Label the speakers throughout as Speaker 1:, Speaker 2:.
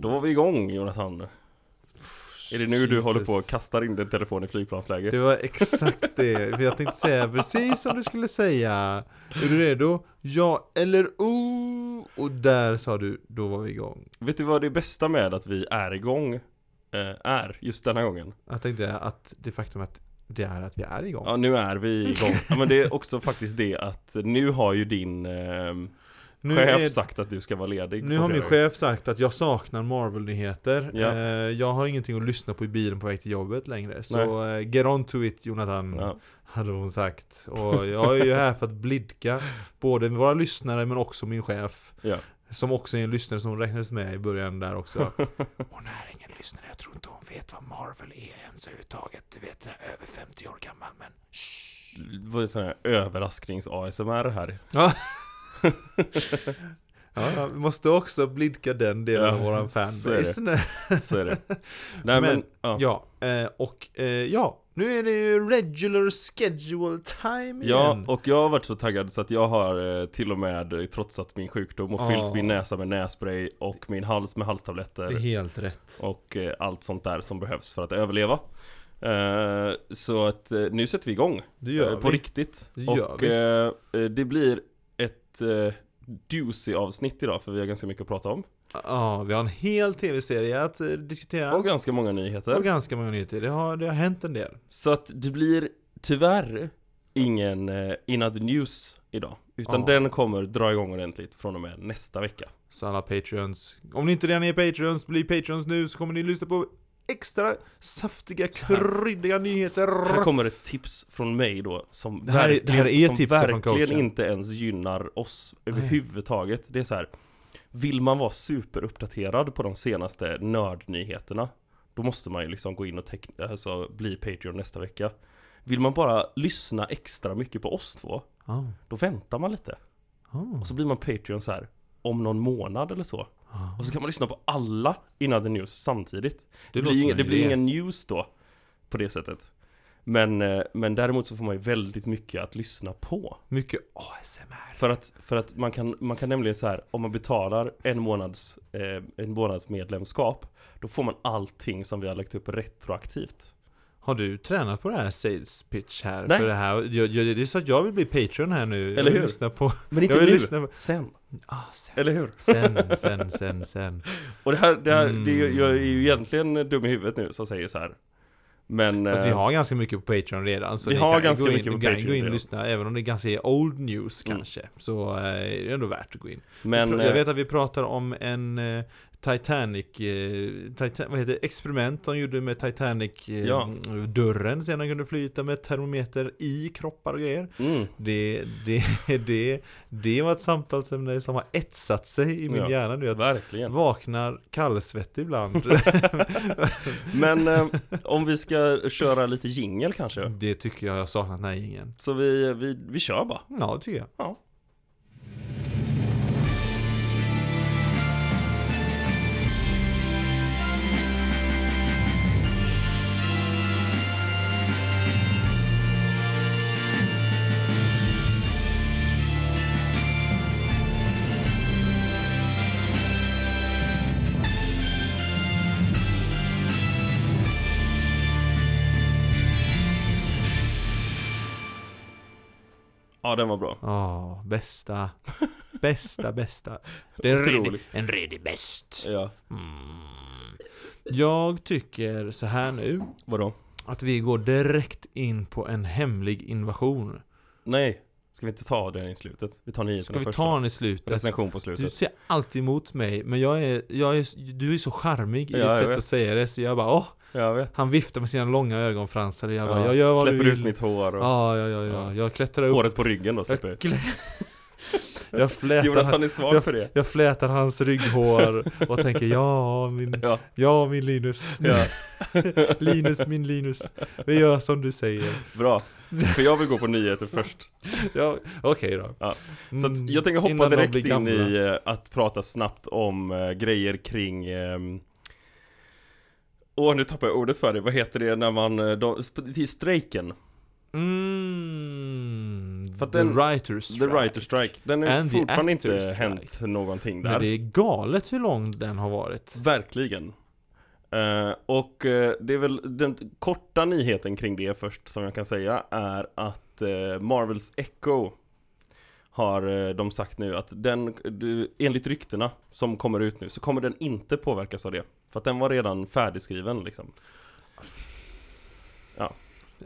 Speaker 1: Då var vi igång Jonathan. Är det nu du
Speaker 2: Jesus.
Speaker 1: håller på och kastar in din telefon i flygplansläge?
Speaker 2: Det var exakt det, för jag tänkte säga precis som du skulle säga. Är du redo? Ja eller o? Och där sa du, då var vi igång.
Speaker 1: Vet du vad det bästa med att vi är igång eh, är just denna gången?
Speaker 2: Jag tänkte att det faktum att det är att vi är igång.
Speaker 1: Ja, nu är vi igång. Ja, Men det är också faktiskt det att nu har ju din eh,
Speaker 2: nu,
Speaker 1: chef
Speaker 2: är,
Speaker 1: sagt att du ska vara ledig.
Speaker 2: nu
Speaker 1: på
Speaker 2: har min
Speaker 1: fredag.
Speaker 2: chef sagt att jag saknar Marvel-nyheter.
Speaker 1: Ja.
Speaker 2: Eh, Jag har ingenting att lyssna på i bilen på väg till jobbet längre. Så eh, get on to it Jonathan.
Speaker 1: Ja.
Speaker 2: Hade hon sagt. Och jag är ju här för att blidka både våra lyssnare men också min chef.
Speaker 1: Ja.
Speaker 2: Som också är en lyssnare som hon räknades med i början där också. Hon är ingen lyssnare, jag tror inte hon vet vad Marvel är ens överhuvudtaget. Du vet, jag är över 50 år gammal men
Speaker 1: Det var ju sån här överrasknings-ASMR här.
Speaker 2: Ja, vi måste också blidka den delen
Speaker 1: Ja,
Speaker 2: av våran
Speaker 1: så är det.
Speaker 2: fanbase.
Speaker 1: Så är det. Nej men,
Speaker 2: Men-
Speaker 1: ja.
Speaker 2: Ja, eh, och eh, ja, nu är det ju regular schedule time
Speaker 1: Ja,
Speaker 2: igen.
Speaker 1: och jag har varit så taggad så att jag har eh, till och med eh, trotsat min sjukdom och
Speaker 2: Ja.
Speaker 1: fyllt min näsa med nässpray och min hals med
Speaker 2: Ah. Det är
Speaker 1: halstabletter
Speaker 2: helt rätt.
Speaker 1: och eh, allt sånt där som behövs för att överleva. Eh, Så att eh, nu sätter vi igång.
Speaker 2: Det gör
Speaker 1: Eh, På
Speaker 2: vi.
Speaker 1: riktigt.
Speaker 2: Det gör
Speaker 1: Och
Speaker 2: vi.
Speaker 1: eh, eh, det blir ett eh, juicy avsnitt idag för vi har ganska mycket att prata om.
Speaker 2: Ja, vi har en hel tv-serie att eh, diskutera.
Speaker 1: Och ganska många
Speaker 2: Och
Speaker 1: nyheter.
Speaker 2: ganska många nyheter. Det har, det har hänt en del.
Speaker 1: Så att det blir tyvärr ingen eh, In Other News idag. Utan
Speaker 2: Ja.
Speaker 1: den kommer dra igång ordentligt från och med nästa vecka.
Speaker 2: Så alla Patreons. Om ni inte redan är Patreons, bli Patreons nu så kommer ni lyssna på extra saftiga, kryddiga nyheter.
Speaker 1: Här kommer ett tips från mig då som
Speaker 2: Det här är- det här är
Speaker 1: verkligen- som
Speaker 2: tipset från
Speaker 1: verkligen
Speaker 2: coachen.
Speaker 1: inte ens gynnar oss överhuvudtaget. Det är så här. Vill man vara superuppdaterad på de senaste nördnyheterna Då måste man ju liksom gå in och teckna, alltså, bli Patreon nästa vecka. Vill man bara lyssna extra mycket på oss två
Speaker 2: Ja,
Speaker 1: Då väntar man lite.
Speaker 2: ja.
Speaker 1: Och så blir man Patreon så här om någon månad eller så.
Speaker 2: Ah.
Speaker 1: Och så kan man lyssna på alla innan the news samtidigt. Det,
Speaker 2: låter
Speaker 1: blir,
Speaker 2: som
Speaker 1: ingen, det
Speaker 2: en idé.
Speaker 1: blir ingen news då. På det sättet. Men, eh, men däremot så får man ju väldigt mycket att lyssna på.
Speaker 2: Mycket ASMR.
Speaker 1: För att, för att man, kan, man kan nämligen så här, om man betalar en månads, eh, en månads medlemskap, då får man allting som vi har lagt upp retroaktivt.
Speaker 2: Har du tränat på det här sales pitch här?
Speaker 1: Nej.
Speaker 2: För det, här? Jag, jag, det är så att jag vill bli Patreon här nu. jag
Speaker 1: Eller
Speaker 2: vill
Speaker 1: hur?
Speaker 2: lyssna på...
Speaker 1: Men inte
Speaker 2: Jag vill
Speaker 1: nu,
Speaker 2: lyssna på-
Speaker 1: sen.
Speaker 2: Ah, sen,
Speaker 1: Eller hur?
Speaker 2: sen, sen, sen, sen.
Speaker 1: Och det här, det här det är,
Speaker 2: Mm.
Speaker 1: ju- jag är ju egentligen dum i huvudet nu som säger så här. Men...
Speaker 2: Fast Alltså, vi
Speaker 1: eh,
Speaker 2: har ganska mycket på Patreon redan. Så
Speaker 1: vi
Speaker 2: ni
Speaker 1: har
Speaker 2: kan
Speaker 1: ganska
Speaker 2: gå in,
Speaker 1: mycket på
Speaker 2: ni kan
Speaker 1: Patreon
Speaker 2: gå in och
Speaker 1: redan.
Speaker 2: lyssna, även om det kanske är old news
Speaker 1: Mm.
Speaker 2: kanske. Så eh, är det ändå värt att gå in.
Speaker 1: men
Speaker 2: jag
Speaker 1: eh,
Speaker 2: vet att vi pratar om en eh, Titanic, eh, Titan- vad heter det? experiment de gjorde med
Speaker 1: Ja.
Speaker 2: Titanic-dörren sen de kunde flyta med termometer i kroppar och grejer.
Speaker 1: mm.
Speaker 2: Det, det, det, det var ett samtalsämne som har etsat sig i min
Speaker 1: Ja.
Speaker 2: hjärna nu. Jag
Speaker 1: Verkligen.
Speaker 2: vaknar kallsvettig ibland.
Speaker 1: Men eh, om vi ska köra lite jingel kanske.
Speaker 2: det tycker jag jag har saknat den här gängen.
Speaker 1: Så vi, vi, vi kör bara.
Speaker 2: Ja, det tycker jag.
Speaker 1: Ja. Ja, den var bra.
Speaker 2: Ja, bästa. Bästa, bästa. Det är en redig,
Speaker 1: Otroligt.
Speaker 2: en redig bäst.
Speaker 1: Ja.
Speaker 2: Mm. Jag tycker så här nu.
Speaker 1: Vadå?
Speaker 2: Att vi går direkt in på en hemlig invasion.
Speaker 1: Nej. Ska vi inte ta den i slutet? Vi tar nyheterna
Speaker 2: Ska vi
Speaker 1: först
Speaker 2: ta
Speaker 1: då.
Speaker 2: den i slutet?
Speaker 1: Recension på
Speaker 2: Du
Speaker 1: slutet.
Speaker 2: ser alltid emot mig, men jag är, jag är, du är så charmig i
Speaker 1: Ja,
Speaker 2: ditt
Speaker 1: jag
Speaker 2: sätt
Speaker 1: vet.
Speaker 2: att säga det, så jag bara åh!
Speaker 1: Jag vet.
Speaker 2: Han viftar med sina långa ögonfransar och jag bara jag gör vad
Speaker 1: Släpper
Speaker 2: du
Speaker 1: ut
Speaker 2: vill.
Speaker 1: mitt hår och
Speaker 2: Ja, ja, ja, ja.
Speaker 1: Ja.
Speaker 2: Jag klättrar upp.
Speaker 1: håret på ryggen då släpper jag ut.
Speaker 2: Jag, klä... jag, flätar, han-
Speaker 1: Jonathan är svag
Speaker 2: jag,
Speaker 1: för det.
Speaker 2: jag flätar hans rygghår och tänker ja min,
Speaker 1: Ja.
Speaker 2: ja, min Linus.
Speaker 1: ja.
Speaker 2: Linus, min Linus. Vi gör som du säger.
Speaker 1: Bra. För jag vill gå på nyheter först.
Speaker 2: Ja, okej då.
Speaker 1: Ja, Så att
Speaker 2: Mm,
Speaker 1: jag tänker hoppa
Speaker 2: innan de
Speaker 1: direkt
Speaker 2: blir
Speaker 1: in
Speaker 2: gamla.
Speaker 1: i eh, att prata snabbt om eh, grejer kring ehm, Åh, nu tappar jag ordet för det. Vad heter det när man... eh, De, sp- till strejken.
Speaker 2: Mm,
Speaker 1: För att
Speaker 2: the
Speaker 1: den-
Speaker 2: writers strike.
Speaker 1: The Writer Strike. Den har
Speaker 2: And the
Speaker 1: fortfarande inte
Speaker 2: Actors Strike.
Speaker 1: hänt någonting där.
Speaker 2: Men det är galet hur lång den har varit.
Speaker 1: Verkligen. Eh, och eh, det är väl den korta nyheten kring det först som jag kan säga är att eh, Marvels Echo har eh, de sagt nu att den, du, enligt ryktena som kommer ut nu så kommer den inte påverkas av det. För att den var redan färdigskriven liksom.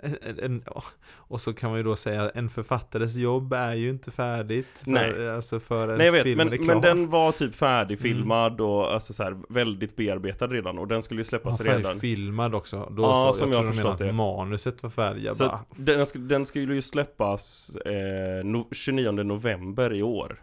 Speaker 2: En, en, ja. och så kan man ju då säga en författares jobb är ju inte färdigt för,
Speaker 1: Nej.
Speaker 2: Alltså förrän
Speaker 1: Nej jag vet,
Speaker 2: filmen är
Speaker 1: men,
Speaker 2: klar. Mm.
Speaker 1: men den var typ färdigfilmad och alltså så här, väldigt bearbetad redan och den skulle ju
Speaker 2: var
Speaker 1: släppas Alltså redan.
Speaker 2: färdigfilmad också. Då
Speaker 1: Ja,
Speaker 2: så, jag
Speaker 1: som jag
Speaker 2: tror de
Speaker 1: förstått
Speaker 2: menade
Speaker 1: det.
Speaker 2: att manuset var färdigt. Jag
Speaker 1: Så
Speaker 2: bara,
Speaker 1: att den, sk- den skulle ju släppas eh, no, 29 november i år.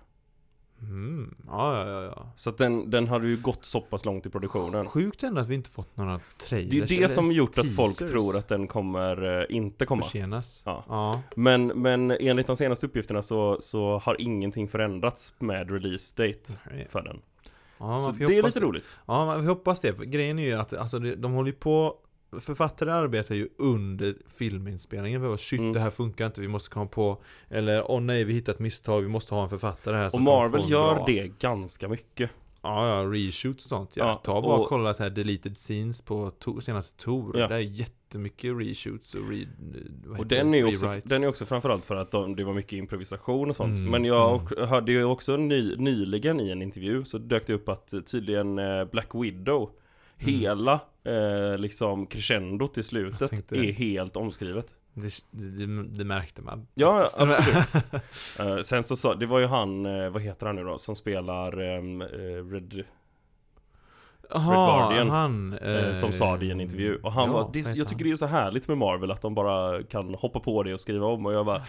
Speaker 2: mm, ja, ja, ja,
Speaker 1: Så att den, den hade ju gått så pass långt i
Speaker 2: ja.
Speaker 1: produktionen.
Speaker 2: Sjukt ändå att vi inte fått några trailers.
Speaker 1: Det är ju
Speaker 2: eller
Speaker 1: det som gjort att folk
Speaker 2: teasers
Speaker 1: tror att den kommer eh, inte komma.
Speaker 2: försenas.
Speaker 1: Ja.
Speaker 2: Ja.
Speaker 1: Men, men enligt de senaste uppgifterna så, så har ingenting förändrats med release date
Speaker 2: Ja,
Speaker 1: för den.
Speaker 2: man
Speaker 1: så
Speaker 2: får ju
Speaker 1: det är
Speaker 2: hoppas
Speaker 1: lite roligt.
Speaker 2: Ja, man- vi hoppas det. För Grejen är ju att alltså, det- de håller ju på Författare arbetar ju under filminspelningen för att shit
Speaker 1: Mm.
Speaker 2: det här funkar inte, vi måste komma på Eller åh nej vi hittat ett misstag, vi måste ha en författare här så
Speaker 1: Och
Speaker 2: att de får
Speaker 1: Marvel
Speaker 2: en
Speaker 1: gör
Speaker 2: bra-
Speaker 1: det ganska mycket.
Speaker 2: Ja ja, reshoots och sånt ja,
Speaker 1: Ja,
Speaker 2: Ta bara och
Speaker 1: och-
Speaker 2: kolla det här deleted scenes på to- senaste Tor
Speaker 1: Ja.
Speaker 2: Det är jättemycket reshoots och re... vad
Speaker 1: Och
Speaker 2: heter
Speaker 1: den
Speaker 2: det?
Speaker 1: är ju också,
Speaker 2: Rewrites.
Speaker 1: den är också framförallt för att de, det var mycket improvisation och sånt.
Speaker 2: Mm,
Speaker 1: Men jag ok- hörde ju också ny, nyligen i en intervju så dök det upp att eh, tydligen eh, Black Widow
Speaker 2: Mm.
Speaker 1: Hela eh, liksom crescendot i
Speaker 2: Jag
Speaker 1: slutet
Speaker 2: tänkte-
Speaker 1: är helt omskrivet.
Speaker 2: det, det, det märkte man
Speaker 1: Ja,
Speaker 2: faktiskt.
Speaker 1: absolut. Eh, sen så sa, det var ju han, eh, vad heter han nu då, som spelar ehm, eh, Red,
Speaker 2: Aha,
Speaker 1: Guardian,
Speaker 2: han
Speaker 1: eh, som sa det i en
Speaker 2: eh,
Speaker 1: intervju. Och han
Speaker 2: ja,
Speaker 1: bara, det,
Speaker 2: vad heter
Speaker 1: är- jag
Speaker 2: han?
Speaker 1: tycker det är så härligt med Marvel att de bara kan hoppa på det och skriva om och jag bara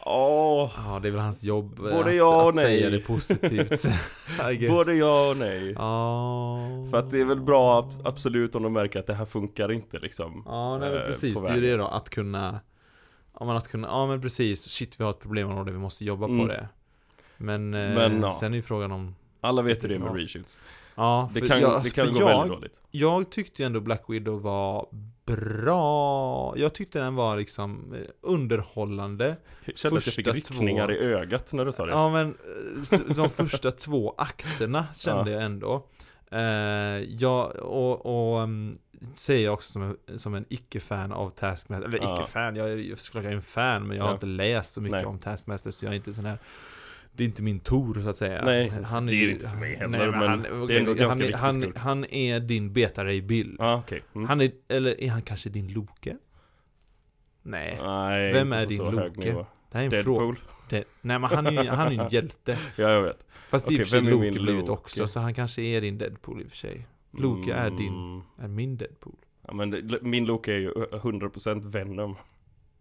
Speaker 1: Åh,
Speaker 2: Ja, det är väl hans jobb eh,
Speaker 1: Både
Speaker 2: att,
Speaker 1: ja och
Speaker 2: att
Speaker 1: nej.
Speaker 2: säga det positivt. I guess.
Speaker 1: både ja och nej.
Speaker 2: Ja.
Speaker 1: För att det är väl bra ab- absolut om de märker att det här funkar inte liksom.
Speaker 2: Ja, nej, men
Speaker 1: eh,
Speaker 2: precis.
Speaker 1: på
Speaker 2: Det är ju det
Speaker 1: vägen.
Speaker 2: då, att kunna... Ja, men att kunna, ja men precis. Shit, vi har ett problemområde, vi måste jobba
Speaker 1: Mm.
Speaker 2: på det. Men,
Speaker 1: Men,
Speaker 2: men
Speaker 1: ja.
Speaker 2: sen är ju frågan om...
Speaker 1: Alla vet ju det med
Speaker 2: Ja.
Speaker 1: reshoots.
Speaker 2: Ja,
Speaker 1: Det
Speaker 2: för
Speaker 1: kan,
Speaker 2: jag,
Speaker 1: det kan
Speaker 2: för
Speaker 1: gå
Speaker 2: jag,
Speaker 1: väldigt dåligt.
Speaker 2: jag tyckte ju ändå Black Widow var bra. Jag tyckte den var liksom eh, underhållande.
Speaker 1: Jag kände att jag fick
Speaker 2: första
Speaker 1: ryckningar
Speaker 2: två-
Speaker 1: i ögat när du sa det.
Speaker 2: Ja men eh, s- de första två akterna kände
Speaker 1: Ja.
Speaker 2: jag ändå. Eh, jag, och, och mm, säger jag också som en, som en icke-fan av Taskmaster, eller
Speaker 1: Ja.
Speaker 2: icke-fan, jag, är- såklart jag är en fan men jag har
Speaker 1: Ja.
Speaker 2: inte läst så mycket
Speaker 1: Nej.
Speaker 2: om Taskmaster så jag är inte sån här det är inte min Tor så att säga.
Speaker 1: Nej,
Speaker 2: han
Speaker 1: det är det inte för mig heller, men det är
Speaker 2: okej,
Speaker 1: ändå ganska
Speaker 2: han, är-
Speaker 1: viktig
Speaker 2: han,
Speaker 1: skurk.
Speaker 2: han är din Beta-Ray Bill.
Speaker 1: Ja, okej. Mm.
Speaker 2: Han är, eller är han kanske din Loke? Nej,
Speaker 1: Nej,
Speaker 2: Vem
Speaker 1: inte
Speaker 2: är
Speaker 1: på
Speaker 2: din
Speaker 1: så hög
Speaker 2: Loke?
Speaker 1: nivå.
Speaker 2: det här är en fråga.
Speaker 1: Deadpool?
Speaker 2: Det, nej men han är ju han är ju en hjälte.
Speaker 1: Ja, jag vet.
Speaker 2: Fast i
Speaker 1: Okej,
Speaker 2: och för sig
Speaker 1: vem är
Speaker 2: Loki
Speaker 1: min
Speaker 2: blivit
Speaker 1: Loki?
Speaker 2: också, så han kanske är din Deadpool i och för sig. Loke är din,
Speaker 1: Mm.
Speaker 2: är min Deadpool.
Speaker 1: Ja, men det, min Loke är ju 100% Venom.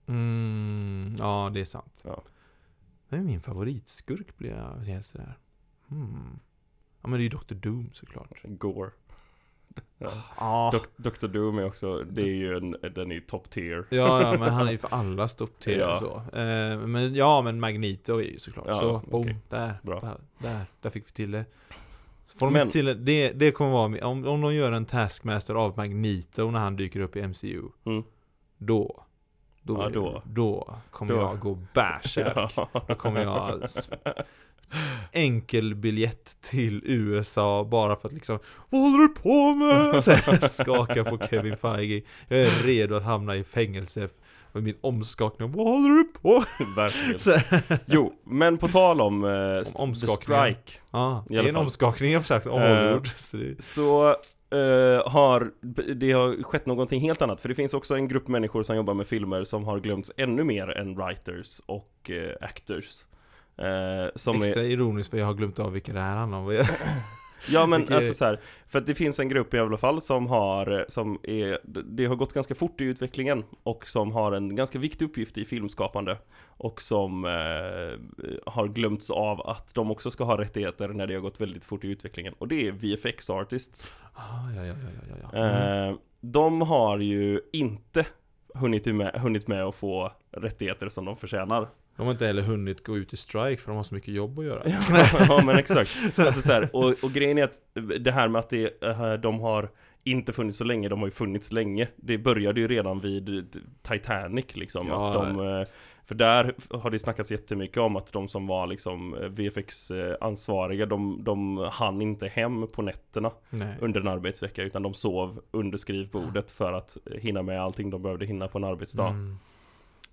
Speaker 2: Mm, ja det är sant.
Speaker 1: Ja.
Speaker 2: Vem är min favoritskurk blir jag helt sådär. Hmm. Ja men det är ju Dr. Doom såklart.
Speaker 1: Gore.
Speaker 2: Ja,
Speaker 1: Dok- Dr. Doom är också, det är ju en, den är ju top tier.
Speaker 2: ja, ja men han är ju för alla stopp till
Speaker 1: Ja.
Speaker 2: så. Eh, men ja men Magneto är ju såklart.
Speaker 1: Ja,
Speaker 2: så boom,
Speaker 1: okej.
Speaker 2: där,
Speaker 1: Bra.
Speaker 2: där, där, där fick vi till det. Får de
Speaker 1: Men-
Speaker 2: inte till det, det, det kommer vara, min- om, om de gör en Taskmaster av Magneto när han dyker upp i MCU.
Speaker 1: Mm.
Speaker 2: Då då,
Speaker 1: Ja,
Speaker 2: är-
Speaker 1: då.
Speaker 2: då kommer
Speaker 1: Då.
Speaker 2: jag gå bärsärk. Då kommer jag s- enkelbiljett till USA bara för att liksom Vad håller du på med? Så här, Skaka på Kevin Feige. Jag är redo att hamna i fängelse för min omskakning. Vad håller du på med?
Speaker 1: Verkligen.
Speaker 2: Så-
Speaker 1: Jo, men på tal om, eh,
Speaker 2: Om
Speaker 1: The
Speaker 2: omskakningen.
Speaker 1: Strike.
Speaker 2: Ja, det
Speaker 1: I alla
Speaker 2: är en
Speaker 1: fall.
Speaker 2: omskakning jag försökt omord. Så det,
Speaker 1: Så eh, har det har skett någonting helt annat. För det finns också en grupp människor som jobbar med filmer som har glömts ännu mer än writers och eh, actors. Eh, som är,
Speaker 2: extra ironiskt för jag har glömt av vilka det här handlar om.
Speaker 1: ja men
Speaker 2: vilket-
Speaker 1: alltså så här, för att det finns en grupp i alla fall som har, eh, som är, det har gått ganska fort i utvecklingen och som har en ganska viktig uppgift i filmskapande och som eh, har glömts av att de också ska ha rättigheter när det har gått väldigt fort i utvecklingen och det är VFX artists.
Speaker 2: Ah, ja, ja, ja, ja, ja, ja. Mm.
Speaker 1: Eh, de har ju inte hunnit med, hunnit med att få rättigheter som de förtjänar.
Speaker 2: De har inte heller hunnit gå ut i strike för de har så mycket jobb att göra.
Speaker 1: ja men exakt. Alltså, så här, och, och grejen är att det här med att det, eh, de har inte funnits så länge, de har ju funnits länge. Det började ju redan vid Titanic liksom.
Speaker 2: Ja.
Speaker 1: Att de, eh, för där har det snackats jättemycket om att de som var liksom VFX-ansvariga, de, de hann inte hem på nätterna
Speaker 2: Nej.
Speaker 1: under en arbetsvecka utan de sov under skrivbordet för att hinna med allting de behövde hinna på en arbetsdag.
Speaker 2: Mm.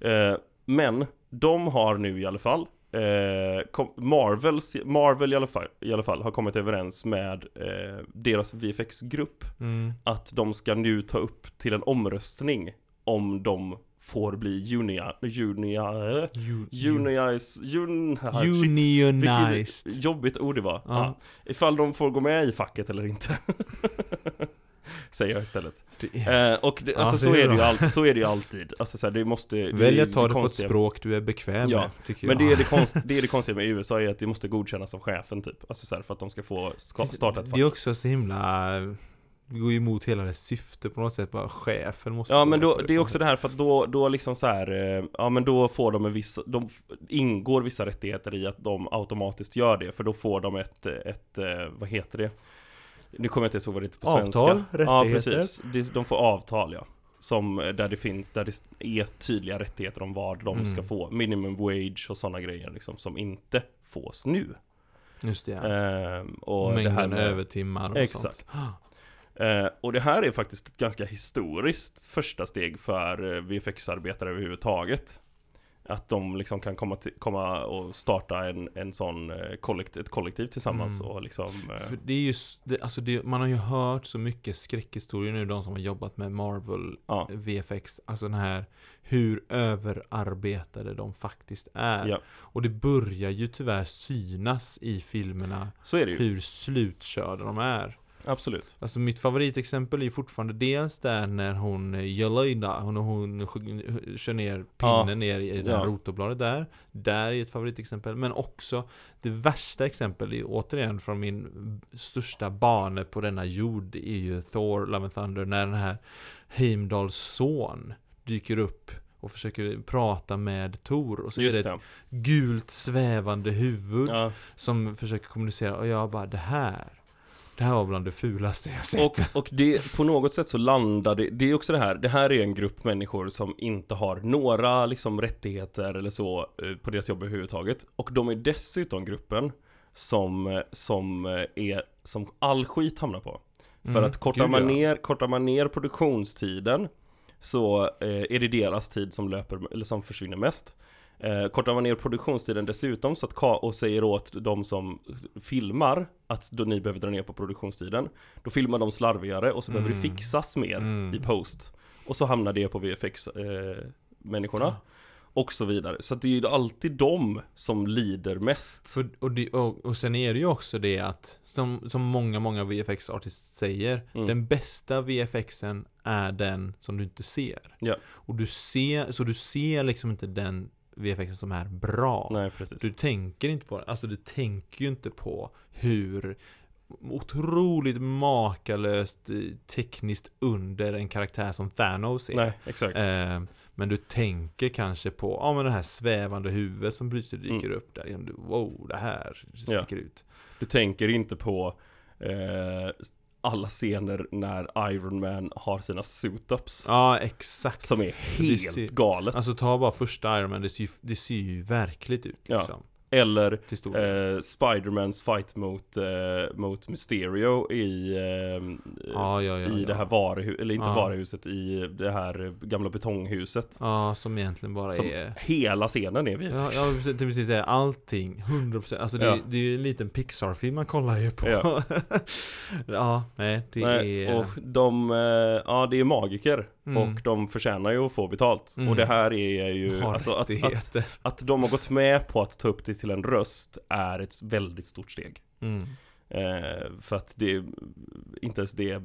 Speaker 1: Eh, men de har nu i alla fall eh, kom, Marvels, Marvel i alla, fall, i alla fall har kommit överens med eh, deras VFX-grupp
Speaker 2: Mm.
Speaker 1: att de ska nu ta upp till en omröstning om de får bli junia, junia, eh,
Speaker 2: Un-
Speaker 1: juniais, jun, shit,
Speaker 2: Unionized.
Speaker 1: vilket jobbigt ord det var.
Speaker 2: Ja.
Speaker 1: Ja. Ifall de får gå med i facket eller inte. Säger jag istället. Eh, och det,
Speaker 2: Ja,
Speaker 1: alltså,
Speaker 2: det
Speaker 1: så,
Speaker 2: är
Speaker 1: är det ju
Speaker 2: bra.
Speaker 1: alltid, så är det ju alltid. Alltså, så här, det måste, det
Speaker 2: Välj
Speaker 1: är
Speaker 2: att ta det, på ett
Speaker 1: konstiga-
Speaker 2: språk du är bekväm
Speaker 1: Ja,
Speaker 2: med, tycker
Speaker 1: Men
Speaker 2: jag.
Speaker 1: det är det, konst, det är det konstiga med USA är att det måste godkännas av chefen typ. Alltså så här, för att de ska få ska, starta ett
Speaker 2: Det är
Speaker 1: fack.
Speaker 2: också så himla... Det går ju emot hela det syfte på något sätt, bara chefen måste
Speaker 1: Ja
Speaker 2: gå
Speaker 1: men
Speaker 2: med
Speaker 1: då,
Speaker 2: på
Speaker 1: det är också det här för att då, då liksom så här, eh, ja men då får de en viss, de f- ingår vissa rättigheter i att de automatiskt gör det för då får de ett, eh, ett, eh, vad heter det? Nu kommer jag inte ens ihåg vad det heter på svenska.
Speaker 2: Avtal,
Speaker 1: Ja
Speaker 2: rättigheter.
Speaker 1: precis, Det- de får avtal ja. Som eh, där det finns, där det är tydliga rättigheter om vad de
Speaker 2: Mm.
Speaker 1: ska få. Minimum wage och sådana grejer liksom som inte fås nu.
Speaker 2: Just det, ja.
Speaker 1: Ehm, och det här
Speaker 2: Mängden
Speaker 1: med,
Speaker 2: övertimmar och sånt.
Speaker 1: Exakt. Eh, och det här är faktiskt ett ganska historiskt första steg för eh, VFX-arbetare överhuvudtaget. Att de liksom kan komma, till, komma och starta en, en sån eh, kollekt, ett kollektiv tillsammans
Speaker 2: Mm.
Speaker 1: och liksom eh,
Speaker 2: För det är ju, s- det, alltså det, man har ju hört så mycket skräckhistorier nu, de som har jobbat med Marvel
Speaker 1: Ja.
Speaker 2: VFX, alltså den här hur överarbetade de faktiskt är.
Speaker 1: Ja.
Speaker 2: Och det börjar ju tyvärr synas i filmerna
Speaker 1: Så är det ju,
Speaker 2: hur slutkörda de är.
Speaker 1: absolut.
Speaker 2: Alltså mitt favoritexempel är fortfarande dels där när hon eh, Jelena, hon, hon sk- kör ner pinnen
Speaker 1: Ja.
Speaker 2: ner i i det här
Speaker 1: Ja.
Speaker 2: rotorbladet där. Där är ett favoritexempel. Men också det värsta exempel är ju återigen från min största bane på denna jord är ju Thor, Love and Thunder, när den här Heimdalls son dyker upp och försöker prata med Thor och så är
Speaker 1: Just
Speaker 2: det
Speaker 1: det.
Speaker 2: ett gult svävande huvud
Speaker 1: Ja.
Speaker 2: som försöker kommunicera och jag bara det här Det här var bland det fulaste jag sett
Speaker 1: Och, och det, på något sätt så landar det, det är också det här, det här är en grupp människor som inte har några liksom rättigheter eller så eh, på deras jobb överhuvudtaget. Och de är dessutom gruppen som, eh, som eh, är, som all skit hamnar på. För
Speaker 2: Mm,
Speaker 1: att kortar
Speaker 2: gud,
Speaker 1: man,
Speaker 2: ja.
Speaker 1: ner, kortar man ner produktionstiden så eh, är det deras tid som löper, eller som försvinner mest. Eh, kortar man ner produktionstiden dessutom så att, ka- och säger åt de som filmar att då ni behöver dra ner på produktionstiden. Då filmar de slarvigare och så behöver det
Speaker 2: Mm.
Speaker 1: fixas mer
Speaker 2: Mm.
Speaker 1: i post. Och så hamnar det på VFX-människorna. eh, och så vidare. Så att det är ju alltid de som lider mest.
Speaker 2: För, och, det, och, och sen är det ju också det att Som, som många, många VFX-artister säger
Speaker 1: Mm.
Speaker 2: Den bästa VFXen är den som du inte ser
Speaker 1: Ja.
Speaker 2: Och du ser, så du ser liksom inte den VFXen som är bra
Speaker 1: Nej, precis.
Speaker 2: Du tänker inte på det, alltså du tänker ju inte på hur otroligt makalöst eh, tekniskt under en karaktär som Thanos är.
Speaker 1: Nej, exakt.
Speaker 2: Eh, men du tänker kanske på, ja men det här svävande huvudet som plötsligt dyker
Speaker 1: Mm.
Speaker 2: upp där. igen. Du, Wow, det här sticker ut.
Speaker 1: Du tänker inte på eh, alla scener när Iron Man har sina suit-ups.
Speaker 2: Ja, exakt.
Speaker 1: Som är
Speaker 2: Det
Speaker 1: helt
Speaker 2: ser-
Speaker 1: galet.
Speaker 2: Alltså ta bara första Iron Man, det ser ju, det ser ju verkligt ut
Speaker 1: Ja.
Speaker 2: liksom.
Speaker 1: Eller
Speaker 2: Till stor del.
Speaker 1: eh, Spider-Mans fight mot, eh, mot Mysterio i, eh,
Speaker 2: ja, ja, ja,
Speaker 1: i
Speaker 2: ja.
Speaker 1: det här varuhuset, eller inte
Speaker 2: Ja.
Speaker 1: varuhuset, i det här eh, gamla betonghuset.
Speaker 2: Ja, som egentligen bara
Speaker 1: Som
Speaker 2: är...
Speaker 1: hela scenen är vi.
Speaker 2: Ja, ja precis, det är precis det. Allting, 100% Alltså det,
Speaker 1: Ja.
Speaker 2: det är ju en liten Pixar-film man kollar ju på Ja,
Speaker 1: Ja.
Speaker 2: nej det
Speaker 1: Nej,
Speaker 2: är...
Speaker 1: och de, eh, ja det är magiker
Speaker 2: Mm.
Speaker 1: och de förtjänar ju att få betalt.
Speaker 2: Mm.
Speaker 1: Och det här är ju,
Speaker 2: har
Speaker 1: alltså att, att,
Speaker 2: rättigheter.
Speaker 1: Att de har gått med på att ta upp det till en röst är ett väldigt stort steg.
Speaker 2: mm.
Speaker 1: Eh, för att det, inte ens det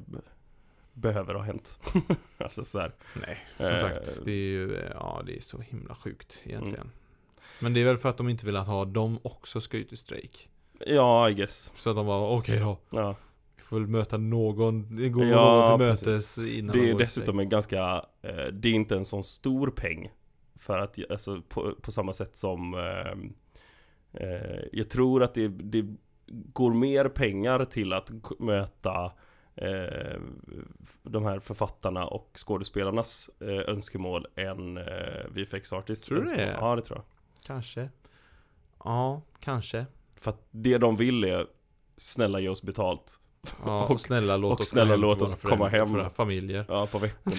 Speaker 1: behöver ha hänt. alltså så här.
Speaker 2: Nej, som
Speaker 1: Eh,
Speaker 2: sagt. Det är ju, eh, ja det är så himla sjukt egentligen.
Speaker 1: Mm.
Speaker 2: Men det är väl för att de inte vill att ha dem också ska ut i strejk.
Speaker 1: Ja, I guess.
Speaker 2: Så att de var okej då.
Speaker 1: Ja.
Speaker 2: Vi får väl möta någon, det går
Speaker 1: Ja,
Speaker 2: någon till mötes
Speaker 1: precis.
Speaker 2: innan
Speaker 1: Det
Speaker 2: de
Speaker 1: är
Speaker 2: går i
Speaker 1: dessutom en ganska, eh, det är inte en sån stor peng. För att, alltså på, på samma sätt som eh, eh, Jag tror att det, det går mer pengar till att k- möta eh, de här författarna och skådespelarnas eh, önskemål än eh, VFX-artists
Speaker 2: Tror du det?
Speaker 1: önskemål. Ja, det tror jag.
Speaker 2: Kanske. Ja, kanske.
Speaker 1: För att det de vill är Snälla ge oss betalt
Speaker 2: Ja,
Speaker 1: Och-
Speaker 2: och snälla låt
Speaker 1: och
Speaker 2: oss
Speaker 1: snälla
Speaker 2: gå hem
Speaker 1: låt
Speaker 2: till
Speaker 1: oss
Speaker 2: våra
Speaker 1: komma
Speaker 2: föräldrar-
Speaker 1: hem.
Speaker 2: våra familjer.
Speaker 1: Ja, på veckorna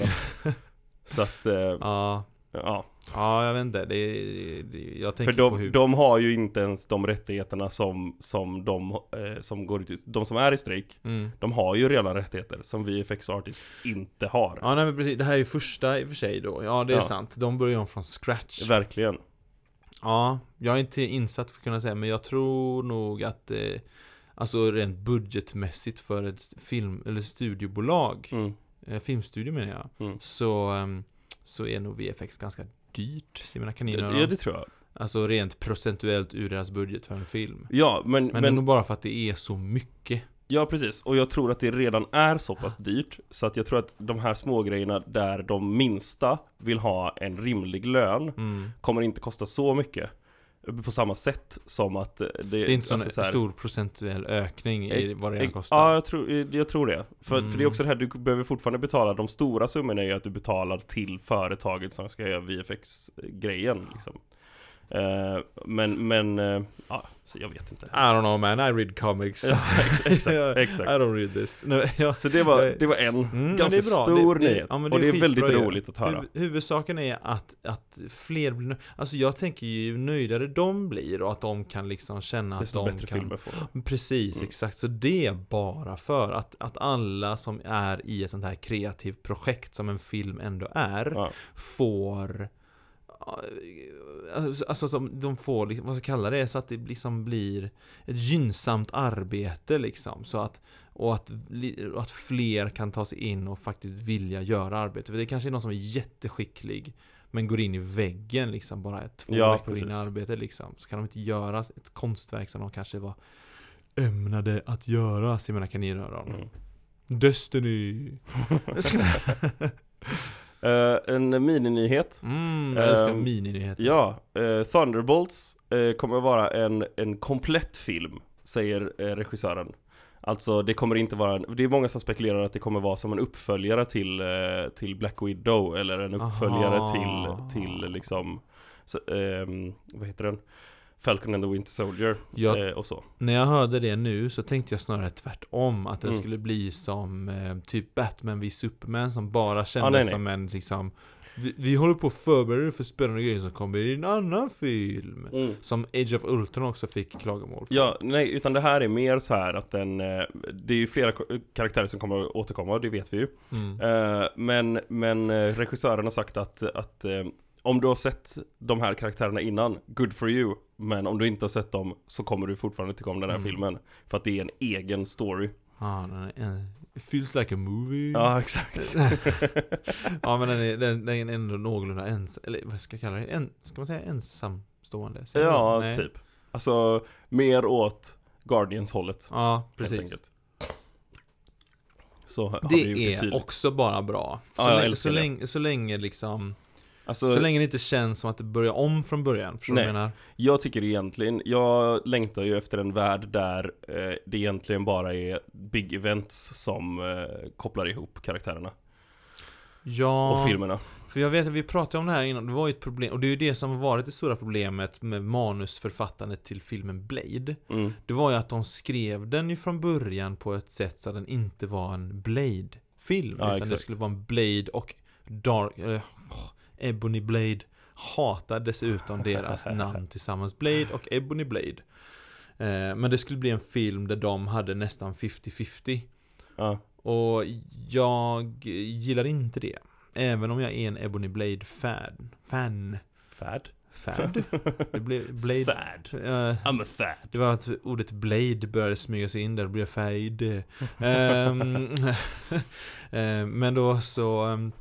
Speaker 1: Så att, eh,
Speaker 2: Ja,
Speaker 1: ja
Speaker 2: ja jag vet inte. Det, är- det, jag tänker
Speaker 1: För
Speaker 2: på
Speaker 1: de,
Speaker 2: hur...
Speaker 1: de har ju inte ens de rättigheterna som, som de eh, som går ut i, De som är i strejk
Speaker 2: Mm.
Speaker 1: De har ju redan rättigheter som VFX Artists inte har
Speaker 2: Ja, nej men precis. Det här är ju första i och för sig då. Ja, det är
Speaker 1: Ja.
Speaker 2: sant. De börjar om från scratch.
Speaker 1: Verkligen
Speaker 2: Ja, jag är inte insatt för att kunna säga, men jag tror nog att eh, Alltså rent budgetmässigt för ett st- film eller studiobolag
Speaker 1: mm.
Speaker 2: eh, Filmstudio menar jag
Speaker 1: Mm.
Speaker 2: Så ehm, Så är nog VFX ganska dyrt Ser mina kaniner
Speaker 1: Ja det tror jag
Speaker 2: Alltså rent procentuellt ur deras budget för en film
Speaker 1: Ja men,
Speaker 2: Men,
Speaker 1: men,
Speaker 2: det är nog bara för att det är så mycket
Speaker 1: ja precis Och jag tror att det redan är så pass dyrt Så att jag tror att de här smågrejerna där de minsta vill ha en rimlig lön
Speaker 2: mm.
Speaker 1: Kommer inte kosta så mycket På samma sätt som att eh, det,
Speaker 2: Det är inte sån
Speaker 1: alltså så här-
Speaker 2: stor procentuell ökning i vad det redan kostar
Speaker 1: Ja, jag tror, jag tror det. För,
Speaker 2: Mm.
Speaker 1: för det är också det här, du behöver fortfarande betala de stora summorna är ju att du betalar till företaget som ska göra VFX-grejen liksom. Eh, men, men, eh, ja, så jag vet inte.
Speaker 2: I don't know man, I read comics
Speaker 1: Ja, ex- exakt,
Speaker 2: I
Speaker 1: exakt.
Speaker 2: don't read this Nej, jag-
Speaker 1: Så det var, det var en
Speaker 2: Mm, men
Speaker 1: ganska
Speaker 2: det är bra.
Speaker 1: stor
Speaker 2: Det- det-
Speaker 1: nyhet.
Speaker 2: ja, men det
Speaker 1: och
Speaker 2: är
Speaker 1: det är väldigt
Speaker 2: skitbra ju.
Speaker 1: roligt att höra.
Speaker 2: Huv, huvudsaken är att, att fler blir nö- Alltså jag tänker ju nöjdare de blir och att de kan liksom känna att
Speaker 1: Desto
Speaker 2: de
Speaker 1: bättre
Speaker 2: kan
Speaker 1: filmer får du.
Speaker 2: Precis,
Speaker 1: Mm.
Speaker 2: exakt. Så det är bara för att, att alla som är i ett sånt här kreativt projekt som en film ändå är
Speaker 1: Ja.
Speaker 2: får Alltså alltså att de, de får, liksom, vad ska jag kalla det, så att det liksom blir ett gynnsamt arbete liksom. Så att, och, att, li- och att fler kan ta sig in och faktiskt vilja göra arbete. För det kanske är någon som är jätteskicklig men går in i väggen liksom bara två
Speaker 1: Ja,
Speaker 2: veckor in i
Speaker 1: precis.
Speaker 2: arbetet liksom. Så kan de inte göra ett konstverk som de kanske var ämnade att göra, ser mina kaninöron.
Speaker 1: Mm.
Speaker 2: Destiny! Jag ska-
Speaker 1: Eh, en mininyhet.
Speaker 2: mm, jag älskar
Speaker 1: Ehm,
Speaker 2: mininyheter.
Speaker 1: Ja, eh, Thunderbolts eh, kommer att vara en, en komplett film, säger eh, regissören. Alltså det kommer inte vara en, det är många som spekulerar att det kommer vara som en uppföljare till, eh, till Black Widow eller en uppföljare
Speaker 2: Aha.
Speaker 1: till, till liksom, så, ehm, vad heter den? Falcon and the Winter Soldier
Speaker 2: Jag
Speaker 1: eh, och så.
Speaker 2: När jag hörde det nu så tänkte jag snarare tvärtom Att den
Speaker 1: Mm.
Speaker 2: skulle bli som eh, typ Batman vid Superman som bara kändes
Speaker 1: nej, nej.
Speaker 2: som en liksom vi, vi håller på att förbereda er för spännande grejer som kommer i en annan film Som Age of Ultron också fick klagomål på.
Speaker 1: Ja, nej, utan det här är mer så här att den, eh, det är ju flera ko- karaktärer som kommer att återkomma, det vet vi ju.
Speaker 2: mm.
Speaker 1: Eh, men, men eh, regissören har sagt att, att eh, om du har sett de här karaktärerna innan, good for you. Men om du inte har sett dem så kommer du fortfarande tycka om den här
Speaker 2: Mm.
Speaker 1: filmen. För att det är en egen story.
Speaker 2: ah, nej, nej. It feels like a movie
Speaker 1: Ja, exakt.
Speaker 2: Ja, men den är, den, den är ändå någorlunda ensam Eller vad ska jag kalla det? En, ska man säga ensamstående? Säger man
Speaker 1: ja,
Speaker 2: det? Mm, Nej.
Speaker 1: typ. Alltså, mer åt Guardians-hållet.
Speaker 2: Ja,
Speaker 1: Helt
Speaker 2: precis
Speaker 1: enkelt. Så har vi gjort
Speaker 2: Det är
Speaker 1: tydligt.
Speaker 2: också bara bra. Så,
Speaker 1: Ja, jag
Speaker 2: länge,
Speaker 1: älskar
Speaker 2: så,
Speaker 1: det.
Speaker 2: länge, så länge liksom,
Speaker 1: Alltså,
Speaker 2: så, länge det inte känns som att det börjar om från början. Förstår du vad jag menar?
Speaker 1: Jag tycker egentligen, jag längtar ju efter en värld där eh, det egentligen bara är big events som eh, kopplar ihop karaktärerna
Speaker 2: Ja,
Speaker 1: och filmerna.
Speaker 2: för jag vet att vi pratade om det här innan, det var ju ett problem, och det är ju det som har varit det stora problemet med manusförfattandet till filmen Blade.
Speaker 1: Mm.
Speaker 2: Det var ju att de skrev den ju från början på ett sätt så att den inte var en Blade-film.
Speaker 1: Ja,
Speaker 2: utan det
Speaker 1: exakt.
Speaker 2: skulle vara en Blade och Dark... Eh, åh, Ebony Blade hatar dessutom deras namn tillsammans. Blade och Ebony Blade. Eh, men det skulle bli en film där de hade nästan 50-50.
Speaker 1: Ja.
Speaker 2: Och jag gillar inte det. Även om jag är en Ebony Blade-fan. Fan.
Speaker 1: Fad?
Speaker 2: Fad? Det blev Blade...
Speaker 1: Fad.
Speaker 2: Eh,
Speaker 1: I'm a fad.
Speaker 2: det var att ordet blade började smyga sig in där, det blev fade. Ehm, eh, men då så... ehm,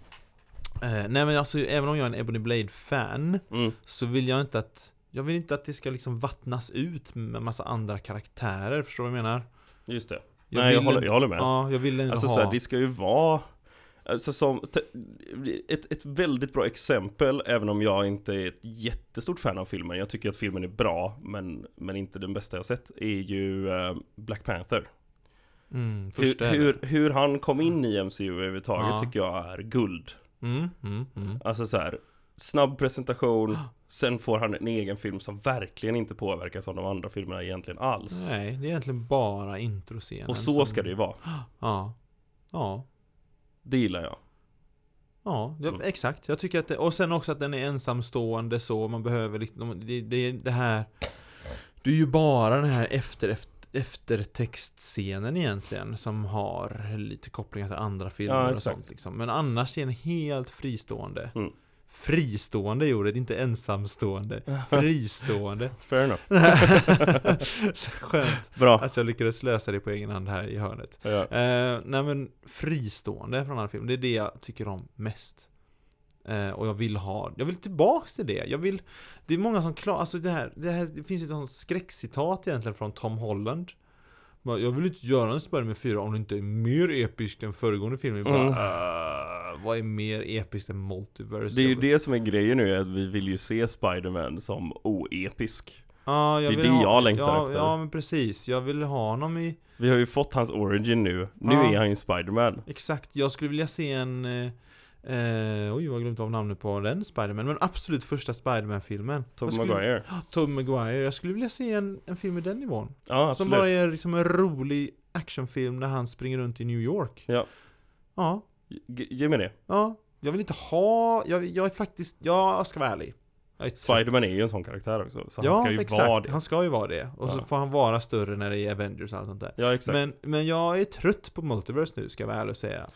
Speaker 2: eh, nej men alltså, även om jag är en Ebony Blade-fan
Speaker 1: Mm.
Speaker 2: så vill jag inte att... Jag vill inte att det ska liksom vattnas ut med massa andra karaktärer, förstår du vad jag menar?
Speaker 1: Just det.
Speaker 2: Jag
Speaker 1: Nej, jag
Speaker 2: vill
Speaker 1: håller,
Speaker 2: en-
Speaker 1: jag håller med.
Speaker 2: Ja, jag vill ändå
Speaker 1: alltså
Speaker 2: ha...
Speaker 1: så här, det ska ju vara Alltså som, te- ett, ett väldigt bra exempel, även om jag inte är ett jättestort fan av filmen Jag tycker att filmen är bra, men, men inte den bästa jag sett Är ju eh, Black Panther
Speaker 2: Mm,
Speaker 1: Hur,
Speaker 2: första är det.
Speaker 1: hur, hur han kom in i MCU överhuvudtaget
Speaker 2: Ja.
Speaker 1: tycker jag är guld.
Speaker 2: Mm, mm, mm.
Speaker 1: Alltså så här, snabb presentation, sen får han en egen film som verkligen inte påverkas av de andra filmerna egentligen alls.
Speaker 2: Nej, det är egentligen bara introscenen.
Speaker 1: Och så
Speaker 2: som-
Speaker 1: ska det ju vara.
Speaker 2: Ja. Ja.
Speaker 1: Det gillar jag.
Speaker 2: Ja, ja,
Speaker 1: Mm.
Speaker 2: exakt. Jag tycker att det, och sen också att den är ensamstående så, man behöver liksom, det, det, det här Det är ju bara den här efter, efter eftertextscenen egentligen som har lite kopplingar till andra filmer
Speaker 1: Ja,
Speaker 2: och
Speaker 1: exakt.
Speaker 2: sånt liksom. Men annars är den helt fristående
Speaker 1: Mm.
Speaker 2: Fristående är ordet, inte ensamstående Fristående
Speaker 1: Fair enough.
Speaker 2: Så Skönt
Speaker 1: Bra.
Speaker 2: att jag lyckades lösa det på egen hand här i hörnet
Speaker 1: Ja.
Speaker 2: Eh, nej men fristående från andra filmer, det är det jag tycker om mest. Eh, och jag vill ha, jag vill tillbaks till det. Jag vill, det är många som klarar, alltså det här, det här, det finns ju ett sånt skräckcitat egentligen från Tom Holland. Bara, Jag vill inte göra en Spiderman 4 om det inte är mer episkt än föregående film. Jag Bara,
Speaker 1: Mm.
Speaker 2: "Eh, vad är mer episkt än Multiverse?
Speaker 1: Det är ju det som är grejen nu, är att vi vill ju se Spider-Man som oepisk.
Speaker 2: Ja, jag
Speaker 1: det är
Speaker 2: vill
Speaker 1: det
Speaker 2: ha,
Speaker 1: jag längtar
Speaker 2: ja,
Speaker 1: efter.
Speaker 2: Ja, men precis. Jag vill ha honom i
Speaker 1: Vi har ju fått hans origin nu. Nu
Speaker 2: Ja.
Speaker 1: är han ju Spider-Man.
Speaker 2: Exakt, jag skulle vilja se en... Eh, eh, oj, jag har glömt av namnet på den Spiderman. Men absolut första Spiderman-filmen.
Speaker 1: Tobey
Speaker 2: Jag skulle-
Speaker 1: Maguire.
Speaker 2: Tobey Maguire. Jag skulle vilja se en, en film i den nivån.
Speaker 1: Ja,
Speaker 2: Som
Speaker 1: absolut.
Speaker 2: bara är liksom en rolig actionfilm där han springer runt i New York.
Speaker 1: Ja.
Speaker 2: Ja,
Speaker 1: Ge- Ge mig det.
Speaker 2: ja. Jag vill inte ha... Jag, jag är faktiskt... Jag ska vara ärlig. Jag är trött.
Speaker 1: Spider-Man är ju en sån karaktär också. Så
Speaker 2: ja,
Speaker 1: han ska ju
Speaker 2: exakt.
Speaker 1: vara det.
Speaker 2: Han ska ju vara det. Och så
Speaker 1: Ja.
Speaker 2: får han vara större när det är Avengers och allt sånt där.
Speaker 1: Ja, exakt.
Speaker 2: Men, men jag är trött på Multiverse nu, ska jag vara ärlig och säga.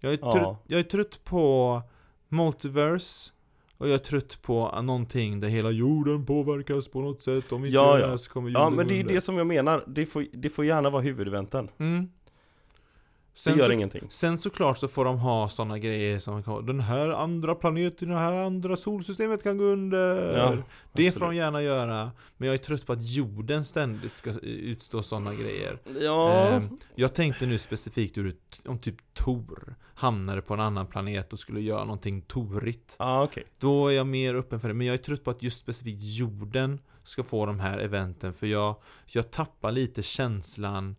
Speaker 2: Jag är,
Speaker 1: Ja.
Speaker 2: trött, jag är trött på Multiverse och jag är trött på någonting där hela jorden påverkas på något sätt. Om vi inte
Speaker 1: Ja,
Speaker 2: gör
Speaker 1: ja.
Speaker 2: det här så kommer jorden
Speaker 1: Ja men det är ju
Speaker 2: under.
Speaker 1: det som jag menar, det får, det får gärna vara huvudeventen.
Speaker 2: Mm.
Speaker 1: Det
Speaker 2: Sen,
Speaker 1: gör
Speaker 2: så,
Speaker 1: ingenting.
Speaker 2: sen såklart så får de ha sådana grejer som den här andra planeten, det här andra solsystemet kan gå under.
Speaker 1: Ja,
Speaker 2: det får
Speaker 1: absolut.
Speaker 2: de gärna göra. Men jag är trött på att jorden ständigt ska utstå sådana grejer.
Speaker 1: Ja,
Speaker 2: Ehm, Jag tänkte nu specifikt hur t- om typ Tor hamnade på en annan planet och skulle göra någonting torigt.
Speaker 1: ah, okej.
Speaker 2: Då är jag mer öppen för det, men jag är trött på att just specifikt jorden ska få de här eventen för jag, jag tappar lite känslan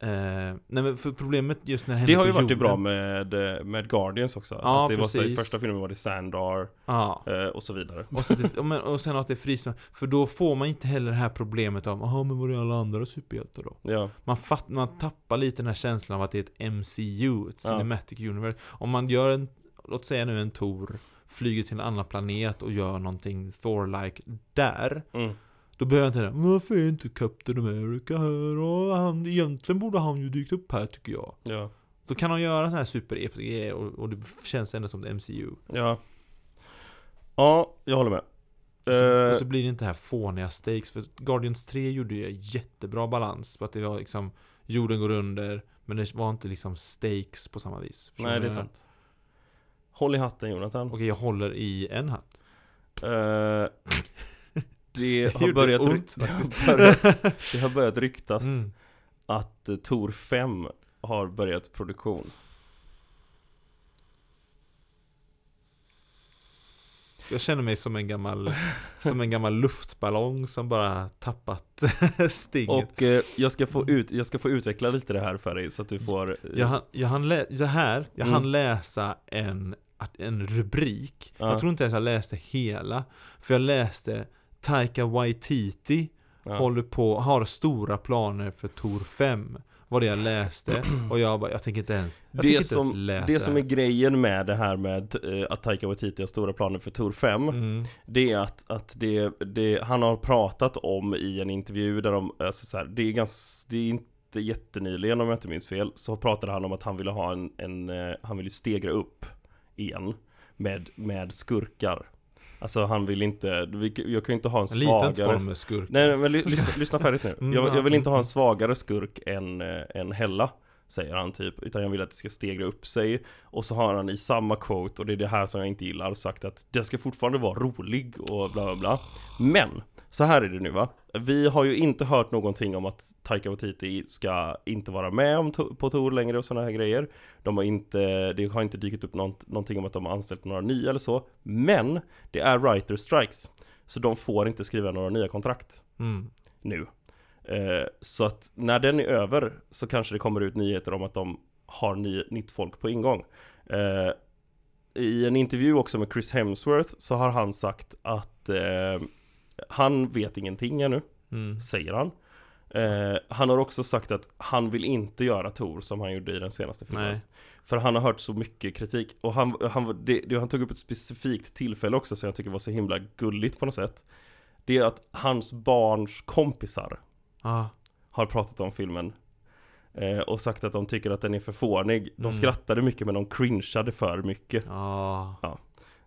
Speaker 2: eh, Nej men för problemet just när det händer
Speaker 1: Det har ju
Speaker 2: på
Speaker 1: varit det
Speaker 2: jorden,
Speaker 1: bra med, eh, med Guardians också.
Speaker 2: Ja,
Speaker 1: att det var så, I
Speaker 2: precis.
Speaker 1: första filmen var det Sandar
Speaker 2: Ja.
Speaker 1: eh, och så vidare.
Speaker 2: Och, så att det, ja, men- och sen att det är fristående. För då får man inte heller det här problemet om Jaha men var är alla andra superhjältar då?
Speaker 1: Ja,
Speaker 2: Man, fatt, man tappar lite den här känslan av att det är ett MCU, ett
Speaker 1: Ja.
Speaker 2: Cinematic Universe. Om man gör en, låt säga nu en Tor, flyger till en annan planet och gör någonting Thor-like där.
Speaker 1: mm.
Speaker 2: Då behöver jag inte det. Varför är inte Captain America här? Och han, egentligen borde han ju dykt upp här tycker jag.
Speaker 1: ja,
Speaker 2: Då kan de göra sån här super grejer och, och det känns ändå som ett MCU.
Speaker 1: ja. Ja, jag håller med.
Speaker 2: Och så,
Speaker 1: Eh,
Speaker 2: och så blir det inte det här fåniga stakes. För Guardians 3 gjorde ju jättebra balans. För att det var liksom, jorden går under. Men det var inte liksom stakes på samma vis. Förstår
Speaker 1: Eh, nej,
Speaker 2: du
Speaker 1: det är
Speaker 2: vad jag
Speaker 1: sant. Håll i hatten Jonathan.
Speaker 2: menar? Okej, jag håller i en hatt.
Speaker 1: Eh, det,
Speaker 2: Det
Speaker 1: har
Speaker 2: gjorde
Speaker 1: börjat
Speaker 2: ont,
Speaker 1: rykt- det, har börjat, det har börjat ryktas
Speaker 2: Mm.
Speaker 1: att eh, Tor 5 har börjat produktion.
Speaker 2: Jag känner mig som en gammal, som en gammal luftballong som bara tappat stinget.
Speaker 1: Och eh, jag, ska få ut, jag ska få utveckla lite det här för dig så att du får... eh,
Speaker 2: Jag, hann- jag hann, lä- det här, jag
Speaker 1: Mm.
Speaker 2: hann läsa en, att- en rubrik.
Speaker 1: Ja.
Speaker 2: Jag tror inte ens jag läste hela. För jag läste Taika Waititi
Speaker 1: ja.
Speaker 2: håller på, har stora planer för Tor 5. Var det jag läste och jag bara, jag tänker inte ens, jag
Speaker 1: Det
Speaker 2: tänker inte ens
Speaker 1: som,
Speaker 2: läsa.
Speaker 1: det som är grejen med det här med eh, att Taika Waititi har stora planer för Tor 5
Speaker 2: mm.
Speaker 1: Det är att, att det, det, han har pratat om i en intervju där de, alltså så här, det är ganska, det är inte jättenyligen om jag inte minns fel Så pratade han om att han ville ha en, en eh, han ville stegra upp igen med, med skurkar Alltså han vill inte, vi, jag kan ju inte ha en
Speaker 2: Jag litar
Speaker 1: svagare
Speaker 2: inte på dem med skurk.
Speaker 1: Nej nej, men ly- lyssna, lyssna färdigt nu.
Speaker 2: Mm,
Speaker 1: Jag,
Speaker 2: ja.
Speaker 1: jag vill inte ha en svagare skurk än, eh, än Hella, säger han typ. Utan jag vill att det ska stegra upp sig. Och så har han i samma quote, och det är det här som jag inte gillar, sagt att det ska fortfarande vara rolig och bla bla bla. Men, så här är det nu va. Vi har ju inte hört någonting om att Taika Waititi ska inte vara med om to- på Tor längre och sådana här grejer. De har inte, det har inte dykt upp nånt- någonting om att de har anställt några nya eller så. Men, det är writer strikes. Så de får inte skriva några nya kontrakt
Speaker 2: Mm.
Speaker 1: nu. Eh, så att när den är över så kanske det kommer ut nyheter om att de har ny, nytt folk på ingång. Eh, I en intervju också med Chris Hemsworth så har han sagt att eh, han vet ingenting ännu,
Speaker 2: Mm.
Speaker 1: säger han. Eh, han har också sagt att han vill inte göra Tor som han gjorde i den senaste filmen.
Speaker 2: Nej.
Speaker 1: För han har hört så mycket kritik och han, han, det, det, han tog upp ett specifikt tillfälle också som jag tycker var så himla gulligt på något sätt. Det är att hans barns kompisar
Speaker 2: Ah.
Speaker 1: har pratat om filmen eh, och sagt att de tycker att den är för fånig. De
Speaker 2: Mm.
Speaker 1: skrattade mycket men de cringeade för mycket.
Speaker 2: Ja.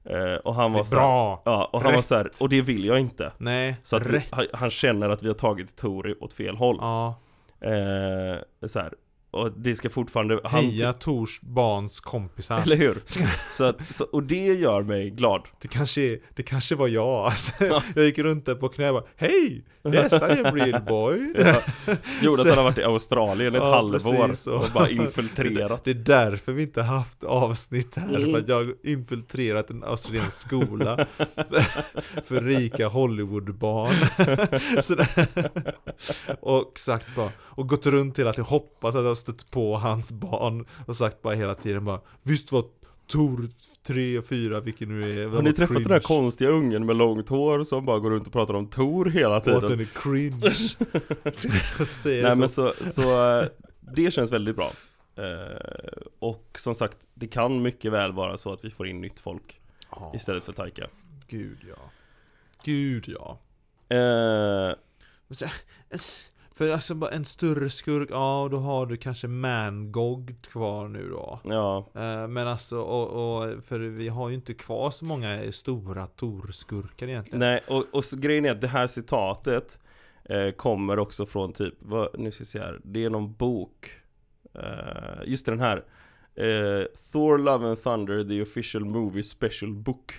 Speaker 1: Eh, och han
Speaker 2: ah. Det
Speaker 1: var
Speaker 2: är
Speaker 1: så här,
Speaker 2: bra!
Speaker 1: Ja, och han var
Speaker 2: Rätt.
Speaker 1: så här, och det vill jag inte.
Speaker 2: Nej,
Speaker 1: Så att vi,
Speaker 2: rätt.
Speaker 1: han, han känner att vi har tagit Tori åt fel håll.
Speaker 2: Ja.
Speaker 1: Eh, så här. Och det ska fortfarande... han-
Speaker 2: Heja Tors barns kompisar.
Speaker 1: Eller hur? Så att, så, och det gör mig glad.
Speaker 2: Det kanske, är- det kanske var jag. Alltså, jag gick runt där på knä och bara Hej! Yes, I am real boy.
Speaker 1: Ja. Gjorde att han har varit i Australien ett
Speaker 2: Ja,
Speaker 1: halvår
Speaker 2: precis,
Speaker 1: och
Speaker 2: och-
Speaker 1: bara infiltrerat.
Speaker 2: Det är därför vi inte haft avsnitt här,
Speaker 1: Mm.
Speaker 2: för att jag har infiltrerat en australiensk skola för rika Hollywoodbarn. Sådär. och sagt bara, och gått runt hela tiden, hoppas att jag har stött på hans barn och sagt bara hela tiden bara Visst var Tor 3 och 4, vilken nu är,
Speaker 1: Har ni träffat den här konstiga ungen med långt hår som bara går runt och pratar om Tor hela
Speaker 2: Åt
Speaker 1: tiden?
Speaker 2: den är cringe. jag säger
Speaker 1: Nej
Speaker 2: det
Speaker 1: men
Speaker 2: så.
Speaker 1: så, så eh, det känns väldigt bra. Eh, och som sagt, det kan mycket väl vara så att vi får in nytt folk
Speaker 2: Ja,
Speaker 1: istället för Taika.
Speaker 2: gud ja. Gud ja.
Speaker 1: Eh,
Speaker 2: För alltså bara en större skurk, ja då har du kanske Mangog kvar nu då.
Speaker 1: ja,
Speaker 2: Eh, Men alltså, och, och, för vi har ju inte kvar så många stora Tor-skurkar egentligen.
Speaker 1: nej och, och så, grejen är att det här citatet eh, kommer också från typ, vad, nu ska vi se här, det är någon bok. Eh, just den här. Eh, Thor Love and Thunder, the official movie special book.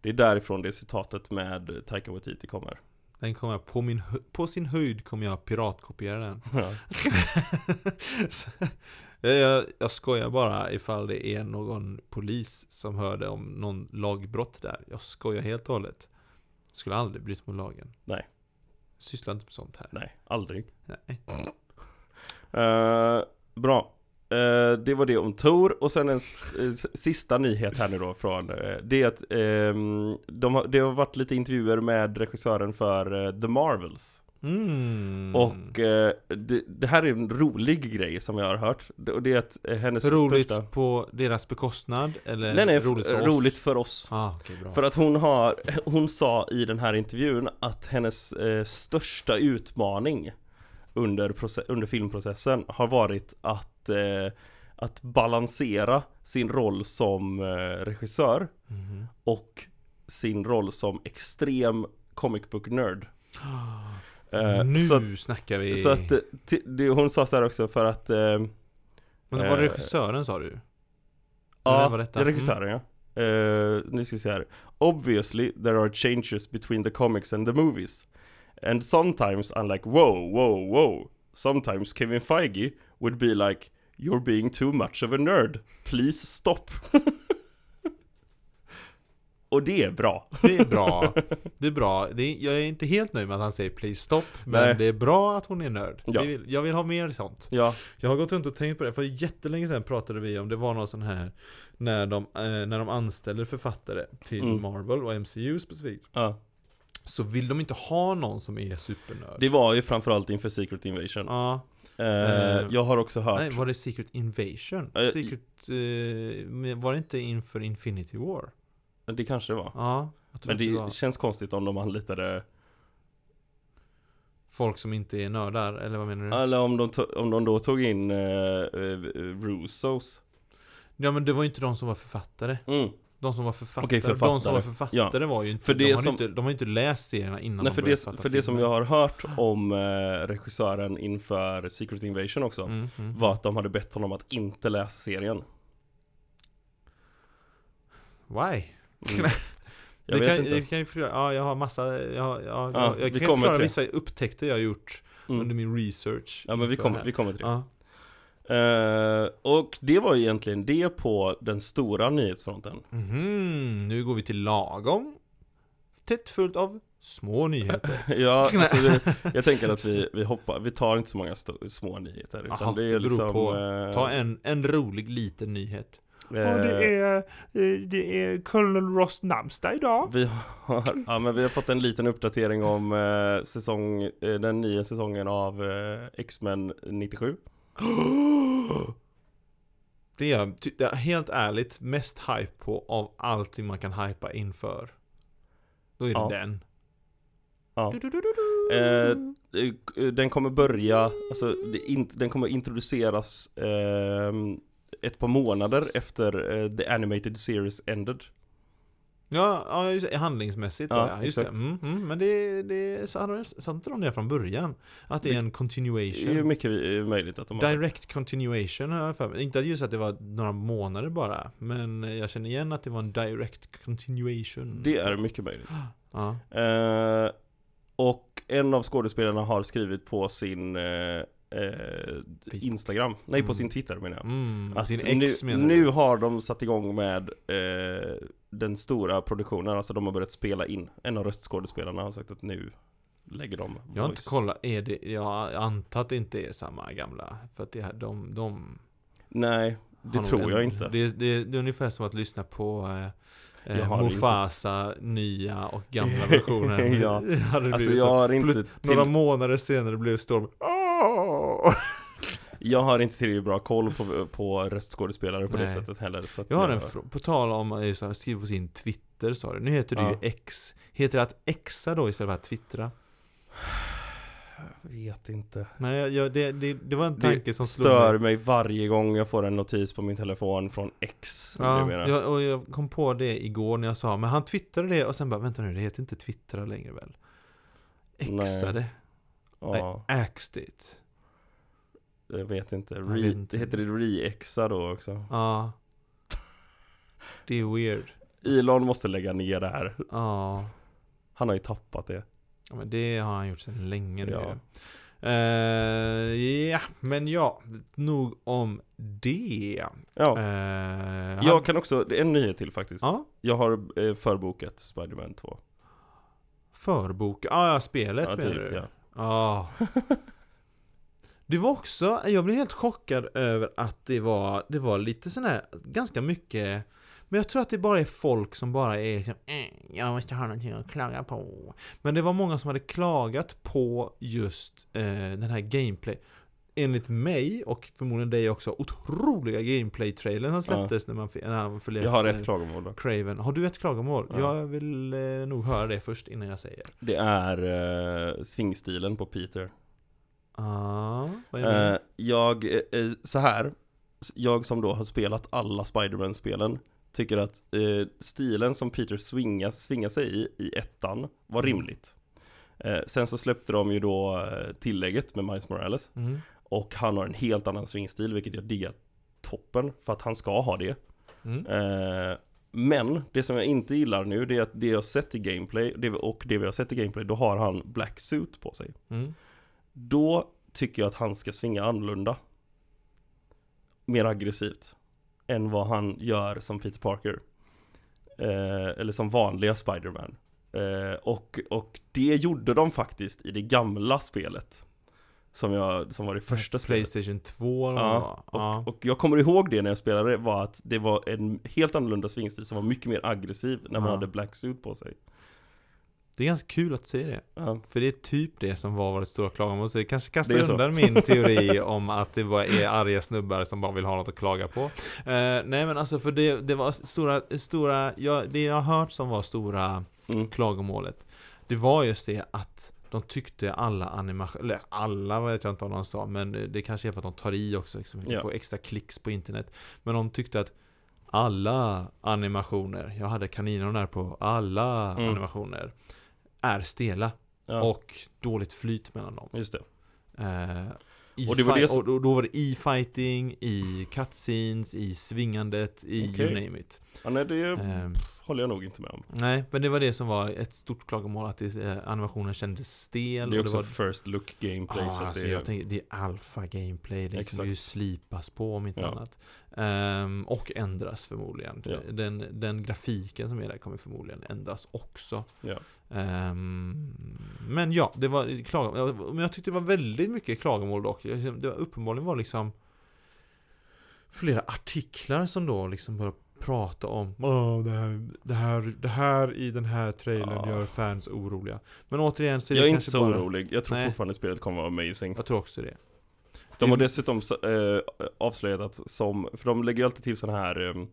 Speaker 1: Det är därifrån det citatet med Taika Waititi kommer.
Speaker 2: Den kommer jag på, min, hö- på sin höjd kommer jag piratkopiera den.
Speaker 1: Ja.
Speaker 2: Så- jag, jag, jag skojar bara ifall det är någon polis som hörde om någon lagbrott där. Jag skojar helt och hållet. Skulle aldrig bryta mot lagen.
Speaker 1: Nej.
Speaker 2: Sysslar inte med sånt här.
Speaker 1: Nej, aldrig.
Speaker 2: Nej.
Speaker 1: Eh, bra. Eh, det var det om Tor och sen en s- eh, s- sista nyhet här nu då från eh, Det är att ehm, de har, det har varit lite intervjuer med regissören för eh, The Marvels
Speaker 2: Mm.
Speaker 1: Och eh, det, det här är en rolig grej som jag har hört Det- Och det är att eh, hennes
Speaker 2: Roligt
Speaker 1: största
Speaker 2: på deras bekostnad? Eller
Speaker 1: Nej nej, f-
Speaker 2: roligt för
Speaker 1: roligt
Speaker 2: oss?
Speaker 1: för oss
Speaker 2: Ah, okej, bra.
Speaker 1: För att hon har, hon sa i den här intervjun att hennes eh, största utmaning under, proce- under filmprocessen har varit att, eh, att balansera sin roll som eh, regissör
Speaker 2: Mhm.
Speaker 1: och sin roll som extrem comic book nerd. Eh,
Speaker 2: nu
Speaker 1: så att,
Speaker 2: snackar vi!
Speaker 1: så att eh, ti- det, hon sa så här också för att eh,
Speaker 2: Men det var
Speaker 1: eh,
Speaker 2: regissören sa du? Eller
Speaker 1: Ja,
Speaker 2: var
Speaker 1: det är regissören ja. Eh, nu ska vi se här. Obviously there are changes between the comics and the movies. And sometimes I'm like wow, wow, wow. Sometimes Kevin Feige would be like You're being too much of a nerd. Please stop. Och det är bra.
Speaker 2: Det är bra. Det är bra. Det är, jag är inte helt nöjd med att han säger 'Please stop' Men
Speaker 1: Nej.
Speaker 2: det är bra att hon är nörd.
Speaker 1: Ja.
Speaker 2: Jag, vill, jag vill ha mer sånt.
Speaker 1: Ja,
Speaker 2: Jag har gått runt och tänkt på det, för jättelänge sedan pratade vi om, det var någon sån här När de, eh, när de anställer författare till
Speaker 1: Mm.
Speaker 2: Marvel och MCU specifikt
Speaker 1: ja.
Speaker 2: Så vill de inte ha någon som är supernörd.
Speaker 1: Det var ju framförallt inför Secret Invasion.
Speaker 2: Ja.
Speaker 1: Eh,
Speaker 2: Eh,
Speaker 1: jag har också hört.
Speaker 2: Nej, var det Secret Invasion?
Speaker 1: Eh,
Speaker 2: Secret... Eh, men var det inte inför Infinity War?
Speaker 1: Det kanske det var.
Speaker 2: Ja, jag tror
Speaker 1: Men
Speaker 2: att det
Speaker 1: det
Speaker 2: var
Speaker 1: känns konstigt om de anlitade
Speaker 2: folk som inte är nördar, eller vad menar du?
Speaker 1: Eller om de, to- om de då tog in eh, eh, Russos
Speaker 2: Ja men det var ju inte de som var författare.
Speaker 1: mm.
Speaker 2: De som var författare,
Speaker 1: Okej, författare.
Speaker 2: de som var författare var ju inte,
Speaker 1: För det
Speaker 2: de, hade
Speaker 1: som-
Speaker 2: inte de har inte läst serierna innan
Speaker 1: Nej
Speaker 2: de
Speaker 1: för
Speaker 2: började
Speaker 1: det,
Speaker 2: fatta
Speaker 1: för det som jag
Speaker 2: filmen.
Speaker 1: har hört om eh, regissören inför Secret Invasion också
Speaker 2: Mm, mm.
Speaker 1: Var att de hade bett honom att inte läsa serien Mm.
Speaker 2: Why?
Speaker 1: mm.
Speaker 2: det
Speaker 1: Jag vet
Speaker 2: kan,
Speaker 1: inte
Speaker 2: det kan ju förklara, ja jag har massa, jag, har- jag, har-
Speaker 1: Ja,
Speaker 2: jag,
Speaker 1: vi
Speaker 2: jag kan
Speaker 1: kommer
Speaker 2: förklara
Speaker 1: till det.
Speaker 2: vissa upptäckter jag har gjort under
Speaker 1: mm.
Speaker 2: min research.
Speaker 1: Ja men vi
Speaker 2: inför det
Speaker 1: kommer,
Speaker 2: här.
Speaker 1: vi kommer till det
Speaker 2: Ja.
Speaker 1: Eh, Och det var ju egentligen det på den stora nyhetsfronten
Speaker 2: Mhm, nu går vi till lagom. Tätt fullt av små nyheter.
Speaker 1: Ja, alltså vi, jag tänker att vi, vi hoppar, vi tar inte så många sto- små nyheter. Utan
Speaker 2: Jaha,
Speaker 1: det
Speaker 2: det beror
Speaker 1: är liksom...
Speaker 2: på.
Speaker 1: eh,
Speaker 2: Ta en, en rolig liten nyhet.
Speaker 1: eh,
Speaker 2: är, det är Colonel Ross namnsdag idag.
Speaker 1: Vi har, ja, men vi har fått en liten uppdatering om eh, säsong, eh, den nya säsongen av eh, X-Men 97.
Speaker 2: Det är jag ty- det är helt ärligt mest hype på av allting man kan hypa inför. Då är det
Speaker 1: Ja.
Speaker 2: den.
Speaker 1: Ja.
Speaker 2: Du, du, du, du, du.
Speaker 1: Eh, Eh, Den kommer börja, alltså det är inte- den kommer introduceras ehm, ett par månader efter eh, The Animated Series Ended.
Speaker 2: Ja, ja just, det, handlingsmässigt.
Speaker 1: Ja,
Speaker 2: Ja, just det.
Speaker 1: exakt.
Speaker 2: Mm, mm, men det, det så hade de- så hade inte de det från början. Att det är en
Speaker 1: Det är ju
Speaker 2: continuation.
Speaker 1: mycket eh, möjligt att de har
Speaker 2: Direct continuation har jag för mig. Inte just att det var några månader bara. Men jag känner igen att det var en direct continuation.
Speaker 1: Det är mycket möjligt.
Speaker 2: Ja.
Speaker 1: Eh, och en av skådespelarna har skrivit på sin eh, eh, Instagram, nej på
Speaker 2: Mm.
Speaker 1: sin Twitter menar jag.
Speaker 2: Mm,
Speaker 1: Att
Speaker 2: sin ex
Speaker 1: Alltså, nu,
Speaker 2: menar du?
Speaker 1: nu har de satt igång med eh, den stora produktionen, alltså de har börjat spela in. En av röstskådespelarna har sagt att nu lägger de
Speaker 2: Jag har inte
Speaker 1: voice.
Speaker 2: kollat, är det, jag antar att det inte är samma gamla. För att det här, de, de
Speaker 1: Nej,
Speaker 2: har
Speaker 1: det
Speaker 2: nog
Speaker 1: tror
Speaker 2: en-
Speaker 1: jag inte.
Speaker 2: Det, det, det är ungefär som att lyssna på eh,
Speaker 1: Jag
Speaker 2: eh,
Speaker 1: har det
Speaker 2: Mufasa nya och gamla versionen.
Speaker 1: Ja.
Speaker 2: Det hade blivit
Speaker 1: Alltså
Speaker 2: så.
Speaker 1: jag har inte,
Speaker 2: Plus- Några
Speaker 1: till,
Speaker 2: månader senare blev Storm Åh!
Speaker 1: jag har inte tillräckligt bra koll på, på röstskådespelare på det
Speaker 2: Nej.
Speaker 1: sättet heller. Så att
Speaker 2: Jag har en frå- på tal om, eh, så här, skriv på sin Twitter sa du. Nu heter det
Speaker 1: Ja.
Speaker 2: ju X. Heter det att Xa då istället för att twittra?
Speaker 1: Jag vet inte.
Speaker 2: Nej, jag, jag, det, det, det var en tanke
Speaker 1: Det
Speaker 2: som slog
Speaker 1: stör
Speaker 2: mig.
Speaker 1: mig varje gång jag får en notis på min telefon från X. som jag
Speaker 2: Ja,
Speaker 1: menar.
Speaker 2: jag, och jag kom på det igår när jag sa, men han twittrade det och sen bara, vänta nu, det heter inte twittra längre väl? Xade,
Speaker 1: ja,
Speaker 2: axed it.
Speaker 1: jag vet inte. Re,
Speaker 2: vet inte.
Speaker 1: Heter det re-exa då också?
Speaker 2: Ja. Det är weird.
Speaker 1: Elon måste lägga ner det här.
Speaker 2: Ja.
Speaker 1: Han har ju tappat det.
Speaker 2: Ja, men det har han gjort sedan länge nu.
Speaker 1: Ja.
Speaker 2: Ja. ja, men ja, nog om det.
Speaker 1: Ja.
Speaker 2: Eh, han-
Speaker 1: Jag kan också, det är en nyhet till faktiskt.
Speaker 2: Ja,
Speaker 1: Jag har eh, förbokat Spider-Man 2.
Speaker 2: förbok. Ah, ja, spelet
Speaker 1: Ja,
Speaker 2: menar
Speaker 1: typ,
Speaker 2: du?
Speaker 1: ja.
Speaker 2: Ja. Det var också, jag blev helt chockad över att det var, det var lite sån här, ganska mycket men jag tror att det bara är folk som bara är liksom, "Eh, jag måste ha någonting att klaga på. Men det var många som hade klagat på just eh, den här gameplay. Enligt mig, och förmodligen dig också, otroliga gameplay-trailern som släpptes när man, fi- när man följde
Speaker 1: Jag har
Speaker 2: efter
Speaker 1: ett klagomål då.
Speaker 2: Craven. Har du ett klagomål?
Speaker 1: Ja.
Speaker 2: Jag vill eh, nog höra det först innan jag säger.
Speaker 1: Det är eh, svingstilen på Peter.
Speaker 2: Ah, vad är det?
Speaker 1: Eh, jag, eh, så här Jag som då har spelat alla Spider-Man-spelen Tycker att eh, stilen som Peter swingar, svingar sig i, i ettan var
Speaker 2: Mm.
Speaker 1: rimligt eh, Sen så släppte de ju då eh, tillägget med Miles Morales
Speaker 2: Mm.
Speaker 1: Och han har en helt annan swingstil vilket jag diggar toppen För att han ska ha det
Speaker 2: Mm.
Speaker 1: Eh, men det som jag inte gillar nu det är att det jag sett i gameplay det, och det vi har sett i gameplay då har han black suit på sig
Speaker 2: Mm.
Speaker 1: då tycker jag att han ska svinga annorlunda. Mer aggressivt. Än vad han gör som Peter Parker. Eh, eller som vanliga Spider-Man. Eh, och, och det gjorde de faktiskt i det gamla spelet. Som, jag, som var det första spelet.
Speaker 2: Playstation 2 eller
Speaker 1: Ja,
Speaker 2: vad det var. ja.
Speaker 1: Och jag kommer ihåg det när jag spelade var att det var en helt annorlunda svingstil som var mycket mer aggressiv när man
Speaker 2: Ja.
Speaker 1: hade black suit på sig.
Speaker 2: Det är ganska kul att säga det.
Speaker 1: Ja.
Speaker 2: För det är typ det som var vårt stora klagomål. Så det kanske kastar
Speaker 1: Det är så.
Speaker 2: undan min teori om att det bara är arga snubbar som bara vill ha något att klaga på. Eh, nej men alltså för det, det var stora, stora ja, det jag har hört som var stora
Speaker 1: Mm.
Speaker 2: klagomålet. Det var just det att de tyckte alla animationer, eller alla vet jag inte om de sa, men det kanske är för att de tar i också, liksom, för
Speaker 1: Ja.
Speaker 2: att få extra klicks på internet. Men de tyckte att alla animationer, jag hade kaninen där på, alla
Speaker 1: Mm.
Speaker 2: animationer är stela
Speaker 1: Ja,
Speaker 2: och dåligt flyt mellan dem.
Speaker 1: just det.
Speaker 2: Eh, i
Speaker 1: Och det var
Speaker 2: fi-
Speaker 1: det som-
Speaker 2: och då, då var det i fighting, i cutscenes, i svingandet, i
Speaker 1: Okej.
Speaker 2: you name it.
Speaker 1: Ja, nej, det
Speaker 2: Eh,
Speaker 1: håller jag nog inte med om.
Speaker 2: Nej, men det var det som var ett stort klagomål att det, eh, animationen kändes stel.
Speaker 1: Det är
Speaker 2: och
Speaker 1: också
Speaker 2: var,
Speaker 1: first look gameplay.
Speaker 2: Ja,
Speaker 1: så att
Speaker 2: alltså
Speaker 1: det,
Speaker 2: jag tänker, det är alfa gameplay. Det kommer
Speaker 1: Exakt.
Speaker 2: ju slipas på om inte
Speaker 1: Ja.
Speaker 2: annat. Ehm, och ändras förmodligen.
Speaker 1: Ja.
Speaker 2: Den, den grafiken som är där kommer förmodligen ändras också.
Speaker 1: Ja.
Speaker 2: Ehm, men ja, det var klagomål. Men jag tyckte det var väldigt mycket klagomål dock. Jag- Det var, uppenbarligen var liksom flera artiklar som då liksom började prata om Åh, det, här, det, här, det här i den här trailern
Speaker 1: Ja.
Speaker 2: gör fans oroliga. Men återigen så är det
Speaker 1: jag är inte
Speaker 2: kanske
Speaker 1: så
Speaker 2: bara,
Speaker 1: orolig. Jag tror
Speaker 2: Nej.
Speaker 1: fortfarande spelet kommer vara amazing.
Speaker 2: Jag tror också det.
Speaker 1: De
Speaker 2: Det-
Speaker 1: har dessutom eh, avslöjat att som, för de lägger ju alltid till sådana här eh,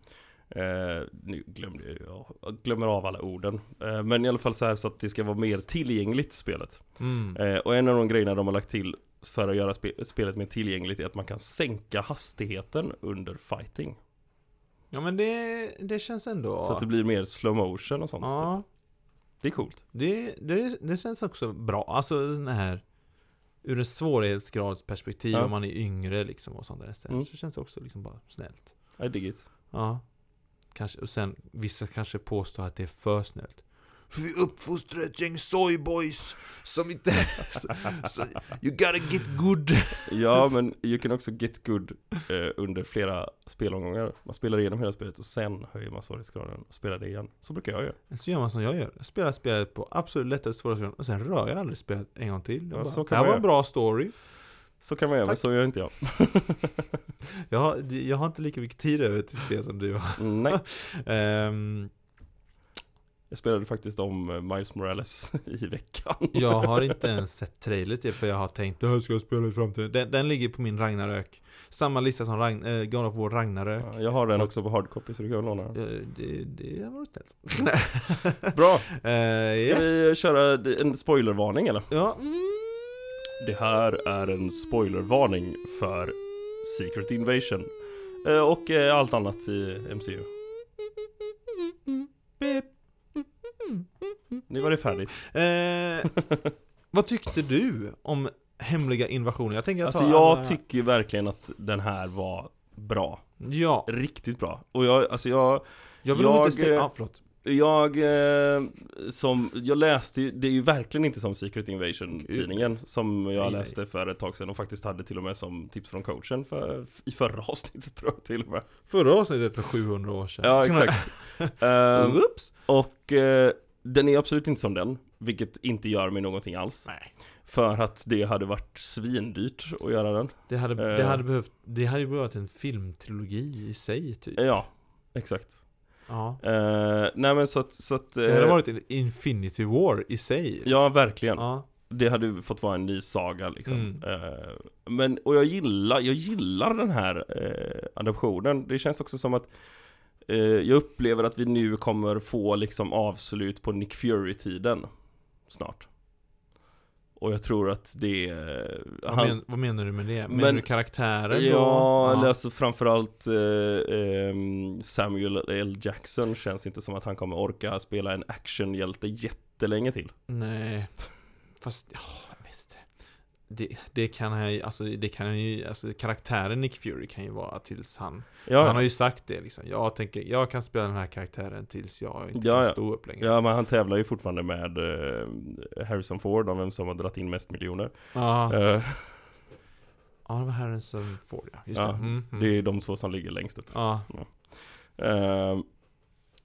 Speaker 1: Eh, nu glömde jag, ju- jag glömmer av alla orden. Eh, men i alla fall så här så att det ska vara mer tillgängligt spelet.
Speaker 2: Mm.
Speaker 1: Eh, och en av de grejerna de har lagt till för att göra spe- spelet mer tillgängligt är att man kan sänka hastigheten under fighting.
Speaker 2: Ja men det, det känns ändå...
Speaker 1: Så att det blir mer slow motion och sånt. Typ.
Speaker 2: ja,
Speaker 1: Det är coolt.
Speaker 2: det, det, det känns också bra. Alltså den här... Ur en svårighetsgradsperspektiv
Speaker 1: Ja.
Speaker 2: om man är yngre liksom och sånt där istället,
Speaker 1: Mm.
Speaker 2: Så känns det också liksom bara snällt.
Speaker 1: I dig it.
Speaker 2: Ja. Kanske, och sen, vissa kanske påstår att det är för snällt. För vi uppfostrar ett gäng soyboys som inte... så, så, you gotta get good.
Speaker 1: Ja men you can också get good eh, under flera spelomgångar. Man spelar igenom hela spelet och sen höjer man svårighetsgraden och spelar det igen. Så brukar jag göra.
Speaker 2: Så gör man som jag gör. Jag spelar spelet på absolut lättaste svårighetsgrad och sen rör jag aldrig spelet en gång till. Jag
Speaker 1: Ja,
Speaker 2: bara,
Speaker 1: så kan
Speaker 2: det här
Speaker 1: man
Speaker 2: var
Speaker 1: göra."
Speaker 2: en bra story.
Speaker 1: Så kan man göra men
Speaker 2: Tack.
Speaker 1: så gör inte jag.
Speaker 2: Jag har, jag har inte lika mycket tid över till spel som du har.
Speaker 1: Nej,
Speaker 2: Ehm,
Speaker 1: jag spelade faktiskt om eh, Miles Morales i veckan.
Speaker 2: jag har inte ens sett trailer till för jag har tänkt det här ska jag spela i framtiden. Den, den ligger på min Ragnarök. Samma lista som Ragn, eh, God of War Ragnarök.
Speaker 1: Ja, Jag har den också på hardcopy så du kan låna den.
Speaker 2: Eh, det, det var snällt.
Speaker 1: Bra!
Speaker 2: Eh, yes.
Speaker 1: Ska vi köra en spoilervarning eller?
Speaker 2: Ja. mm.
Speaker 1: Det här är en spoilervarning för Secret Invasion eh, och eh, allt annat i MCU. Beep. Nu var det färdigt.
Speaker 2: Eh, vad tyckte du om hemliga invasioner? Jag tänker jag eh,
Speaker 1: Alltså jag tycker ju verkligen att den här var bra.
Speaker 2: Ja,
Speaker 1: Riktigt bra. Och jag, alltså jag,
Speaker 2: jag vill
Speaker 1: Jag,
Speaker 2: nog inte
Speaker 1: eh,
Speaker 2: ställa... Ah, förlåt.
Speaker 1: jag eh, som, jag läste ju, det är ju verkligen inte som Secret Invasion tidningen som
Speaker 2: Nej,
Speaker 1: jag läste för ett tag sedan och faktiskt hade till och med som tips från coachen för, i förra avsnittet tror jag till och med.
Speaker 2: Förra avsnittet för 700 år sedan.
Speaker 1: Ja exakt. Ehm,
Speaker 2: Oops.
Speaker 1: Och eh, den är absolut inte som den, vilket inte gör mig någonting alls.
Speaker 2: Nej.
Speaker 1: För att det hade varit svindyrt att göra den.
Speaker 2: Det hade, det,
Speaker 1: Eh.
Speaker 2: hade behövt, det hade ju behövt en filmtrilogi i sig typ.
Speaker 1: Eh, Ja, exakt.
Speaker 2: Ja.
Speaker 1: Eh, nej men så att... Så att eh,
Speaker 2: Det hade varit en Infinity War i sig.
Speaker 1: Ja, verkligen.
Speaker 2: Ja.
Speaker 1: Det hade ju fått vara en ny saga liksom.
Speaker 2: Mm.
Speaker 1: Eh, men, och jag gillar, jag gillar den här eh, adaptionen. Det känns också som att eh, jag upplever att vi nu kommer få liksom avslut på Nick Fury-tiden snart. Och jag tror att det...
Speaker 2: Vad, men, vad menar du med det? Menar
Speaker 1: Men-
Speaker 2: du karaktärer
Speaker 1: ja,
Speaker 2: då?
Speaker 1: eller alltså framförallt eh, ehm, Samuel L. Jackson känns inte som att han kommer orka spela en actionhjälte jättelänge till.
Speaker 2: Nej. Fast, ja, jag vet inte. Det, det kan han ju, alltså det kan han ju, alltså karaktären Nick Fury kan ju vara tills han Han har
Speaker 1: Ja,
Speaker 2: ju sagt det liksom, jag tänker, jag kan spela den här karaktären tills jag inte
Speaker 1: Ja,
Speaker 2: kan
Speaker 1: ja.
Speaker 2: stå upp längre
Speaker 1: ja, men han tävlar ju fortfarande med eh, Harrison Ford om vem som har dragit in mest miljoner.
Speaker 2: Ja, Mm.
Speaker 1: Eh,
Speaker 2: ja det var Harrison Ford ja, just
Speaker 1: Ja,
Speaker 2: det. Mm, mm.
Speaker 1: det är de två som ligger längst upp.
Speaker 2: Ja,
Speaker 1: Ehm,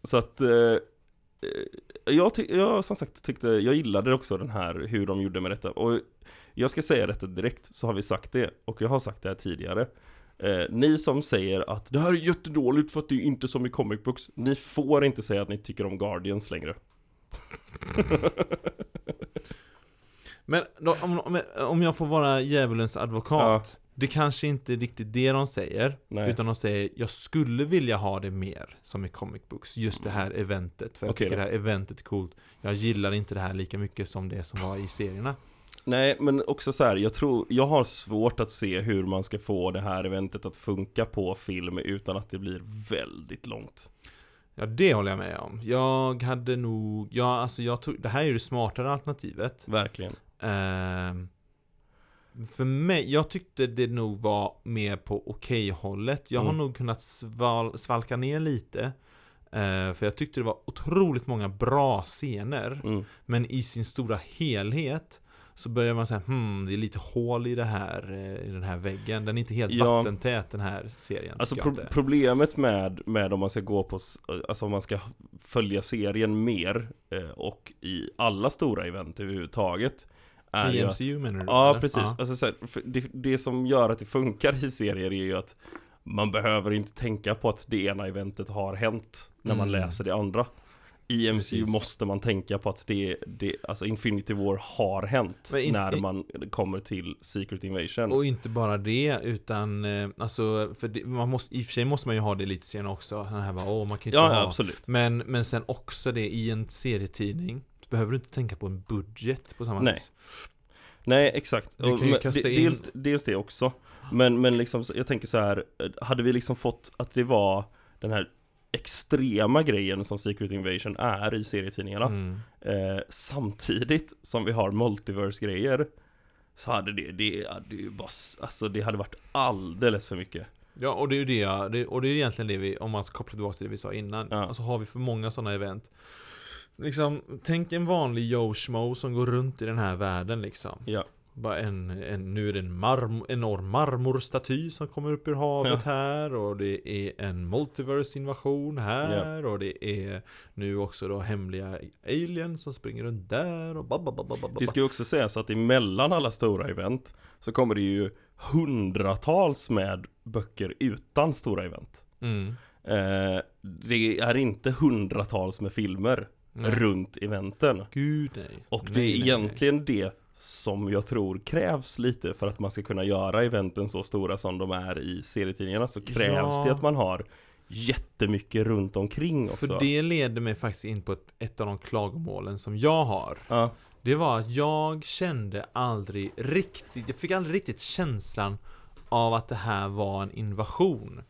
Speaker 1: så att eh, eh, jag, ty- jag som sagt tyckte, jag gillade också den här hur de gjorde med detta och jag ska säga detta direkt så har vi sagt det och jag har sagt det här tidigare Eh, Ni som säger att det här är jättedåligt för att det är inte som i comic books Ni får inte säga att ni tycker om Guardians längre
Speaker 2: Men då, om, om, om jag får vara djävulens advokat Det kanske inte är riktigt det de säger
Speaker 1: Nej.
Speaker 2: Utan de säger Jag skulle vilja ha det mer Som i comic books Just det här eventet För jag
Speaker 1: Okej
Speaker 2: tycker det här eventet är coolt Jag gillar inte det här lika mycket som det som var i serierna
Speaker 1: Nej men också så här, jag tror, jag har svårt att se hur man ska få det här eventet att funka på film utan att det blir väldigt långt
Speaker 2: Ja det håller jag med om Jag hade nog Ja alltså jag tog Det här är ju det smartare alternativet
Speaker 1: Verkligen
Speaker 2: Ehm, för mig, jag tyckte det nog var mer på okej-hållet. Jag har
Speaker 1: Mm.
Speaker 2: nog kunnat sval, svalka ner lite. Eh, för jag tyckte det var otroligt många bra scener.
Speaker 1: Mm.
Speaker 2: Men i sin stora helhet så börjar man säga hmm, det är lite hål i, det här, eh, i den här väggen. Den är inte helt
Speaker 1: Ja.
Speaker 2: vattentät den här serien.
Speaker 1: Alltså
Speaker 2: tycker jag
Speaker 1: pro-
Speaker 2: inte.
Speaker 1: problemet med, med om man ska gå på, s- alltså om man ska följa serien mer eh, och i alla stora event överhuvudtaget är
Speaker 2: I
Speaker 1: ju att,
Speaker 2: MCU menar du?
Speaker 1: Ja
Speaker 2: eller?
Speaker 1: precis,
Speaker 2: Ja.
Speaker 1: alltså, så här, för det, det som gör att det funkar i serier är ju att man behöver inte tänka på att det ena eventet har hänt när man
Speaker 2: Mm.
Speaker 1: läser det andra i MCU
Speaker 2: Precis.
Speaker 1: måste man tänka på att det, det, alltså Infinity War har hänt
Speaker 2: Men in-
Speaker 1: när
Speaker 2: i-
Speaker 1: man kommer till Secret Invasion.
Speaker 2: Och inte bara det, utan eh, alltså, för det, man måste, i och för sig måste man ju ha det lite senare också. Den här bara, åh, man kan ju inte
Speaker 1: ja,
Speaker 2: ha.
Speaker 1: ja, absolut.
Speaker 2: Men, men sen också det i en serietidning. så Behöver du inte tänka på en budget på samma
Speaker 1: Nej.
Speaker 2: vis.
Speaker 1: Nej, exakt.
Speaker 2: Du kan
Speaker 1: Och-
Speaker 2: ju
Speaker 1: men
Speaker 2: kasta
Speaker 1: de-
Speaker 2: in-
Speaker 1: dels, dels det också. Men, men liksom, så- jag tänker så här, eh, hade vi liksom fått att det var den här extrema grejen som Secret Invasion är i serietidningarna
Speaker 2: Mm.
Speaker 1: eh, samtidigt som vi har multiverse-grejer så hade det, det hade ju bara, s- alltså det hade varit alldeles för mycket.
Speaker 2: Ja, och det är ju det, jag- det, och det är egentligen det vi, om man ska koppla tillbaka till det vi sa innan.
Speaker 1: Ja.
Speaker 2: Alltså har vi för många sådana event. Liksom, tänk en vanlig Joe Schmo som går runt i den här världen liksom.
Speaker 1: Ja.
Speaker 2: Bara en, en, nu är det en marm, enorm marmorstaty som kommer upp ur havet här och det är en multiverse invasion här och det är nu också då hemliga aliens som springer runt där och ba, ba, ba, ba, ba, ba.
Speaker 1: Det ska ju också sägas att emellan alla stora event så kommer det ju hundratals med böcker utan stora event.
Speaker 2: mm.
Speaker 1: Eh, det är inte hundratals med filmer
Speaker 2: Nej.
Speaker 1: runt eventen.
Speaker 2: Gud nej.
Speaker 1: Och det
Speaker 2: Nej,
Speaker 1: är
Speaker 2: nej, nej.
Speaker 1: egentligen det som jag tror krävs lite för att man ska kunna göra eventen så stora som de är i serietidningarna så krävs
Speaker 2: Ja.
Speaker 1: det att man har jättemycket runt omkring också.
Speaker 2: För det leder mig faktiskt in på ett, ett av de klagomålen som jag har.
Speaker 1: Ja,
Speaker 2: Det var att jag kände aldrig riktigt, jag fick aldrig riktigt känslan av att det här var en invasion.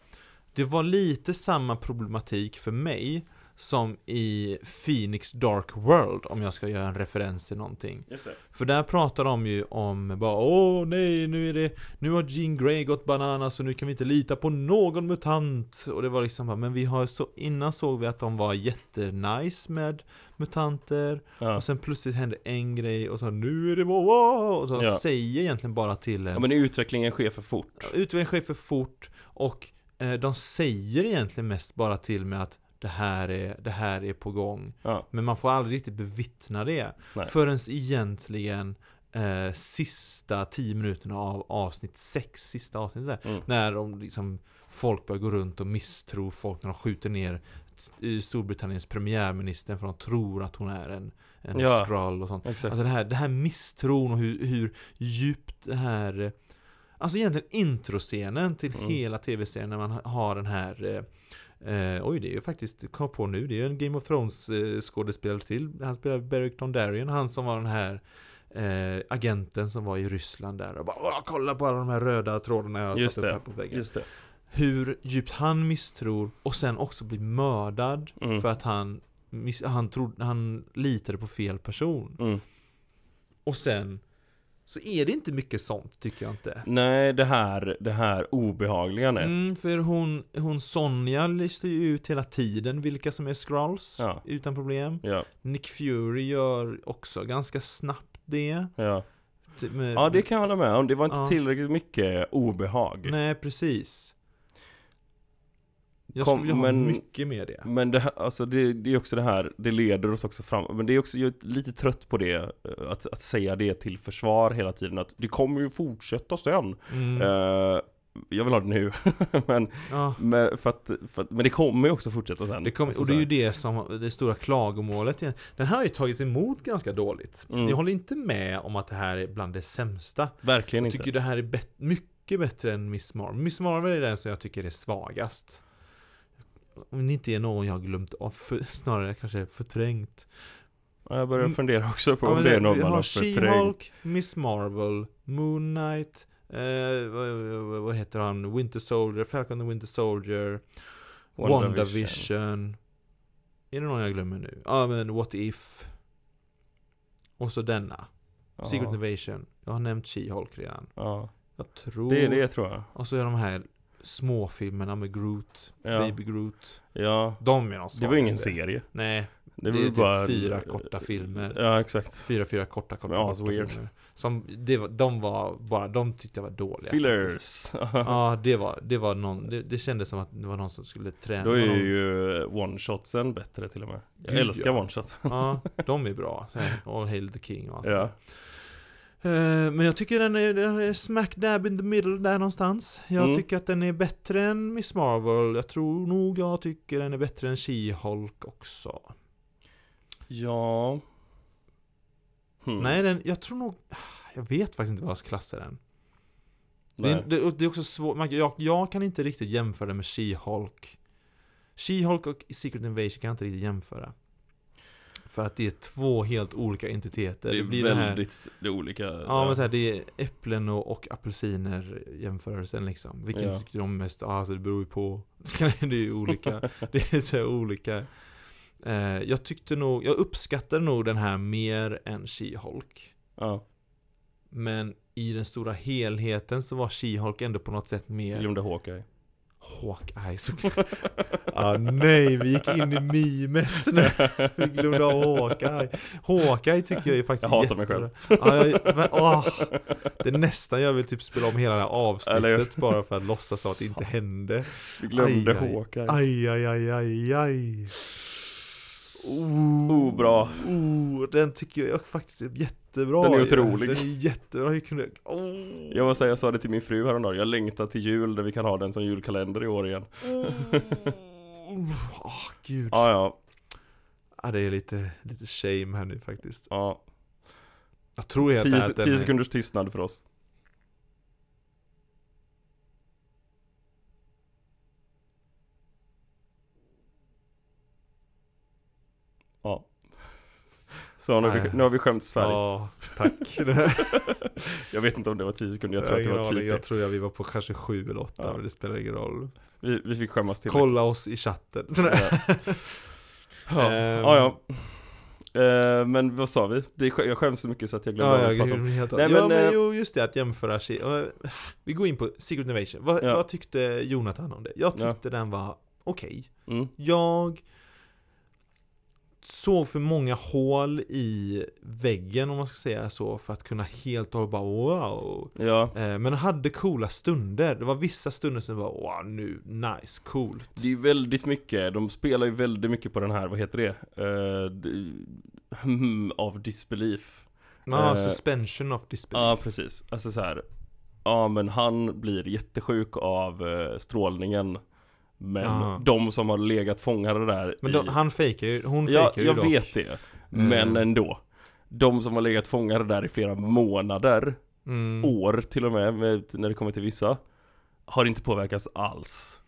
Speaker 2: Det var lite samma problematik för mig som i Phoenix Dark World om jag ska göra en referens till någonting.
Speaker 1: just det.
Speaker 2: För där pratar de ju om bara åh nej nu är det Nu har Jean Grey gått bananas och nu kan vi inte lita på någon mutant Och det var liksom bara, men vi har så Innan såg vi att de var jättenice med mutanter
Speaker 1: Ja.
Speaker 2: Och sen plötsligt hände en grej och så nu är det wow, wow Och de
Speaker 1: Ja.
Speaker 2: säger egentligen bara till en
Speaker 1: ja, men utvecklingen sker för fort.
Speaker 2: Utvecklingen sker för fort och eh, de säger egentligen mest bara till med att det här, är, det här är på gång.
Speaker 1: Ja.
Speaker 2: Men man får aldrig riktigt bevittna det.
Speaker 1: Nej.
Speaker 2: Förrän egentligen eh, sista 10 minuterna av avsnitt 6, sista avsnittet där.
Speaker 1: Mm.
Speaker 2: När de liksom, folk börjar gå runt och misstro folk när de skjuter ner s- i Storbritanniens premiärminister för de tror att hon är en, en
Speaker 1: Ja.
Speaker 2: skrull och sånt.
Speaker 1: Exakt.
Speaker 2: Alltså det här, det här misstron och hur, hur djupt det här eh, Alltså egentligen introscenen till
Speaker 1: Mm.
Speaker 2: hela tv-serien när man ha- har den här eh, eh, Oj, det är ju faktiskt, kom på nu, det är ju en Game of Thrones eh, skådespelare till Han spelar Beric Dondarrion, han som var den här eh, agenten som var i Ryssland där och bara "Åh, kolla på alla de här röda trådarna jag har
Speaker 1: Just
Speaker 2: satt upp
Speaker 1: det.
Speaker 2: här på väggen
Speaker 1: Just det.
Speaker 2: Hur djupt han misstror och sen också blir mördad
Speaker 1: Mm.
Speaker 2: för att han, miss- han, trodde, han litade på fel person
Speaker 1: Mm.
Speaker 2: och sen så är det inte mycket sånt tycker jag inte.
Speaker 1: Nej, det här, det här obehagliga nej.
Speaker 2: Mm, för hon, hon Sonja listar ju ut hela tiden vilka som är Skrulls
Speaker 1: Ja.
Speaker 2: utan problem.
Speaker 1: Ja,
Speaker 2: Nick Fury gör också ganska snabbt det.
Speaker 1: ja.
Speaker 2: Typ med-
Speaker 1: ja, det kan jag hålla med om. Det var inte
Speaker 2: Ja.
Speaker 1: tillräckligt mycket obehag.
Speaker 2: Nej, precis. Jag
Speaker 1: Kom,
Speaker 2: skulle vilja
Speaker 1: men-
Speaker 2: ha mycket mer det.
Speaker 1: Men det, här, alltså det, det är också det här, det leder oss också fram. Men det är också, jag är lite trött på det, eh, att, att säga det till försvar hela tiden. Att det kommer ju fortsätta sen.
Speaker 2: Mm.
Speaker 1: Eh, jag vill ha det nu. men,
Speaker 2: Ja.
Speaker 1: men, för att, för att, men det kommer ju också fortsätta sen.
Speaker 2: Det kom,
Speaker 1: Alltså
Speaker 2: och det är
Speaker 1: så
Speaker 2: ju
Speaker 1: här.
Speaker 2: det som det stora klagomålet igen. Den här har ju tagits emot ganska dåligt.
Speaker 1: Mm.
Speaker 2: Jag håller inte med om att det här är bland det sämsta.
Speaker 1: Verkligen
Speaker 2: Jag
Speaker 1: inte.
Speaker 2: tycker det här är bet- mycket bättre än Miss Marvel. Miss Marvel är den som jag tycker är svagast. Om det inte är någon jag har glömt av, för, snarare kanske förträngt.
Speaker 1: Ja, jag börjar
Speaker 2: Mm.
Speaker 1: fundera också på
Speaker 2: Ja,
Speaker 1: om
Speaker 2: men
Speaker 1: det är någon
Speaker 2: vi
Speaker 1: man
Speaker 2: har
Speaker 1: har förträngt.
Speaker 2: She-Hulk, Miss Marvel, Moon Knight, eh, vad, vad, vad heter han? Winter Soldier, Falcon and Winter Soldier, WandaVision. Är det någon jag glömmer nu? Ja men What If. Och så denna.
Speaker 1: Ja,
Speaker 2: Secret Invasion. Jag har nämnt She-Hulk redan.
Speaker 1: ja.
Speaker 2: Jag tror...
Speaker 1: Det är det tror jag.
Speaker 2: Och så är de här småfilmerna med Groot,
Speaker 1: Ja,
Speaker 2: Baby Groot.
Speaker 1: ja.
Speaker 2: De är de svagaste.
Speaker 1: Det var ju ingen serie.
Speaker 2: Nej, det,
Speaker 1: Det, var
Speaker 2: är
Speaker 1: ju
Speaker 2: typ
Speaker 1: bara...
Speaker 2: fyra korta filmer.
Speaker 1: Ja, exakt.
Speaker 2: Fyra, fyra korta, korta,
Speaker 1: Ja,
Speaker 2: korta
Speaker 1: weird.
Speaker 2: filmer. Som, det var, de var bara, de tyckte jag var dåliga. faktiskt.
Speaker 1: Fillers.
Speaker 2: Ja, det var, det var någon, det, det kändes som att det var någon som skulle träna
Speaker 1: Då är
Speaker 2: någon.
Speaker 1: ju eh, one-shotsen bättre till och med. Jag
Speaker 2: Gud,
Speaker 1: älskar
Speaker 2: ja.
Speaker 1: one-shot.
Speaker 2: Ja, de är bra. Så här, All hail the king och allt.
Speaker 1: Ja.
Speaker 2: Eh, Men jag tycker den är, den är smack dab in the middle där någonstans. Jag
Speaker 1: Mm.
Speaker 2: tycker att den är bättre än Miss Marvel. Jag tror nog jag tycker den är bättre än She-Hulk också.
Speaker 1: Ja. Hmm.
Speaker 2: Nej, den, jag tror nog... Jag vet faktiskt inte vad jag ska klassa den. Det är,
Speaker 1: Nej.
Speaker 2: det, och det är också svårt, man- jag, jag kan inte riktigt jämföra den med She-Hulk. She-Hulk och Secret Invasion kan jag inte riktigt jämföra. För att det är två helt olika entiteter.
Speaker 1: Det är
Speaker 2: blir den här-
Speaker 1: väldigt det är olika.
Speaker 2: Ja men så här, det är äpplen och, och apelsiner jämförelsen liksom. Vilken
Speaker 1: Ja.
Speaker 2: tyckte de mest? Ja, alltså det beror ju på. det är ju olika. det är så här olika. Eh, jag tyckte nog, jag uppskattar nog den här mer än She-Hulk.
Speaker 1: ja.
Speaker 2: Men i den stora helheten så var She-Hulk ändå på något sätt
Speaker 1: Jag
Speaker 2: mer
Speaker 1: glömde Hawkeye.
Speaker 2: Hawkeye såklart. ah, nej, vi gick in i mimet nu. Vi glömde av Hawkeye. Hawkeye tycker jag är faktiskt
Speaker 1: Jag hatar mig
Speaker 2: jättebra. Ja, jag, men, åh, det är nästan jag vill typ spela om hela det här
Speaker 1: Eller
Speaker 2: avsnittet
Speaker 1: hur?
Speaker 2: bara för att låtsas som att det inte hände.
Speaker 1: Jag glömde
Speaker 2: Aj, aj.
Speaker 1: Hawkeye.
Speaker 2: Aj, aj, aj, aj, aj. Oh,
Speaker 1: Oh, bra.
Speaker 2: Oh, den tycker jag faktiskt är jättebra.
Speaker 1: Den är otrolig.
Speaker 2: Den är jättebra. Hur kunde jag... Oh.
Speaker 1: Jag var så här, jag sa det till min fru häromdagen. Jag längtar till jul där vi kan ha den som julkalender i år igen.
Speaker 2: Mm. Oh, gud.
Speaker 1: Ja, ja.
Speaker 2: Ja, det är lite, lite shame här nu faktiskt.
Speaker 1: ja.
Speaker 2: Jag tror helt ärligt
Speaker 1: Tio,
Speaker 2: att den
Speaker 1: tio
Speaker 2: är-
Speaker 1: sekunders tystnad för oss. Ja. Så nu har vi,
Speaker 2: Nej.
Speaker 1: nu har vi skämts färdigt.
Speaker 2: Ja, tack.
Speaker 1: Jag vet inte om det var 10 sekunder, jag tror att
Speaker 2: jag,
Speaker 1: det var
Speaker 2: jag,
Speaker 1: typ
Speaker 2: jag
Speaker 1: det.
Speaker 2: tror att vi var på kanske sju eller åtta,
Speaker 1: Ja.
Speaker 2: men det spelar ingen roll.
Speaker 1: vi, vi fick skämmas till
Speaker 2: Kolla oss i chatten.
Speaker 1: Ja,
Speaker 2: Ehm.
Speaker 1: ja. ja. Eh, men vad sa vi? Det är, sk- jag skäms så mycket så att jag glömmer vad
Speaker 2: Ja,
Speaker 1: vi
Speaker 2: jag
Speaker 1: pratade om.
Speaker 2: glömde helt
Speaker 1: Nej,
Speaker 2: Nej, ja,
Speaker 1: men, eh,
Speaker 2: men jo, just det, att jämföra sig. Eh, Vi går in på Secret Invasion. Vad,
Speaker 1: Ja.
Speaker 2: vad tyckte Jonathan om det? Jag
Speaker 1: Ja.
Speaker 2: tyckte den var okej.
Speaker 1: Mm.
Speaker 2: Jag såg för många hål i väggen, om man ska säga så, för att kunna helt och bara wow.
Speaker 1: Ja.
Speaker 2: Eh, Men den hade coola stunder. Det var vissa stunder som var wow, nu, nice, coolt.
Speaker 1: Det är ju väldigt mycket, de spelar ju väldigt mycket på den här, vad heter det? Eh, d- Av disbelief.
Speaker 2: Ja,
Speaker 1: Eh,
Speaker 2: suspension of disbelief.
Speaker 1: Ja, precis. Alltså så här. Ja, men han blir jättesjuk av eh, strålningen. Men
Speaker 2: Ja.
Speaker 1: de som har legat fångade där
Speaker 2: Men de,
Speaker 1: i...
Speaker 2: han fejkar ju, hon
Speaker 1: Ja,
Speaker 2: fejkar ju
Speaker 1: jag
Speaker 2: dock.
Speaker 1: vet det. Men
Speaker 2: Mm.
Speaker 1: ändå. De som har legat fångade där i flera månader,
Speaker 2: Mm.
Speaker 1: år till och med, med, när det kommer till vissa, har inte påverkats alls.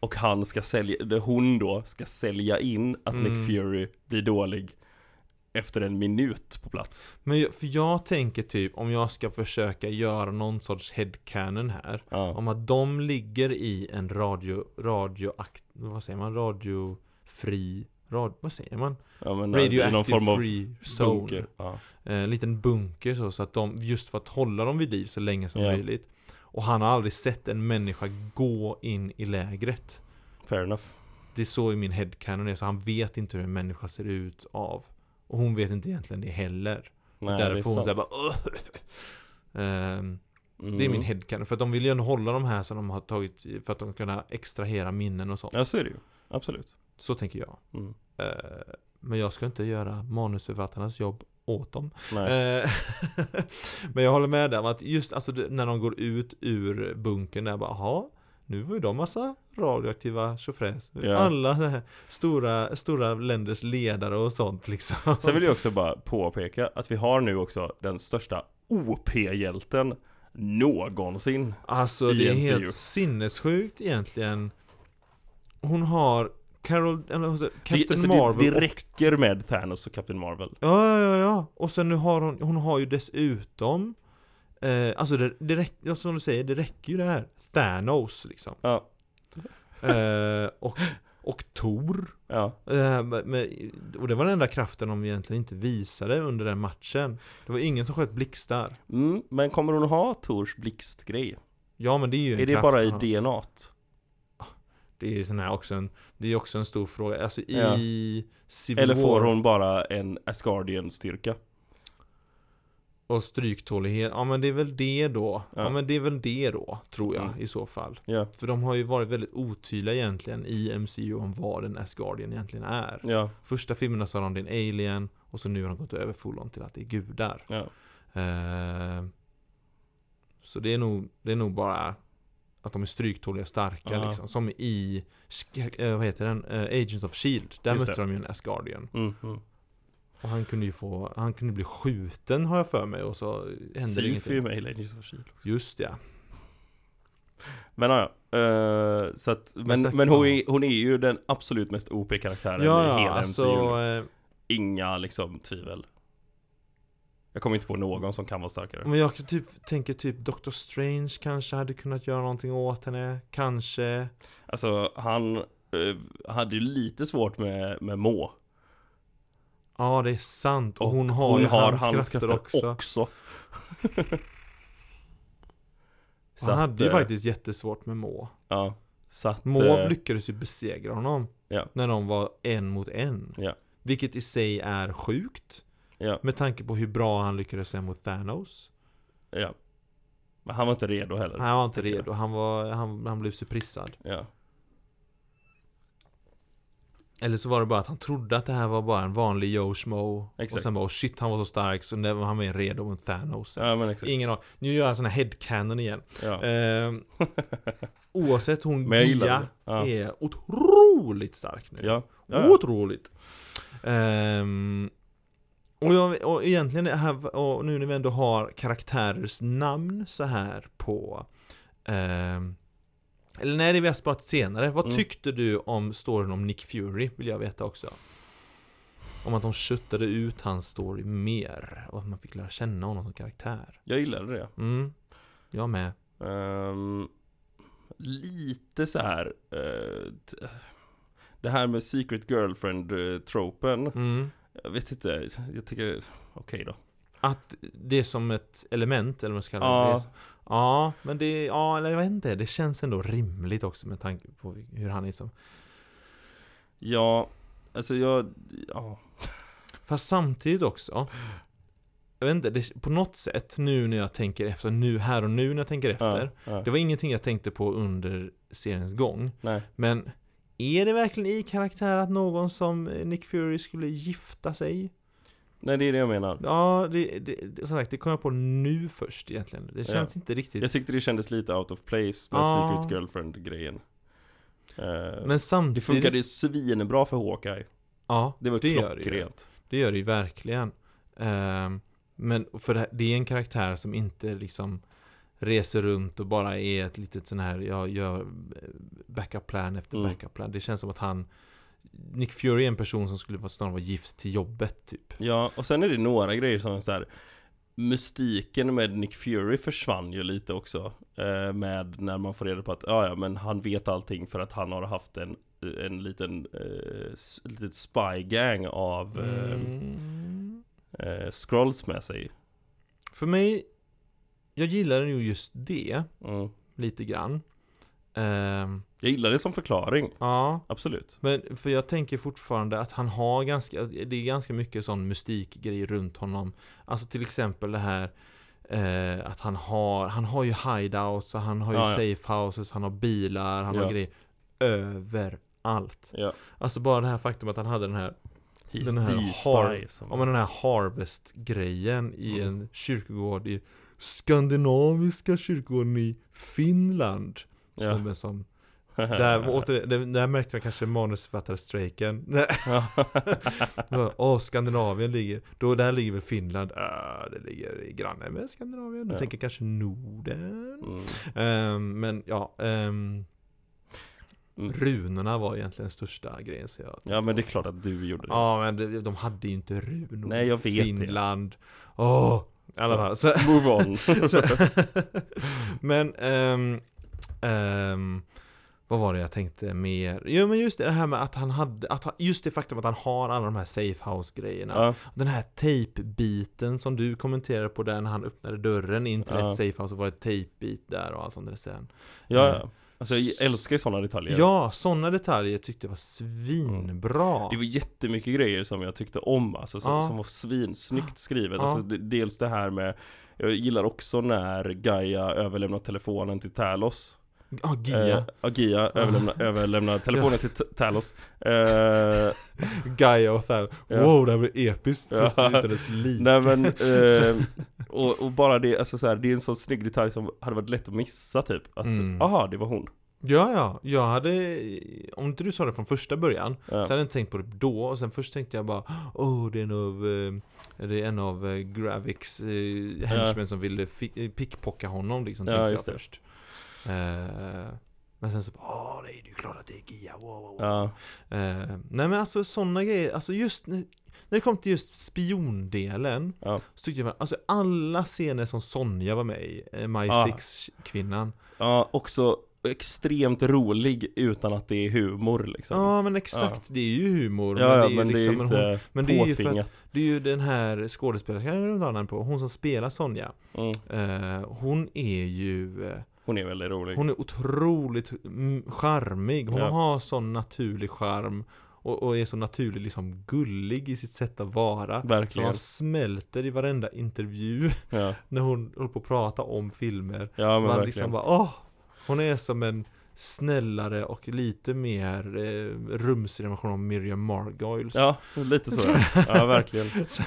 Speaker 1: Och han ska sälja, eller hon då, ska sälja in att
Speaker 2: Mm.
Speaker 1: Nick Fury blir dålig efter en minut på plats.
Speaker 2: Men jag, för jag tänker typ om jag ska försöka göra någon sorts headcanon här.
Speaker 1: Ja.
Speaker 2: Om att de ligger i en radio, radioakt, vad säger man, radiofri, rad, vad säger man?
Speaker 1: ja men, eh, i någon
Speaker 2: Radioactive
Speaker 1: form av
Speaker 2: free zone.
Speaker 1: bunker. Ja.
Speaker 2: Eh, liten bunker så, så att de, just för att hålla dem vid liv så länge som
Speaker 1: Ja.
Speaker 2: möjligt. Och han har aldrig sett en människa gå in i lägret.
Speaker 1: Fair enough.
Speaker 2: Det är så i min headcanon är, så han vet inte hur en människa ser ut av. Och hon vet inte egentligen det heller.
Speaker 1: Nej, det är
Speaker 2: Därför hon
Speaker 1: sant.
Speaker 2: såhär bara Ehm,
Speaker 1: Mm.
Speaker 2: Det är min headcanon, för att de vill ju ändå hålla de här som de har tagit för att de ska kunna extrahera minnen och sånt.
Speaker 1: Ja, så är det ju. Absolut.
Speaker 2: Så tänker jag.
Speaker 1: Mm.
Speaker 2: Eh, men jag ska inte göra manusförfattarnas jobb åt dem.
Speaker 1: Nej.
Speaker 2: Eh, men jag håller med där om att just alltså, det- när de går ut ur bunkern där bara aha, nu var ju de massa radioaktiva tjofräs.
Speaker 1: Ja.
Speaker 2: Alla så här stora, stora länders ledare och sånt liksom.
Speaker 1: Sen vill jag också bara påpeka att vi har nu också den största OP-hjälten någonsin.
Speaker 2: Alltså
Speaker 1: i
Speaker 2: det är
Speaker 1: MCU.
Speaker 2: helt sinnessjukt egentligen. Hon har Carol, eller vad heter det? Captain
Speaker 1: det, alltså
Speaker 2: Marvel
Speaker 1: det, det
Speaker 2: och-
Speaker 1: räcker med Thanos och Captain Marvel.
Speaker 2: Ja, ja, ja, ja. Och sen nu har hon, hon har ju dessutom eh, Alltså det, det räcker, ja, som du säger, det räcker ju det här Thanos liksom
Speaker 1: Ja,
Speaker 2: eh, och, och Tor
Speaker 1: ja.
Speaker 2: eh, med, med, Och det var den enda kraften de egentligen inte visade under den matchen Det var ingen som sköt blixtar
Speaker 1: Mm, men kommer hon ha Tors blixtgrej?
Speaker 2: Ja men det är ju en
Speaker 1: Är det
Speaker 2: kraft
Speaker 1: bara i
Speaker 2: han har.
Speaker 1: DNAt?
Speaker 2: Det är, sån här också en, det är också en stor fråga. Alltså
Speaker 1: Ja.
Speaker 2: i Civil
Speaker 1: Eller får
Speaker 2: War
Speaker 1: hon bara en Asgardian-styrka?
Speaker 2: och stryktålighet, ja men det är väl det då. Ja,
Speaker 1: Ja.
Speaker 2: men det är väl det då, tror jag
Speaker 1: Mm.
Speaker 2: i så fall.
Speaker 1: Ja,
Speaker 2: För de har ju varit väldigt otydliga egentligen i MCU om vad en Asgardian egentligen är.
Speaker 1: ja,
Speaker 2: Första filmerna sa de det är en alien och så nu har de gått över full on till att det är gudar.
Speaker 1: ja.
Speaker 2: Eh, så det är, nog, det är nog bara att de är stryktåliga och starka
Speaker 1: Ja.
Speaker 2: liksom. Som i, sk- eh, vad heter den? Eh, Agents of Shield. Där
Speaker 1: Just
Speaker 2: mötte de ju en Asgardian.
Speaker 1: Mm, mm.
Speaker 2: Och han kunde ju få, han kunde bli skjuten har jag för mig och så hände det
Speaker 1: Sif är ju
Speaker 2: ingenting.
Speaker 1: med i Legends of Shield.
Speaker 2: Just ja.
Speaker 1: Men ja, ja, eh, så att, men,
Speaker 2: stack-
Speaker 1: men hon,
Speaker 2: ja.
Speaker 1: är, hon är ju den absolut mest OP-karaktären
Speaker 2: Ja,
Speaker 1: i
Speaker 2: ja,
Speaker 1: hela
Speaker 2: alltså.
Speaker 1: MCU.
Speaker 2: eh,
Speaker 1: Inga liksom tvivel. Jag kommer inte på någon som kan vara starkare.
Speaker 2: Men jag kan typ, tänker typ Doctor Strange kanske hade kunnat göra någonting åt henne. Kanske.
Speaker 1: Alltså han eh, hade ju lite svårt med, med Må.
Speaker 2: Ja, det är sant. Och,
Speaker 1: Och
Speaker 2: hon har
Speaker 1: Hon
Speaker 2: ju
Speaker 1: har
Speaker 2: hans, krafter, också.
Speaker 1: Så
Speaker 2: Han
Speaker 1: att,
Speaker 2: hade ju
Speaker 1: eh,
Speaker 2: faktiskt jättesvårt med Må.
Speaker 1: Ja. Så att,
Speaker 2: Måb
Speaker 1: eh,
Speaker 2: lyckades ju besegra honom
Speaker 1: Ja.
Speaker 2: När de var en mot en
Speaker 1: Ja.
Speaker 2: Vilket i sig är sjukt
Speaker 1: ja,
Speaker 2: Med tanke på hur bra han lyckades sen mot Thanos
Speaker 1: ja. Men han var inte redo heller.
Speaker 2: Han var inte
Speaker 1: tycker jag.
Speaker 2: redo, han, var, han, han blev surprisad
Speaker 1: Ja.
Speaker 2: Eller så var det bara att han trodde att det här var bara en vanlig Joe Schmo Och
Speaker 1: Exakt.
Speaker 2: sen bara oh shit han var så stark så när han var redo mot Thanos
Speaker 1: ja, men exakt.
Speaker 2: Ingen aning, nu gör jag sån här headcanon igen
Speaker 1: Ja.
Speaker 2: Ehm, Oavsett hon
Speaker 1: Men jag gillar
Speaker 2: Gia
Speaker 1: det. Ja.
Speaker 2: är otroligt stark nu
Speaker 1: Ja. Ja, ja.
Speaker 2: Otroligt! Ehm, och, jag, och egentligen, det här, och nu när vi ändå har karaktärers namn så här på... ehm, eller nej, det har vi sparat senare. Vad
Speaker 1: Mm.
Speaker 2: tyckte du om storyn om Nick Fury? Vill jag veta också. Om att de köttade ut hans story mer. Och att man fick lära känna honom som karaktär.
Speaker 1: Jag gillade det.
Speaker 2: Mm. Jag med.
Speaker 1: Ehm, lite så här. eh, t- det här med Secret Girlfriend-tropen.
Speaker 2: Mm.
Speaker 1: Jag vet inte. Jag tycker... Okej då.
Speaker 2: Att det är som ett element, eller vad man ska kalla det.
Speaker 1: Ja.
Speaker 2: det. är- Ja, men det, ja, eller jag vet inte. Det känns ändå rimligt också med tanke på hur han är som.
Speaker 1: Ja. Alltså jag... Ja.
Speaker 2: Fast samtidigt också. Jag vet inte, det, på något sätt nu när jag tänker efter, nu här och nu när jag tänker efter.
Speaker 1: Ja, ja.
Speaker 2: Det var ingenting jag tänkte på under seriens gång.
Speaker 1: Nej.
Speaker 2: Men är det verkligen i karaktär att någon som Nick Fury skulle gifta sig?
Speaker 1: Nej, det är det jag menar.
Speaker 2: Ja, det, det, det, som sagt, det kom jag på nu först egentligen. Det känns inte riktigt
Speaker 1: Jag tyckte det kändes lite out of place med
Speaker 2: Ja.
Speaker 1: Secret Girlfriend-grejen. Eh,
Speaker 2: Ah. Men
Speaker 1: det
Speaker 2: samtidigt...
Speaker 1: funkade ju svinbra för Hawkeye.
Speaker 2: Ja,
Speaker 1: Det var
Speaker 2: det gör det ju.
Speaker 1: klockrent.
Speaker 2: Det gör det ju verkligen. Ehm, men för det, det är en karaktär som inte liksom reser runt och bara är ett litet sån här, jag gör eh, backup plan efter
Speaker 1: Mm.
Speaker 2: backup plan. Det känns som att han Nick Fury är en person som skulle vara- snarare vara gift till jobbet typ.
Speaker 1: Ja, och sen är det några grejer som är så här. Mystiken med Nick Fury försvann ju lite också eh, Med när man får reda på att ja, ja men han vet allting för att han har haft en, en liten eh, s- litet spy gang av
Speaker 2: Ehm,
Speaker 1: eh, eh, scrolls med sig
Speaker 2: För mig, jag gillar ju just det
Speaker 1: mm.
Speaker 2: lite grann. Ehm,
Speaker 1: Jag gillar det som förklaring,
Speaker 2: ja,
Speaker 1: absolut
Speaker 2: Men för jag tänker fortfarande att han har ganska, det är ganska mycket sån mystikgrej runt honom. Alltså till exempel det här eh, att han har, han har ju hideouts och han har ju
Speaker 1: Ja, ja.
Speaker 2: safe houses, han har bilar, han har
Speaker 1: Ja.
Speaker 2: grejer överallt.
Speaker 1: Ja,
Speaker 2: Alltså bara det här faktum att han hade den här,
Speaker 1: he's
Speaker 2: Den här
Speaker 1: the
Speaker 2: har-
Speaker 1: spy
Speaker 2: ja,
Speaker 1: som...
Speaker 2: men den här harvest-grejen i
Speaker 1: Mm.
Speaker 2: en kyrkogård i skandinaviska kyrkogården i Finland.
Speaker 1: Ja.
Speaker 2: Som, som, där, åter, där, där märkte man kanske manusförfattarstrejken. Nej, Ja, Åh, Skandinavien ligger... Då där ligger väl Finland? Äh, det ligger i grannen med Skandinavien. Du
Speaker 1: Ja.
Speaker 2: tänker kanske Norden?
Speaker 1: mm.
Speaker 2: Ehm, men ja... ehm,
Speaker 1: Mm.
Speaker 2: Runorna var egentligen den största grejen så jag...
Speaker 1: Ja men det är klart att du gjorde det
Speaker 2: Ja men de- de hade ju inte runor
Speaker 1: Nej, jag
Speaker 2: i
Speaker 1: vet det.
Speaker 2: Finland. Åh! I alla
Speaker 1: Så.
Speaker 2: fall. Så,
Speaker 1: Move on
Speaker 2: så, men... ehm, ehm, vad var det jag tänkte mer? Jo men just det här med att han hade, att, han- just det faktum att han har alla de här safe house grejerna.
Speaker 1: ja.
Speaker 2: Den här tejpbiten som du kommenterade på där när han öppnade dörren in till
Speaker 1: Ja.
Speaker 2: ett safehouse så var det tejpbit där och allt sånt där sen.
Speaker 1: Ja, ja. Alltså jag älskar ju sådana detaljer.
Speaker 2: Ja, sådana detaljer tyckte jag var svinbra.
Speaker 1: Det var jättemycket grejer som jag tyckte om, alltså som,
Speaker 2: Ja.
Speaker 1: som var svinsnyggt skrivet.
Speaker 2: Ja.
Speaker 1: Alltså, d- dels det här med jag gillar också när Gaia överlämnar telefonen till Talos
Speaker 2: Ja, Ah, Gia.
Speaker 1: eh, ja, Gia överlämnar, överlämnar telefonen till T- Talos eh,
Speaker 2: Gaia och Thal.
Speaker 1: Ja.
Speaker 2: Wow, det här blev episkt. Fast det
Speaker 1: Ja.
Speaker 2: är inte dess lik.
Speaker 1: Nej men, eh, och, och bara det, alltså så här, det är en sån snygg detalj som hade varit lätt att missa typ Att,
Speaker 2: Mm.
Speaker 1: aha det var hon
Speaker 2: Ja, ja. Jag hade... Om inte du sa det från första början,
Speaker 1: Ja.
Speaker 2: så hade jag inte tänkt på det då. Och sen först tänkte jag bara, åh, det är en av... eh, Det är en av eh, Gravics eh, henchmen som ville fi- eh, pickpocka honom liksom,
Speaker 1: Ja,
Speaker 2: tänkte jag
Speaker 1: just det.
Speaker 2: först. Eh, men sen så bara, åh, nej, det är ju klart att det är Gia, wow, wow, wow.
Speaker 1: Ja,
Speaker 2: Eh, nej men alltså sådana grejer, alltså just när, när det kom till just spiondelen
Speaker 1: Ja.
Speaker 2: Så tyckte jag, alltså alla scener som Sonja var med i, eh, My
Speaker 1: Ja.
Speaker 2: Six-kvinnan
Speaker 1: ja också extremt rolig utan att det är humor liksom
Speaker 2: Ja men exakt, det är ju humor
Speaker 1: Ja, ja,
Speaker 2: ju
Speaker 1: men det är ju
Speaker 2: liksom- hon-
Speaker 1: inte
Speaker 2: men det är ju för att,
Speaker 1: påtvingat
Speaker 2: det är ju den här skådespelerskan jag glömde namnet på, hon som spelar Sonja
Speaker 1: mm.
Speaker 2: eh, Hon är ju, eh,
Speaker 1: Hon är väldigt rolig
Speaker 2: hon är otroligt mm, charmig, hon
Speaker 1: Ja.
Speaker 2: har sån naturlig charm och, och är så naturligt liksom gullig i sitt sätt att vara Som
Speaker 1: Verkligen
Speaker 2: han smälter i varenda intervju
Speaker 1: ja.
Speaker 2: när hon håller på att prata om filmer.
Speaker 1: ja men
Speaker 2: man
Speaker 1: verkligen
Speaker 2: liksom bara åh! Hon är som en snällare och lite mer eh, rumsig version av Miriam Margoyles.
Speaker 1: Ja, lite så ja, ja verkligen
Speaker 2: Så-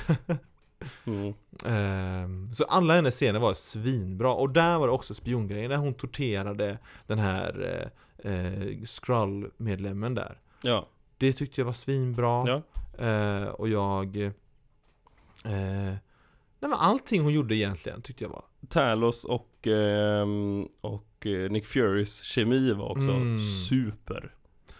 Speaker 1: mm.
Speaker 2: Ehm, så alla hennes scener var svinbra. Och där var det också spiongrejen, när hon torterade den här eh, eh, Skrull-medlemmen där.
Speaker 1: Ja,
Speaker 2: Det tyckte jag var svinbra.
Speaker 1: ja,
Speaker 2: Eh, och jag... Eh, nej men allting hon gjorde egentligen tyckte jag var
Speaker 1: Talos och, ehm, och eh, Nick Furys kemi var också
Speaker 2: Mm.
Speaker 1: super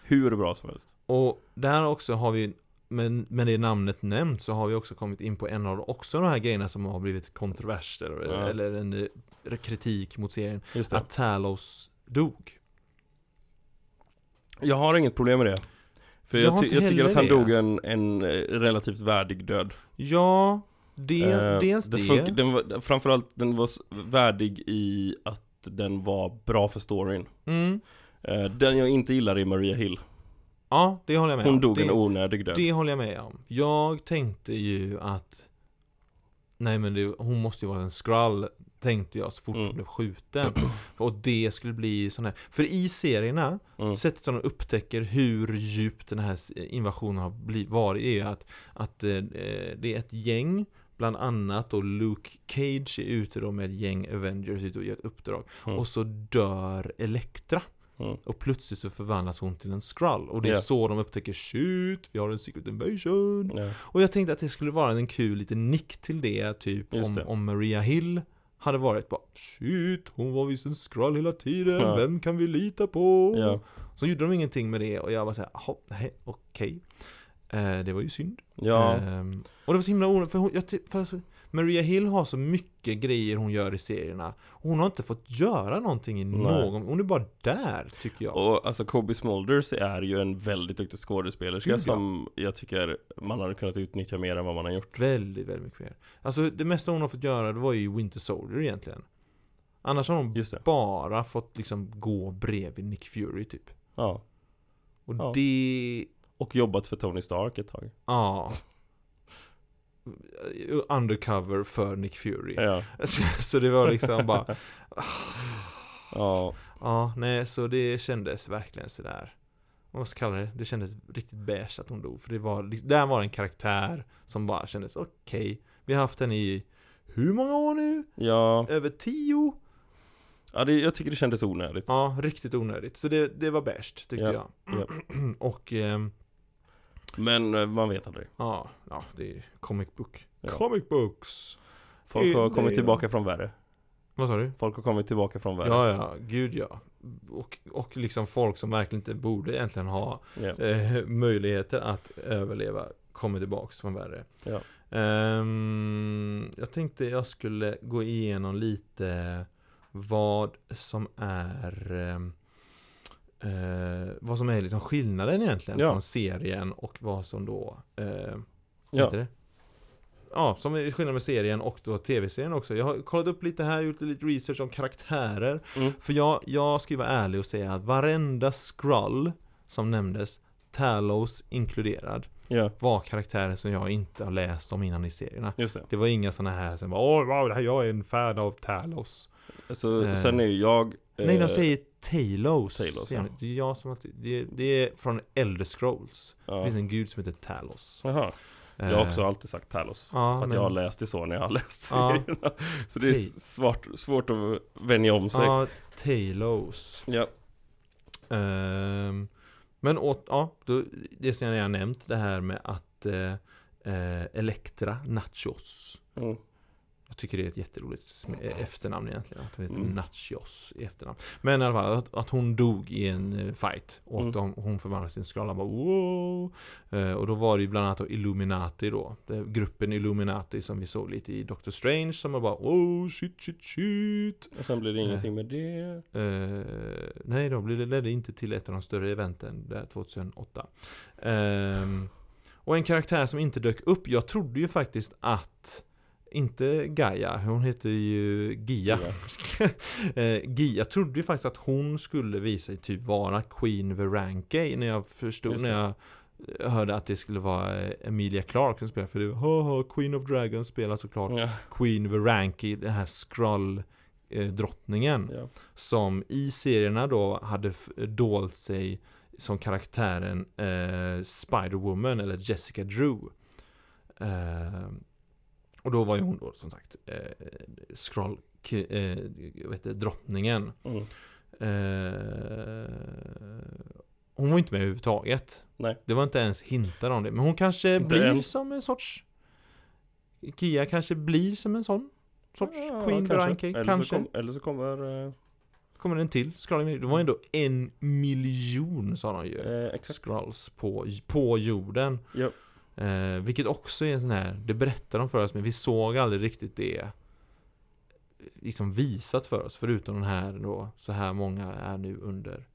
Speaker 1: Hur bra som helst
Speaker 2: Och där också har vi men med det namnet nämnt så har vi också kommit in på en av också de här grejerna som har blivit kontroverser
Speaker 1: Ja.
Speaker 2: eller en eh, kritik mot serien.
Speaker 1: Just det.
Speaker 2: Att Talos dog.
Speaker 1: Jag har inget problem med det. För
Speaker 2: Jag
Speaker 1: jag,
Speaker 2: har
Speaker 1: ty-
Speaker 2: inte
Speaker 1: jag tycker
Speaker 2: heller
Speaker 1: att han
Speaker 2: det.
Speaker 1: dog en, en eh, relativt värdig död.
Speaker 2: Ja, det,
Speaker 1: Eh,
Speaker 2: dels
Speaker 1: det
Speaker 2: det.
Speaker 1: fun- den var, framförallt den var s- värdig i att den var bra för storyn.
Speaker 2: Mm.
Speaker 1: Eh, den jag inte gillar är Maria Hill.
Speaker 2: Ja, det håller jag med
Speaker 1: Hon
Speaker 2: om.
Speaker 1: dog
Speaker 2: det,
Speaker 1: en onödig död.
Speaker 2: det håller jag med om. Jag tänkte ju att Nej men det, hon måste ju vara en skrull Tänkte jag så fort
Speaker 1: Mm.
Speaker 2: hon blev skjuten. Och det skulle bli sån här. För i serierna
Speaker 1: Mm.
Speaker 2: Sättet som de upptäcker hur djupt den här invasionen har bli- varit är ju att, att eh, det är ett gäng Bland annat och Luke Cage är ute då med ett gäng Avengers ute och gör ett uppdrag
Speaker 1: Mm.
Speaker 2: Och så dör Elektra
Speaker 1: Mm.
Speaker 2: Och plötsligt så förvandlas hon till en Skrull Och det är
Speaker 1: Ja.
Speaker 2: så de upptäcker Shit, vi har en secret invasion
Speaker 1: Ja.
Speaker 2: Och jag tänkte att det skulle vara en kul liten nick till det Typ
Speaker 1: Just
Speaker 2: om,
Speaker 1: det.
Speaker 2: om Maria Hill hade varit bara Shit, hon var visst en Skrull hela tiden
Speaker 1: Ja.
Speaker 2: Vem kan vi lita på?
Speaker 1: Ja.
Speaker 2: Så gjorde de ingenting med det och jag var såhär, jaha, nej, okej. Eh, det var ju synd.
Speaker 1: Ja.
Speaker 2: Ehm, och det var så himla onödigt, för, hon, jag, ty- för alltså, Maria Hill har så mycket grejer hon gör i serierna. Och hon har inte fått göra någonting i
Speaker 1: Nej.
Speaker 2: någon, hon är bara där, tycker jag.
Speaker 1: Och alltså Kobe Smulders är ju en väldigt duktig skådespelerska
Speaker 2: Gud, ja.
Speaker 1: som jag tycker man hade kunnat utnyttja mer än vad man har gjort.
Speaker 2: Väldigt, väldigt mycket mer. Alltså det mesta hon har fått göra, det var ju Winter Soldier egentligen. Annars har hon
Speaker 1: Just det.
Speaker 2: bara fått liksom gå bredvid Nick Fury typ.
Speaker 1: Ja.
Speaker 2: Och
Speaker 1: Ja.
Speaker 2: det
Speaker 1: Och jobbat för Tony Stark ett tag.
Speaker 2: Ja. Undercover för Nick Fury.
Speaker 1: Ja.
Speaker 2: Så, så det var liksom bara,
Speaker 1: Ja.
Speaker 2: ja, nej, så det kändes verkligen sådär. Vad ska jag kalla det? Det kändes riktigt beige att hon dog. För det var, där var en karaktär som bara kändes okej. Vi har haft henne i hur många år nu?
Speaker 1: Ja.
Speaker 2: Över tio?
Speaker 1: ja det, jag tycker det kändes onödigt.
Speaker 2: Ja, riktigt onödigt. Så det, det var beige tyckte
Speaker 1: Ja,
Speaker 2: jag.
Speaker 1: ja.
Speaker 2: Och, ehm,
Speaker 1: Men eh, man vet aldrig.
Speaker 2: ja, ja, det är comic book.
Speaker 1: Ja.
Speaker 2: Comic books!
Speaker 1: Folk har
Speaker 2: Det-
Speaker 1: kommit
Speaker 2: Eh, det-
Speaker 1: tillbaka från värre.
Speaker 2: Vad sa du?
Speaker 1: Folk har kommit tillbaka från världen.
Speaker 2: Ja, ja, gud ja. Och, och liksom folk som verkligen inte borde egentligen ha
Speaker 1: Ja.
Speaker 2: eh, möjligheter att överleva kommer tillbaks från värre.
Speaker 1: Ja.
Speaker 2: Ehm, jag tänkte jag skulle gå igenom lite vad som är ehm, eh, vad som är liksom skillnaden egentligen
Speaker 1: Ja.
Speaker 2: från serien och vad som då eh,
Speaker 1: Ja.
Speaker 2: heter det? ja, som är skillnaden med serien och då tv-serien också. Jag har kollat upp lite här, gjort lite research om karaktärer.
Speaker 1: Mm.
Speaker 2: För jag, jag ska ju vara ärlig och säga att varenda scroll som nämndes, Talos inkluderad,
Speaker 1: Ja,
Speaker 2: var karaktärer som jag inte har läst om innan i serierna.
Speaker 1: just det.
Speaker 2: Det var inga sådana här som bara Åh, wow, det här, jag är en fan av Talos.
Speaker 1: Så
Speaker 2: Eh.
Speaker 1: sen är ju jag... eh,
Speaker 2: Nej, de säger Talos.
Speaker 1: Talos,
Speaker 2: ja.
Speaker 1: ja.
Speaker 2: Det är jag som alltid, det, det är från Elder Scrolls. Det
Speaker 1: Ja.
Speaker 2: finns en gud som heter Talos.
Speaker 1: Jaha. Jag har
Speaker 2: Eh,
Speaker 1: också alltid sagt Talos.
Speaker 2: ja,
Speaker 1: för att
Speaker 2: men-
Speaker 1: jag har läst det så när jag har läst
Speaker 2: Ja.
Speaker 1: serierna. Så det är
Speaker 2: Okej.
Speaker 1: svårt, svårt att vänja om sig.
Speaker 2: Ja, Talos.
Speaker 1: Ja.
Speaker 2: Ehm, men åt, ja, då, det som jag redan nämnt, det här med att eh, eh, Elektra Nachos.
Speaker 1: Mm.
Speaker 2: Jag tycker det är ett jätteroligt sm- eh, efternamn egentligen. Att hon heter
Speaker 1: Mm.
Speaker 2: Nachos i efternamn. Men i alla fall, att, att hon dog i en eh, fight. Och att de,
Speaker 1: Mm.
Speaker 2: hon förvandlades till en skala. Bara, wow! Eh, och då var det ju bland annat då Illuminati då. Det, är gruppen Illuminati som vi såg lite i Doctor Strange. Som var bara oh shit shit shit.
Speaker 1: Och sen blir det ingenting med det.
Speaker 2: Eh, nej, då blev det ledde inte till ett av de större eventen där 2008. Ehm, och en karaktär som inte dök upp. Jag trodde ju faktiskt att inte Gaia, hon heter ju Gia. Eh, Gia, jag trodde ju faktiskt att hon skulle visa sig typ vara Queen Verankey när jag förstod,
Speaker 1: Just
Speaker 2: när jag eh, hörde att det skulle vara eh, Emilia Clarke som spelar. För det haha, Queen of Dragons spelar såklart
Speaker 1: Ja,
Speaker 2: Queen Verankey, den här skrull eh, drottningen
Speaker 1: ja.
Speaker 2: som i serierna då hade f- dolt sig som karaktären eh, Spider-Woman eller Jessica Drew. Eh, och då var ju hon då som sagt eh, scroll, ki- eh, vad heter, det, drottningen.
Speaker 1: Mm.
Speaker 2: Eh, hon var inte med överhuvudtaget.
Speaker 1: Nej.
Speaker 2: Det var inte ens hintar om det. Men hon kanske
Speaker 1: Inte
Speaker 2: blir
Speaker 1: än.
Speaker 2: som en sorts... Kia kanske blir som en sån sorts
Speaker 1: Ja,
Speaker 2: Queen Verankey.
Speaker 1: Eller,
Speaker 2: kanske.
Speaker 1: Så kom, eller så kommer... eh,
Speaker 2: Kommer den till? Skrallen, det var ändå en miljon sa de ju.
Speaker 1: Eh, exakt.
Speaker 2: Skrulls på, på jorden.
Speaker 1: Ja.
Speaker 2: Eh, vilket också är en sån här, det berättade de för oss men vi såg aldrig riktigt det eh, liksom visat för oss. Förutom den här då, så här många är nu under.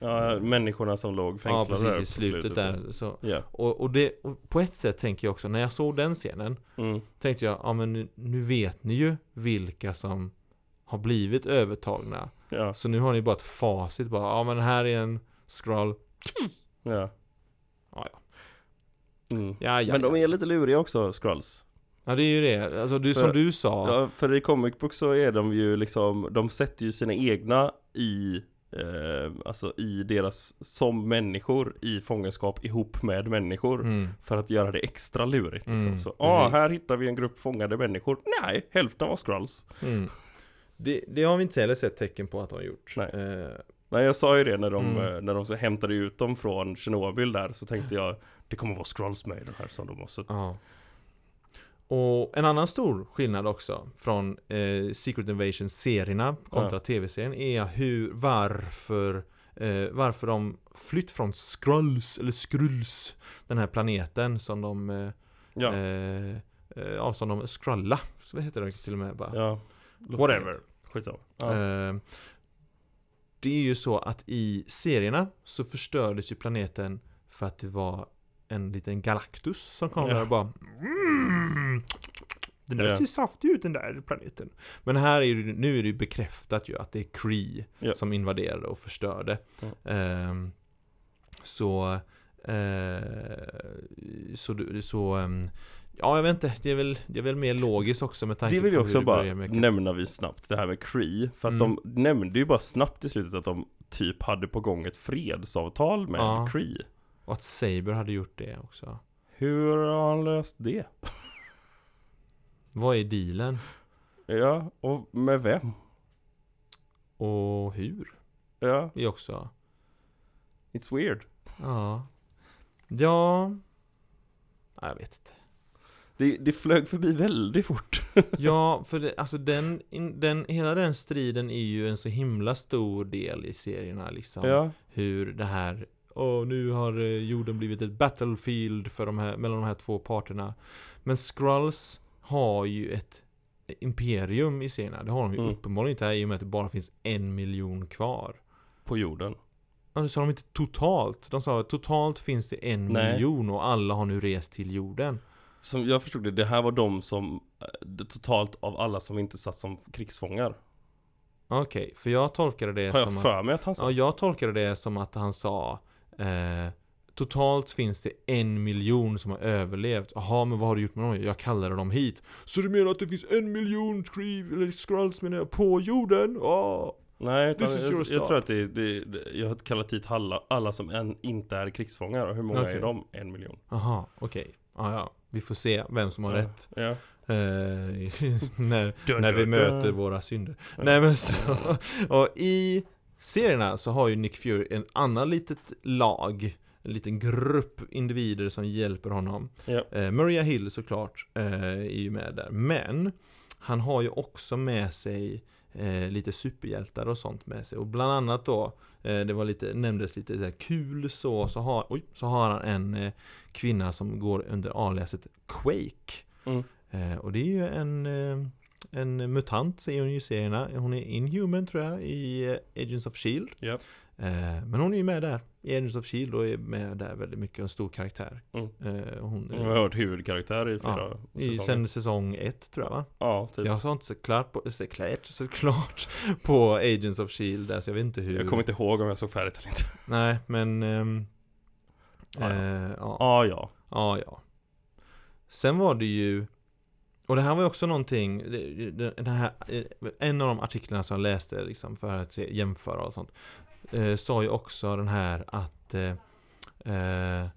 Speaker 1: Ja, människorna som låg
Speaker 2: Ja
Speaker 1: fängslade
Speaker 2: precis
Speaker 1: där
Speaker 2: i
Speaker 1: på
Speaker 2: slutet där. Så,
Speaker 1: Ja.
Speaker 2: och, och, det, och på ett sätt tänker jag också, när jag såg den scenen
Speaker 1: Mm.
Speaker 2: tänkte jag, ja men nu, nu vet ni ju vilka som har blivit övertagna.
Speaker 1: Ja,
Speaker 2: Så nu har ni bara ett facit bara, ja men här är en scroll.
Speaker 1: ja.
Speaker 2: Ja,
Speaker 1: Mm.
Speaker 2: Ja, ja,
Speaker 1: Men de
Speaker 2: ja.
Speaker 1: är lite luriga också, Skrulls.
Speaker 2: ja det är ju det. Alltså du,
Speaker 1: För-
Speaker 2: som du sa.
Speaker 1: Ja, för i comic book så är de ju liksom, de sätter ju sina egna i, eh, alltså i deras, som människor i fångenskap ihop med människor.
Speaker 2: Mm,
Speaker 1: För att göra det extra lurigt liksom.
Speaker 2: Mm,
Speaker 1: så, ah,
Speaker 2: precis.
Speaker 1: här hittar vi en grupp fångade människor. Nej, hälften var Skrulls.
Speaker 2: mm. Det, det har vi inte heller sett tecken på att de har gjort.
Speaker 1: Nej.
Speaker 2: Eh,
Speaker 1: Nej, jag sa ju det när de,
Speaker 2: Mm.
Speaker 1: eh, när de så hämtade ut dem från Tjernobyl där, så tänkte jag, det kommer vara Skrulls med i den här som de måste...
Speaker 2: ja. Och en annan stor skillnad också från eh, Secret Invasion-serierna kontra tv-serien är hur, varför, eh, varför de flytt från Skrulls, eller Skrulls, den här planeten som de, eh,
Speaker 1: Ja,
Speaker 2: eh, eh, ja, som de scrolla, vad heter det till och med bara?
Speaker 1: ja.
Speaker 2: Whatever.
Speaker 1: Skitsamma. Ja.
Speaker 2: Eh, Det är ju så att i serierna så förstördes ju planeten för att det var en liten galaktus som kom
Speaker 1: Ja.
Speaker 2: där och bara mm, Den där
Speaker 1: Ja.
Speaker 2: ser saftig ut den där planeten. Men här är det, nu är det ju bekräftat ju att det är Kree
Speaker 1: Ja.
Speaker 2: som invaderade och förstörde. Ehm, så eh, så, du- så ehm, Ja, jag vet inte. Det är väl, det är väl mer logiskt också med tanke
Speaker 1: Det vill jag
Speaker 2: på hur
Speaker 1: också
Speaker 2: det
Speaker 1: bara
Speaker 2: börjar med
Speaker 1: nämna vi snabbt, det här med Cree. För att
Speaker 2: Mm.
Speaker 1: de nämnde ju bara snabbt i slutet att de typ hade på gång ett fredsavtal med
Speaker 2: Ja.
Speaker 1: Cree.
Speaker 2: Och att Saber hade gjort det också.
Speaker 1: Hur har han löst det?
Speaker 2: Vad är dealen?
Speaker 1: Ja, och med vem?
Speaker 2: Och hur?
Speaker 1: Ja,
Speaker 2: Det är också.
Speaker 1: it's weird.
Speaker 2: Ja. Ja. Nej, Jag vet inte.
Speaker 1: Det, det flög förbi väldigt fort.
Speaker 2: Ja, för det, alltså den, in- den, hela den striden är ju en så himla stor del i serierna liksom.
Speaker 1: Ja,
Speaker 2: Hur det här, åh nu har eh, jorden blivit ett battlefield för de här, mellan de här två parterna. Men Skrulls har ju ett imperium i serierna. Det har de ju
Speaker 1: Mm.
Speaker 2: uppenbarligen inte här i och med att det bara finns en miljon kvar.
Speaker 1: på jorden.
Speaker 2: Ja, det sa de inte totalt. De sa att totalt finns det en
Speaker 1: Nej.
Speaker 2: miljon och alla har nu rest till jorden.
Speaker 1: Som jag förstod det, det här var de som eh, Totalt av alla som inte satt som krigsfångar
Speaker 2: Okej, för jag tolkade det
Speaker 1: Har
Speaker 2: som
Speaker 1: jag
Speaker 2: att...
Speaker 1: för mig att han sa
Speaker 2: Ja, jag tolkade det som att han sa eh, Totalt finns det en miljon som har överlevt. Jaha, men vad har du gjort med dem? Jag kallade dem hit. Så du menar att det finns en miljon skriv, eller scrolls menar jag, på jorden? Ah.
Speaker 1: Nej, utan
Speaker 2: This is
Speaker 1: jag,
Speaker 2: your
Speaker 1: jag,
Speaker 2: start.
Speaker 1: tror att det, det, det Jag har kallat hit alla, alla som än inte är krigsfångar och hur många
Speaker 2: Okej.
Speaker 1: är de? En miljon
Speaker 2: Aha, okej. Ah, ja, vi får se vem som har
Speaker 1: Ja.
Speaker 2: rätt.
Speaker 1: Ja.
Speaker 2: Eh, när,
Speaker 1: Dun,
Speaker 2: när vi
Speaker 1: dun, dun.
Speaker 2: möter våra synder.
Speaker 1: Ja.
Speaker 2: Nej men så, och i serierna så har ju Nick Fury en annan litet lag, en liten grupp individer som hjälper honom.
Speaker 1: Ja.
Speaker 2: Eh, Maria Hill såklart eh, är ju med där, men han har ju också med sig eh, lite superhjältar och sånt med sig. Och bland annat då, eh, det var lite, nämndes lite så här kul så, så har, oj, så har han en eh, kvinna som går under aliaset Quake.
Speaker 1: Mm.
Speaker 2: Eh, och det är ju en, eh, en mutant är hon ju i serierna. Hon är inhuman tror jag i eh, Agents of Shield.
Speaker 1: Ja.
Speaker 2: Eh, men hon är ju med där i Agents of Shield och är med där väldigt mycket, en stor karaktär.
Speaker 1: Mm.
Speaker 2: Eh, hon,
Speaker 1: Jag har hört huvudkaraktär i flera
Speaker 2: i,
Speaker 1: säsonger
Speaker 2: sen säsong ett tror jag va?
Speaker 1: Ja, typ
Speaker 2: Jag har inte sett klart, på, sett klart, sett klart på Agents of Shield E där så jag vet inte hur.
Speaker 1: Jag kommer inte ihåg om jag såg färdigt eller inte
Speaker 2: Nej men... ehm,
Speaker 1: Ja, ja.
Speaker 2: eh, ja.
Speaker 1: Ja, ja
Speaker 2: Ja, ja. Sen var det ju och det här var ju också någonting, det- det- den här, eh, en av de artiklarna som jag läste liksom för att se, jämföra och sånt, eh, sa ju också den här att eh, eh,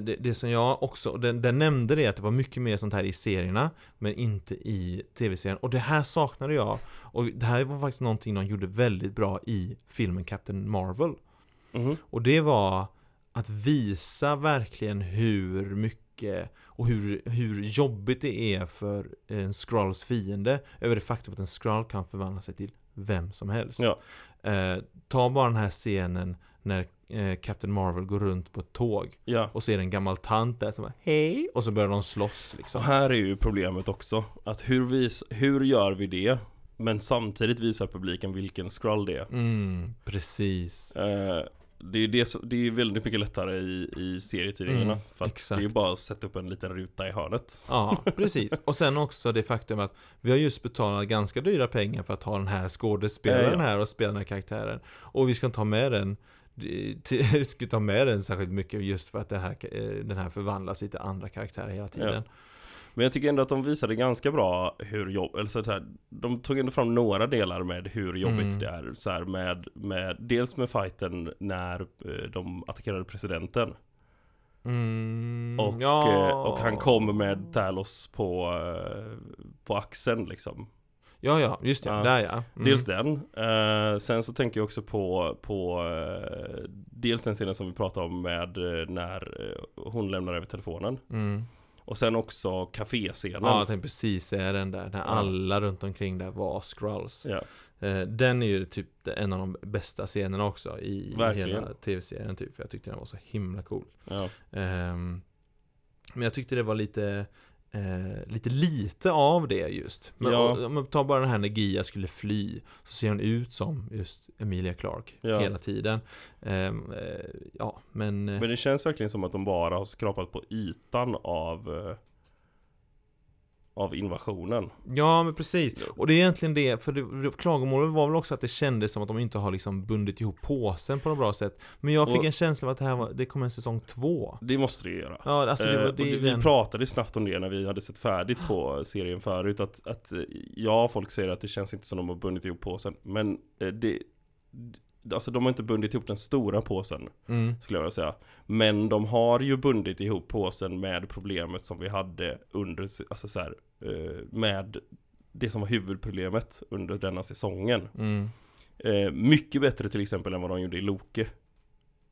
Speaker 2: det, det som jag också, den, den nämnde det att det var mycket mer sånt här i serierna men inte i tv-serien. Och det här saknade jag. Och det här var faktiskt någonting de gjorde väldigt bra i filmen Captain Marvel.
Speaker 1: Mhm.
Speaker 2: Och det var att visa verkligen hur mycket och hur, hur jobbigt det är för en Skrulls fiende över det faktum att en Skrull kan förvandla sig till vem som helst.
Speaker 1: Ja.
Speaker 2: Eh, ta bara den här scenen när eh, Captain Marvel går runt på ett tåg
Speaker 1: Ja
Speaker 2: och ser en gammal tant där som bara Hej! Och så börjar de slåss
Speaker 1: Så
Speaker 2: liksom.
Speaker 1: här är ju problemet också Att hur, vis, hur gör vi det? Men samtidigt visar publiken vilken scroll det är
Speaker 2: Mm, precis.
Speaker 1: Eh, det är ju det, som- det är ju väldigt mycket lättare i, i serietidningarna
Speaker 2: Mm,
Speaker 1: För att det är ju
Speaker 2: exakt.
Speaker 1: bara att sätta upp en liten ruta i hörnet
Speaker 2: Ja, precis. Och sen också det faktum att vi har just betalat ganska dyra pengar för att ha den här skådespelaren
Speaker 1: Ja, ja.
Speaker 2: här och spela den här karaktären. Och vi ska inte ha med den till- vi ska ta med den särskilt mycket just för att den här, eh, den här förvandlas till andra karaktärer hela tiden.
Speaker 1: Men jag tycker ändå att de visade ganska bra hur jobb, eller så här, De tog ändå fram några delar med hur jobbigt
Speaker 2: Mm.
Speaker 1: det är så här, med, med, Dels med fighten när eh, de attackerade presidenten
Speaker 2: Mm,
Speaker 1: Och,
Speaker 2: ja.
Speaker 1: eh, och han kom med Talos på, eh, på axeln liksom
Speaker 2: Ja, ja, just det.
Speaker 1: Ja.
Speaker 2: Där ja. Mm.
Speaker 1: Dels den. Eh, sen så tänker jag också på, på eh, dels den scenen som vi pratade om med eh, när eh, hon lämnar över telefonen.
Speaker 2: Mm.
Speaker 1: Och sen också kaféscenen.
Speaker 2: Ja, jag tänkte precis säga den där. När
Speaker 1: Ja.
Speaker 2: alla runt omkring där var Skrulls.
Speaker 1: Ja.
Speaker 2: Eh, Den är ju typ en av de bästa scenerna också i
Speaker 1: Verkligen.
Speaker 2: hela tv-serien typ, för jag tyckte den var så himla cool.
Speaker 1: Ja.
Speaker 2: Ehm, Men jag tyckte det var lite eh, lite lite av det just. Men
Speaker 1: Ja.
Speaker 2: och- om man tar bara den här när Gia skulle fly så ser hon ut som just Emilia Clark
Speaker 1: Ja.
Speaker 2: hela tiden. Ehm, eh, ja, men... eh,
Speaker 1: Men det känns verkligen som att de bara har skrapat på ytan av eh, av invasionen.
Speaker 2: Ja men precis, och det är egentligen det, för det, det- klagomålet var väl också att det kändes som att de inte har liksom bundit ihop påsen på något bra sätt Men jag fick
Speaker 1: Och-
Speaker 2: en känsla av att det här var, det kommer en säsong två
Speaker 1: Det måste det ju göra.
Speaker 2: Ja alltså det,
Speaker 1: Eh,
Speaker 2: var
Speaker 1: och
Speaker 2: det, är
Speaker 1: det,
Speaker 2: ju
Speaker 1: vi
Speaker 2: den-
Speaker 1: pratade snabbt om det när vi hade sett färdigt på serien förut att, att eh, ja, folk säger att det känns inte som de har bundit ihop påsen men eh, det d- Alltså de har inte bundit ihop den stora påsen
Speaker 2: mm,
Speaker 1: skulle jag vilja säga Men de har ju bundit ihop påsen med problemet som vi hade under, s- alltså så här, eh, med det som var huvudproblemet under denna säsongen
Speaker 2: mm,
Speaker 1: Eh, Mycket bättre till exempel än vad de gjorde i Loke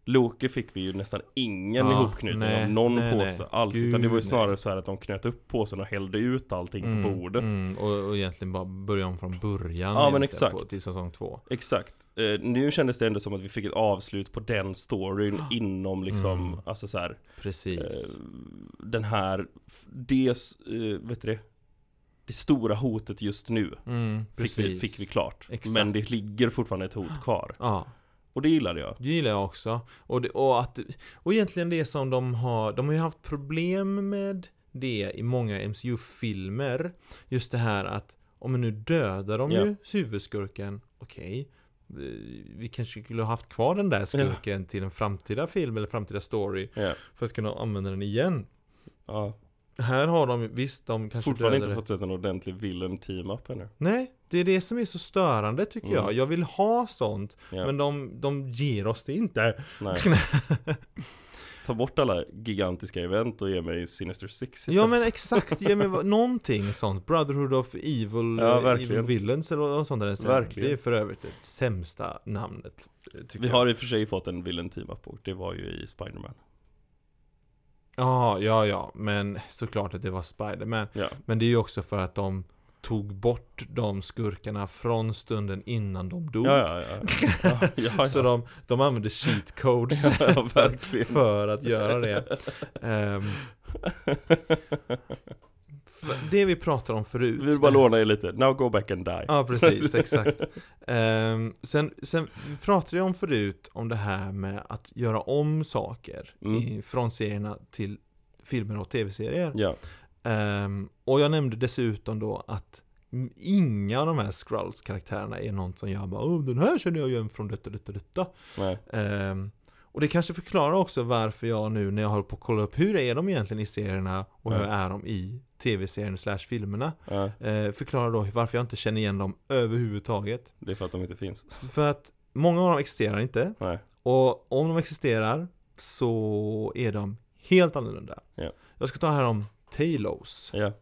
Speaker 1: Loke fick vi ju nästan ingen
Speaker 2: Ja,
Speaker 1: ihopknytning
Speaker 2: nej,
Speaker 1: av någon
Speaker 2: nej, nej.
Speaker 1: påse alls
Speaker 2: Gud,
Speaker 1: Utan det var ju
Speaker 2: nej.
Speaker 1: snarare så här att de knöt upp påsen och hällde ut allting
Speaker 2: mm,
Speaker 1: på bordet
Speaker 2: mm, och, och egentligen bara börja om från början
Speaker 1: Ja, men
Speaker 2: egentligen
Speaker 1: exakt.
Speaker 2: på, Till säsong två
Speaker 1: Exakt eh, Nu kändes det ändå som att vi fick ett avslut på den storyn inom liksom
Speaker 2: Mm.
Speaker 1: Alltså så här, eh,
Speaker 2: Precis
Speaker 1: Den här Det, eh, vet du det? Det stora hotet just nu
Speaker 2: mm,
Speaker 1: Fick
Speaker 2: precis.
Speaker 1: vi, fick vi klart
Speaker 2: Exakt.
Speaker 1: Men det ligger fortfarande ett hot kvar
Speaker 2: Ja,
Speaker 1: Och det gillade jag
Speaker 2: Det gillar jag också. Och, det, och, att, och egentligen det som de har, de har ju haft problem med det är i många MCU-filmer. Just det här att, om men nu dödar de
Speaker 1: Ja.
Speaker 2: ju huvudskurken, okej. vi- Vi kanske skulle ha haft kvar den där skurken till en framtida film eller framtida story
Speaker 1: Ja.
Speaker 2: för att kunna använda den igen.
Speaker 1: Ja.
Speaker 2: Här har de, visst de kanske
Speaker 1: Fortfarande inte
Speaker 2: dödade-
Speaker 1: fått sett en ordentlig villain team-up ännu.
Speaker 2: Nej, det är det som är så störande tycker
Speaker 1: Mm.
Speaker 2: jag. Jag vill ha sånt,
Speaker 1: Ja.
Speaker 2: men de, de ger oss det inte.
Speaker 1: Nej. Ta bort alla gigantiska event och ge mig Sinister Six istället.
Speaker 2: Ja men exakt, ja, men, vad- någonting sånt. Brotherhood of Evil,
Speaker 1: Ja,
Speaker 2: eh, Evil
Speaker 1: verkligen.
Speaker 2: Villains eller något sånt där. sen.
Speaker 1: Verkligen.
Speaker 2: Det är för övrigt det sämsta namnet. eh, tycker
Speaker 1: Vi
Speaker 2: jag.
Speaker 1: har i och för sig fått en villain team-up och det var ju i Spider-Man.
Speaker 2: Ja, ja, ja, men såklart att det var Spider-Man.
Speaker 1: Ja.
Speaker 2: Men det är ju också för att de tog bort de skurkarna från stunden innan de dog.
Speaker 1: Ja, ja, ja. ja, ja, ja.
Speaker 2: Så de, de använde cheat codes
Speaker 1: ja, verkligen.
Speaker 2: för att göra det. Ehm, för det vi pratade om förut.
Speaker 1: Vi vill bara låna er lite. Now go back and die.
Speaker 2: Ja, precis, exakt. Ehm, sen, sen vi pratade ju om förut om det här med att göra om saker
Speaker 1: Mm.
Speaker 2: i, från serierna till filmer och tv-serier.
Speaker 1: Ja.
Speaker 2: Ehm, och jag nämnde dessutom då att m- inga av de här Skrulls-karaktärerna är någon som jag bara Åh, den här känner jag igen från detta, detta, detta.
Speaker 1: Nej.
Speaker 2: Ehm, och det kanske förklarar också varför jag nu när jag håller på att kolla upp hur är de egentligen i serierna och hur
Speaker 1: Ja.
Speaker 2: är de i tv-serien slash filmerna.
Speaker 1: Ja,
Speaker 2: Eh, förklarar då varför jag inte känner igen dem överhuvudtaget.
Speaker 1: det är för att de inte finns.
Speaker 2: För att många av dem existerar inte.
Speaker 1: Nej.
Speaker 2: Och om de existerar så är de helt annorlunda.
Speaker 1: Ja.
Speaker 2: Jag ska ta här om Talos.
Speaker 1: Ja.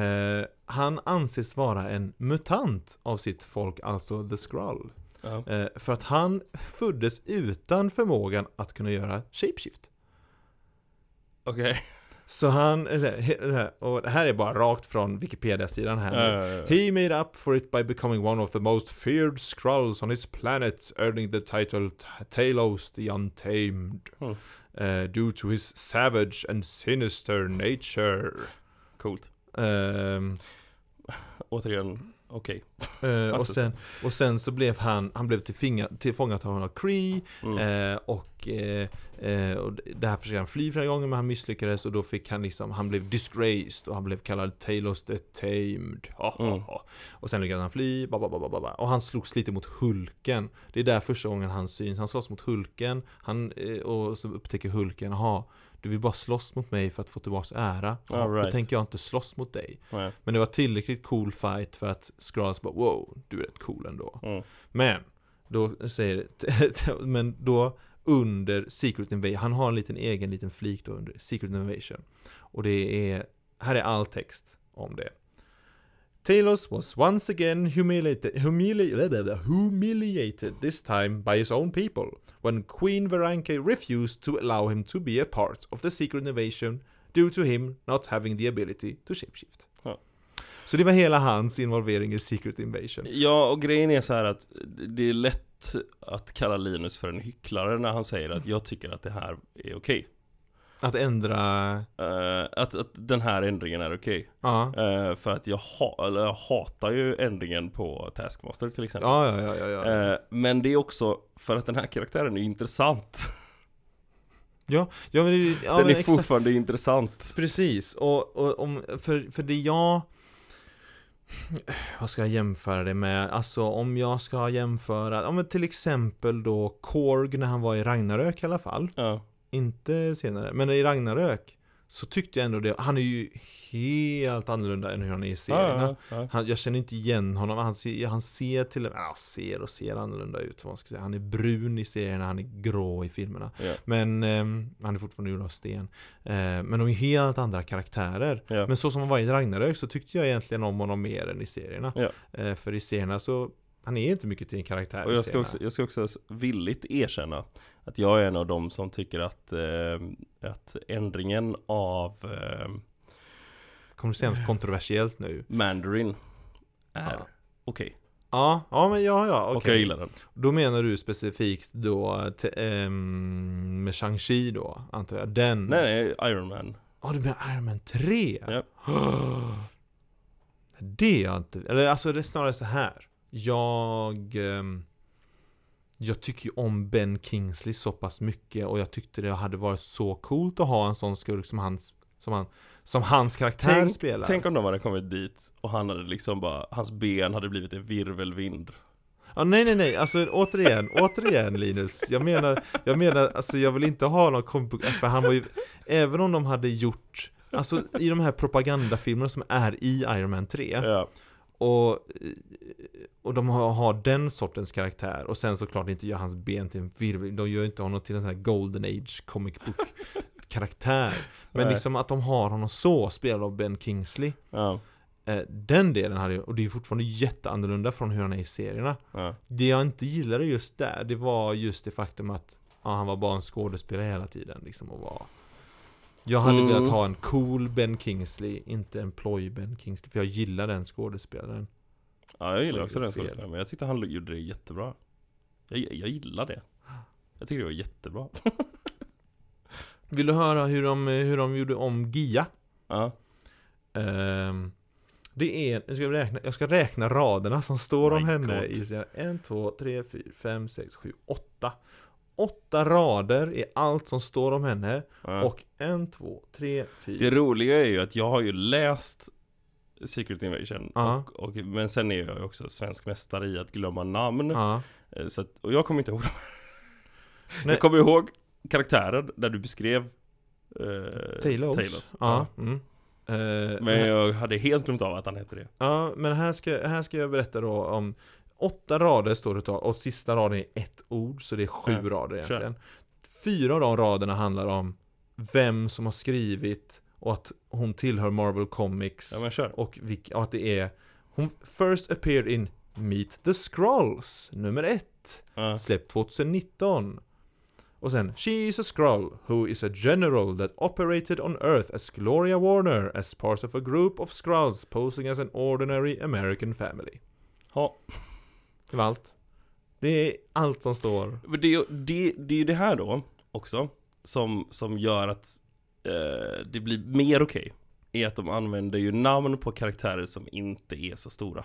Speaker 2: Eh, han anses vara en mutant av sitt folk, alltså The Skrull.
Speaker 1: Ja.
Speaker 2: Eh, för att han föddes utan förmågan att kunna göra shapeshift.
Speaker 1: Okej.
Speaker 2: Så han, eller, he- eller, och det här är bara rakt från Wikipedia-sidan här.
Speaker 1: Ja,
Speaker 2: nu.
Speaker 1: ja, ja, ja.
Speaker 2: He made up for it by becoming one of the most feared Skrulls on his planet, earning the title T- Talos the Untamed,
Speaker 1: Hmm.
Speaker 2: uh, due to his savage and sinister nature.
Speaker 1: Coolt.
Speaker 2: Ehm,
Speaker 1: Återigen, okej.
Speaker 2: eh, och,
Speaker 1: Alltså-
Speaker 2: sen, och sen så blev han, han blev tillfinga- tillfångat av några Cree,
Speaker 1: Mm.
Speaker 2: eh, och, eh, eh, och det här försökte han fly flera gånger men han misslyckades och då fick han liksom, han blev disgraced och han blev kallad Talos the Tamed. Ha, ha,
Speaker 1: Mm.
Speaker 2: ha. Och sen lyckades han fly, ba, ba, ba, ba, ba, ba. och han slogs lite mot Hulken. Det är där första gången han syns, han slåss mot Hulken, han, eh, och så upptäcker Hulken, ha du vill bara slåss mot mig för att få tillbaks ära. Ja,
Speaker 1: All
Speaker 2: Då
Speaker 1: right.
Speaker 2: tänker jag inte slåss mot dig.
Speaker 1: Nej.
Speaker 2: Men det var tillräckligt cool fight för att Skrulls bara wow, du är rätt cool ändå.
Speaker 1: Mm.
Speaker 2: Men då säger men då under Secret Invasion, han har en liten egen liten flik då under Secret Invasion. Och det är, här är all text om det. Talos was once again humiliated, humili- humiliated this time by his own people when Queen Veranke refused to allow him to be a part of the Secret Invasion due to him not having the ability to shapeshift.
Speaker 1: Ja.
Speaker 2: Så det var hela hans involvering i Secret Invasion.
Speaker 1: Ja, och grejen är så här att det är lätt att kalla Linus för en hycklare när han säger att jag tycker att det här är okej.
Speaker 2: Att ändra
Speaker 1: Eh, att, att den här ändringen är okej.
Speaker 2: Ja,
Speaker 1: Eh, för att jag, ha, eller jag hatar ju ändringen på Taskmaster till exempel.
Speaker 2: ja, ja, ja, ja, ja.
Speaker 1: Eh, men det är också för att den här karaktären är intressant.
Speaker 2: ja men, det- ja,
Speaker 1: den
Speaker 2: men
Speaker 1: är
Speaker 2: exakt.
Speaker 1: fortfarande intressant.
Speaker 2: Precis, och, och om, för, för det jag... Vad ska jag jämföra det med? Alltså om jag ska jämföra, ja men till exempel då Korg när han var i Ragnarök i alla fall.
Speaker 1: Ja,
Speaker 2: Inte senare, men i Ragnarök. Så tyckte jag ändå det, han är ju helt annorlunda än hur han är i serierna.
Speaker 1: ja, ja.
Speaker 2: Han, jag känner inte igen honom, han ser, han ser till och med, ja, ser och ser annorlunda ut vad man ska säga. Han är brun i serierna, han är grå i filmerna.
Speaker 1: Ja.
Speaker 2: Men ehm, han är fortfarande gjord av sten. Eh, men de är helt andra karaktärer.
Speaker 1: ja.
Speaker 2: Men så som han var i Ragnarök så tyckte jag egentligen om honom mer än i serierna.
Speaker 1: Ja.
Speaker 2: Eh, för i serierna så, han är inte mycket till en karaktär
Speaker 1: Och
Speaker 2: i
Speaker 1: jag ska,
Speaker 2: serierna.
Speaker 1: också, jag ska också villigt erkänna att jag är en av dem som tycker att, eh, att ändringen av eh,
Speaker 2: Kommer det kännas kontroversiellt nu?
Speaker 1: Mandarin är
Speaker 2: Ja. Mm.
Speaker 1: okej.
Speaker 2: Ja, ja men ja, ja, okej.
Speaker 1: Och jag gillar den.
Speaker 2: Då menar du specifikt då te, ehm, med Shang-Chi då, antar jag? Den?
Speaker 1: Nej, nej, Iron Man.
Speaker 2: Ja, du menar Iron Man 3?
Speaker 1: Ja.
Speaker 2: Det är jag inte... Eller alltså det är snarare så här. Jag... ehm, Jag tycker ju om Ben Kingsley så pass mycket och jag tyckte det hade varit så coolt att ha en sån skurk som han s- Som, han, som hans karaktär
Speaker 1: Tänk-
Speaker 2: spelar.
Speaker 1: Tänk om de hade kommit dit och han hade liksom bara, hans ben hade blivit en virvelvind.
Speaker 2: Ja, nej, nej, nej, alltså återigen, återigen Linus. Jag menar, jag menar, alltså jag vill inte ha någon comic book, för han var ju, även om de hade gjort, alltså i de här propagandafilmerna som är i Iron Man 3,
Speaker 1: Ja.
Speaker 2: och, och de har, har den sortens karaktär, och sen såklart inte gör hans ben till en virvel, de gör inte honom till en sån här Golden Age comic book karaktär. Men
Speaker 1: Nej.
Speaker 2: liksom att de har honom så, spelad av Ben Kingsley,
Speaker 1: Ja.
Speaker 2: eh, den delen hade ju, och det är ju fortfarande jätteannorlunda från hur han är i serierna.
Speaker 1: ja.
Speaker 2: Det jag inte gillade just där, det var just det faktum att ja, han var bara en skådespelare hela tiden liksom och var Jag hade
Speaker 1: Mm.
Speaker 2: velat ha en cool Ben Kingsley, inte en ploj Ben Kingsley För jag gillar den skådespelaren
Speaker 1: ja jag gillar
Speaker 2: Oj,
Speaker 1: också den
Speaker 2: fel.
Speaker 1: skådespelaren, men jag tyckte han gjorde det jättebra. Jag, jag gillar det. Jag tycker det var jättebra.
Speaker 2: Vill du höra hur de, hur de gjorde om Gia?
Speaker 1: Ja.
Speaker 2: Ehm, det är, jag ska, räkna, jag ska räkna raderna som står om
Speaker 1: My
Speaker 2: henne
Speaker 1: God.
Speaker 2: i serien 1, 2, 3, 4, 5, 6, 7, 8 Åtta rader är allt som står om henne
Speaker 1: ja.
Speaker 2: Och 1, 2, 3, 4
Speaker 1: Det roliga är ju att jag har ju läst Secret Invasion
Speaker 2: Ja.
Speaker 1: och, och, Men sen är jag ju också svensk mästare i att glömma namn
Speaker 2: Ja.
Speaker 1: Eh, så att, Och jag kommer inte ihåg dem.
Speaker 2: Nej.
Speaker 1: Jag kommer ihåg karaktären där du beskrev eh,
Speaker 2: Talos. Ja.
Speaker 1: Ja.
Speaker 2: Mm. Eh,
Speaker 1: Men
Speaker 2: men,
Speaker 1: jag hade helt glömt av att han hette det
Speaker 2: ja, men här ska, här ska jag berätta då om Åtta rader står det och och sista raden är ett ord så det är sju
Speaker 1: Ja,
Speaker 2: rader egentligen. Fyra av de raderna handlar om vem som har skrivit och att hon tillhör Marvel Comics
Speaker 1: Ja men kör
Speaker 2: och, vilk, och att det är Hon first appeared in Meet the Skrulls nummer ett
Speaker 1: ja.
Speaker 2: släppt 2019. Och sen, She is a Skrull, who is a general that operated on Earth as Gloria Warner as part of a group of Skrulls posing as an ordinary American family.
Speaker 1: Ja.
Speaker 2: Det var allt. Det är allt som står.
Speaker 1: Men det, är ju- det, det är ju det här då också Som, som gör att eh, det blir mer okej Är att de använder ju namn på karaktärer som inte är så stora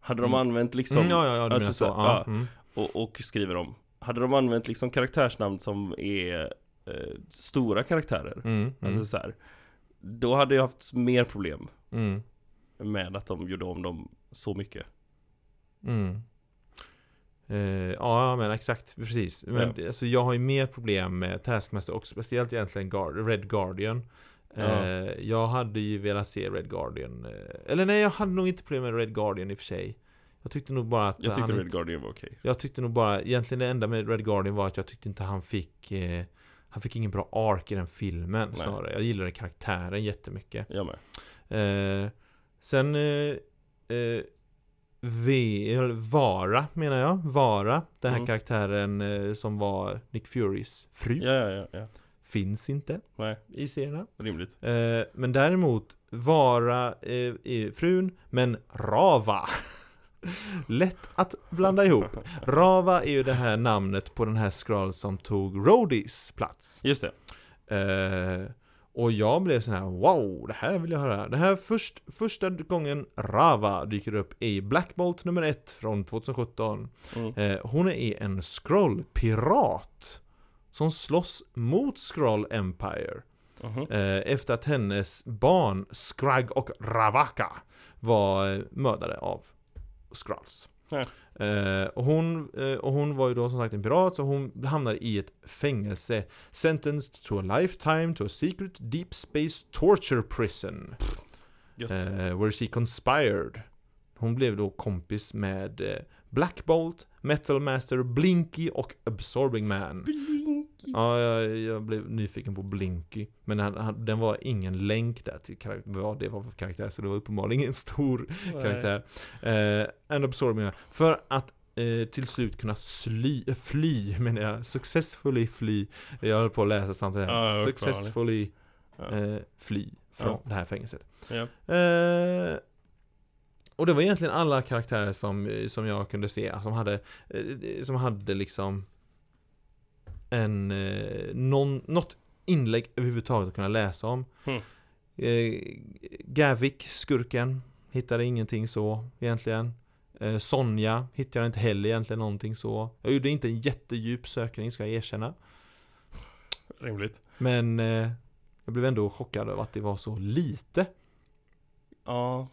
Speaker 1: Hade de
Speaker 2: Mm.
Speaker 1: använt liksom
Speaker 2: Mm, ja, ja, ja, du
Speaker 1: alltså
Speaker 2: menar så.
Speaker 1: så-
Speaker 2: Ja,
Speaker 1: ja.
Speaker 2: mm.
Speaker 1: och, och skriver om. Hade de använt liksom karaktärsnamn som är eh, stora karaktärer,
Speaker 2: Mm, mm,
Speaker 1: alltså så här, då hade jag haft mer problem
Speaker 2: mm,
Speaker 1: med att de gjorde om dem så mycket.
Speaker 2: mm. Eh, ja, men exakt, precis. Men
Speaker 1: Ja.
Speaker 2: det- alltså, jag har ju mer problem med Taskmaster och speciellt egentligen Guard, Red Guardian.
Speaker 1: Ja.
Speaker 2: Eh, jag hade ju velat se Red Guardian. eh, Eller nej, jag hade nog inte problem med Red Guardian i och för sig. Jag tyckte nog bara att
Speaker 1: Jag tyckte
Speaker 2: han
Speaker 1: Red Guardian var okej.
Speaker 2: Jag tyckte nog bara, egentligen det enda med Red Guardian var att jag tyckte inte han fick eh, Han fick ingen bra ark i den filmen
Speaker 1: Nej.
Speaker 2: snarare. Jag gillade karaktären jättemycket.
Speaker 1: Jag med.
Speaker 2: Eh, sen eh, eh, v, eller Vara menar jag. Vara, den här
Speaker 1: Mm.
Speaker 2: karaktären eh, som var Nick Furys fru.
Speaker 1: Ja, ja, ja, ja.
Speaker 2: Finns inte
Speaker 1: Nej,
Speaker 2: i serierna.
Speaker 1: rimligt.
Speaker 2: Eh, men däremot Vara eh, är frun, men Rava. Lätt att blanda ihop. Rava är ju det här namnet på den här skral som tog Rhodys plats.
Speaker 1: Just det.
Speaker 2: Eh, och jag blev sån här wow, det här vill jag höra. Det här först, första gången Rava dyker upp i Black Bolt nummer 1 från 2017.
Speaker 1: Mm.
Speaker 2: Eh, hon är en scroll-pirat som slåss mot Scroll Empire.
Speaker 1: Mhm.
Speaker 2: Eh, efter att hennes barn Skragg och Ravaka var eh, mördade av Skrulls.
Speaker 1: Ja.
Speaker 2: Eh, och, hon, eh, och hon var ju då som sagt en pirat så hon hamnade i ett fängelse. Sentenced to a lifetime to a secret deep space torture prison.
Speaker 1: Gött.
Speaker 2: Eh, where she conspired. Hon blev då kompis med eh, Black Bolt, Metal Master, Blinky och Absorbing Man.
Speaker 1: Blinky.
Speaker 2: Ja, jag, jag blev nyfiken på Blinky. Men han, han, den var ingen länk där till karak- vad det var för karaktär, så det var uppenbarligen ingen stor karaktär. Eh, and absorbing Man. För att eh, till slut kunna sly, eh, fly, menar jag, successfully fly. Jag höll på att läsa samtidigt
Speaker 1: Ja,
Speaker 2: här.
Speaker 1: jag
Speaker 2: successfully
Speaker 1: Ja.
Speaker 2: eh, fly från
Speaker 1: Ja.
Speaker 2: det här fängelset.
Speaker 1: Ja.
Speaker 2: Eh, och det var egentligen alla karaktärer som, som jag kunde se alltså, som hade, eh, som hade liksom en, eh, någon, något inlägg överhuvudtaget att kunna läsa om.
Speaker 1: Hmm.
Speaker 2: Eh, Gavik, skurken, hittade ingenting så egentligen. Eh, Sonja hittade jag inte heller egentligen någonting så. Jag gjorde inte en jättedjup sökning ska jag erkänna.
Speaker 1: Rimligt.
Speaker 2: Men eh, Jag blev ändå chockad över att det var så lite.
Speaker 1: Ja,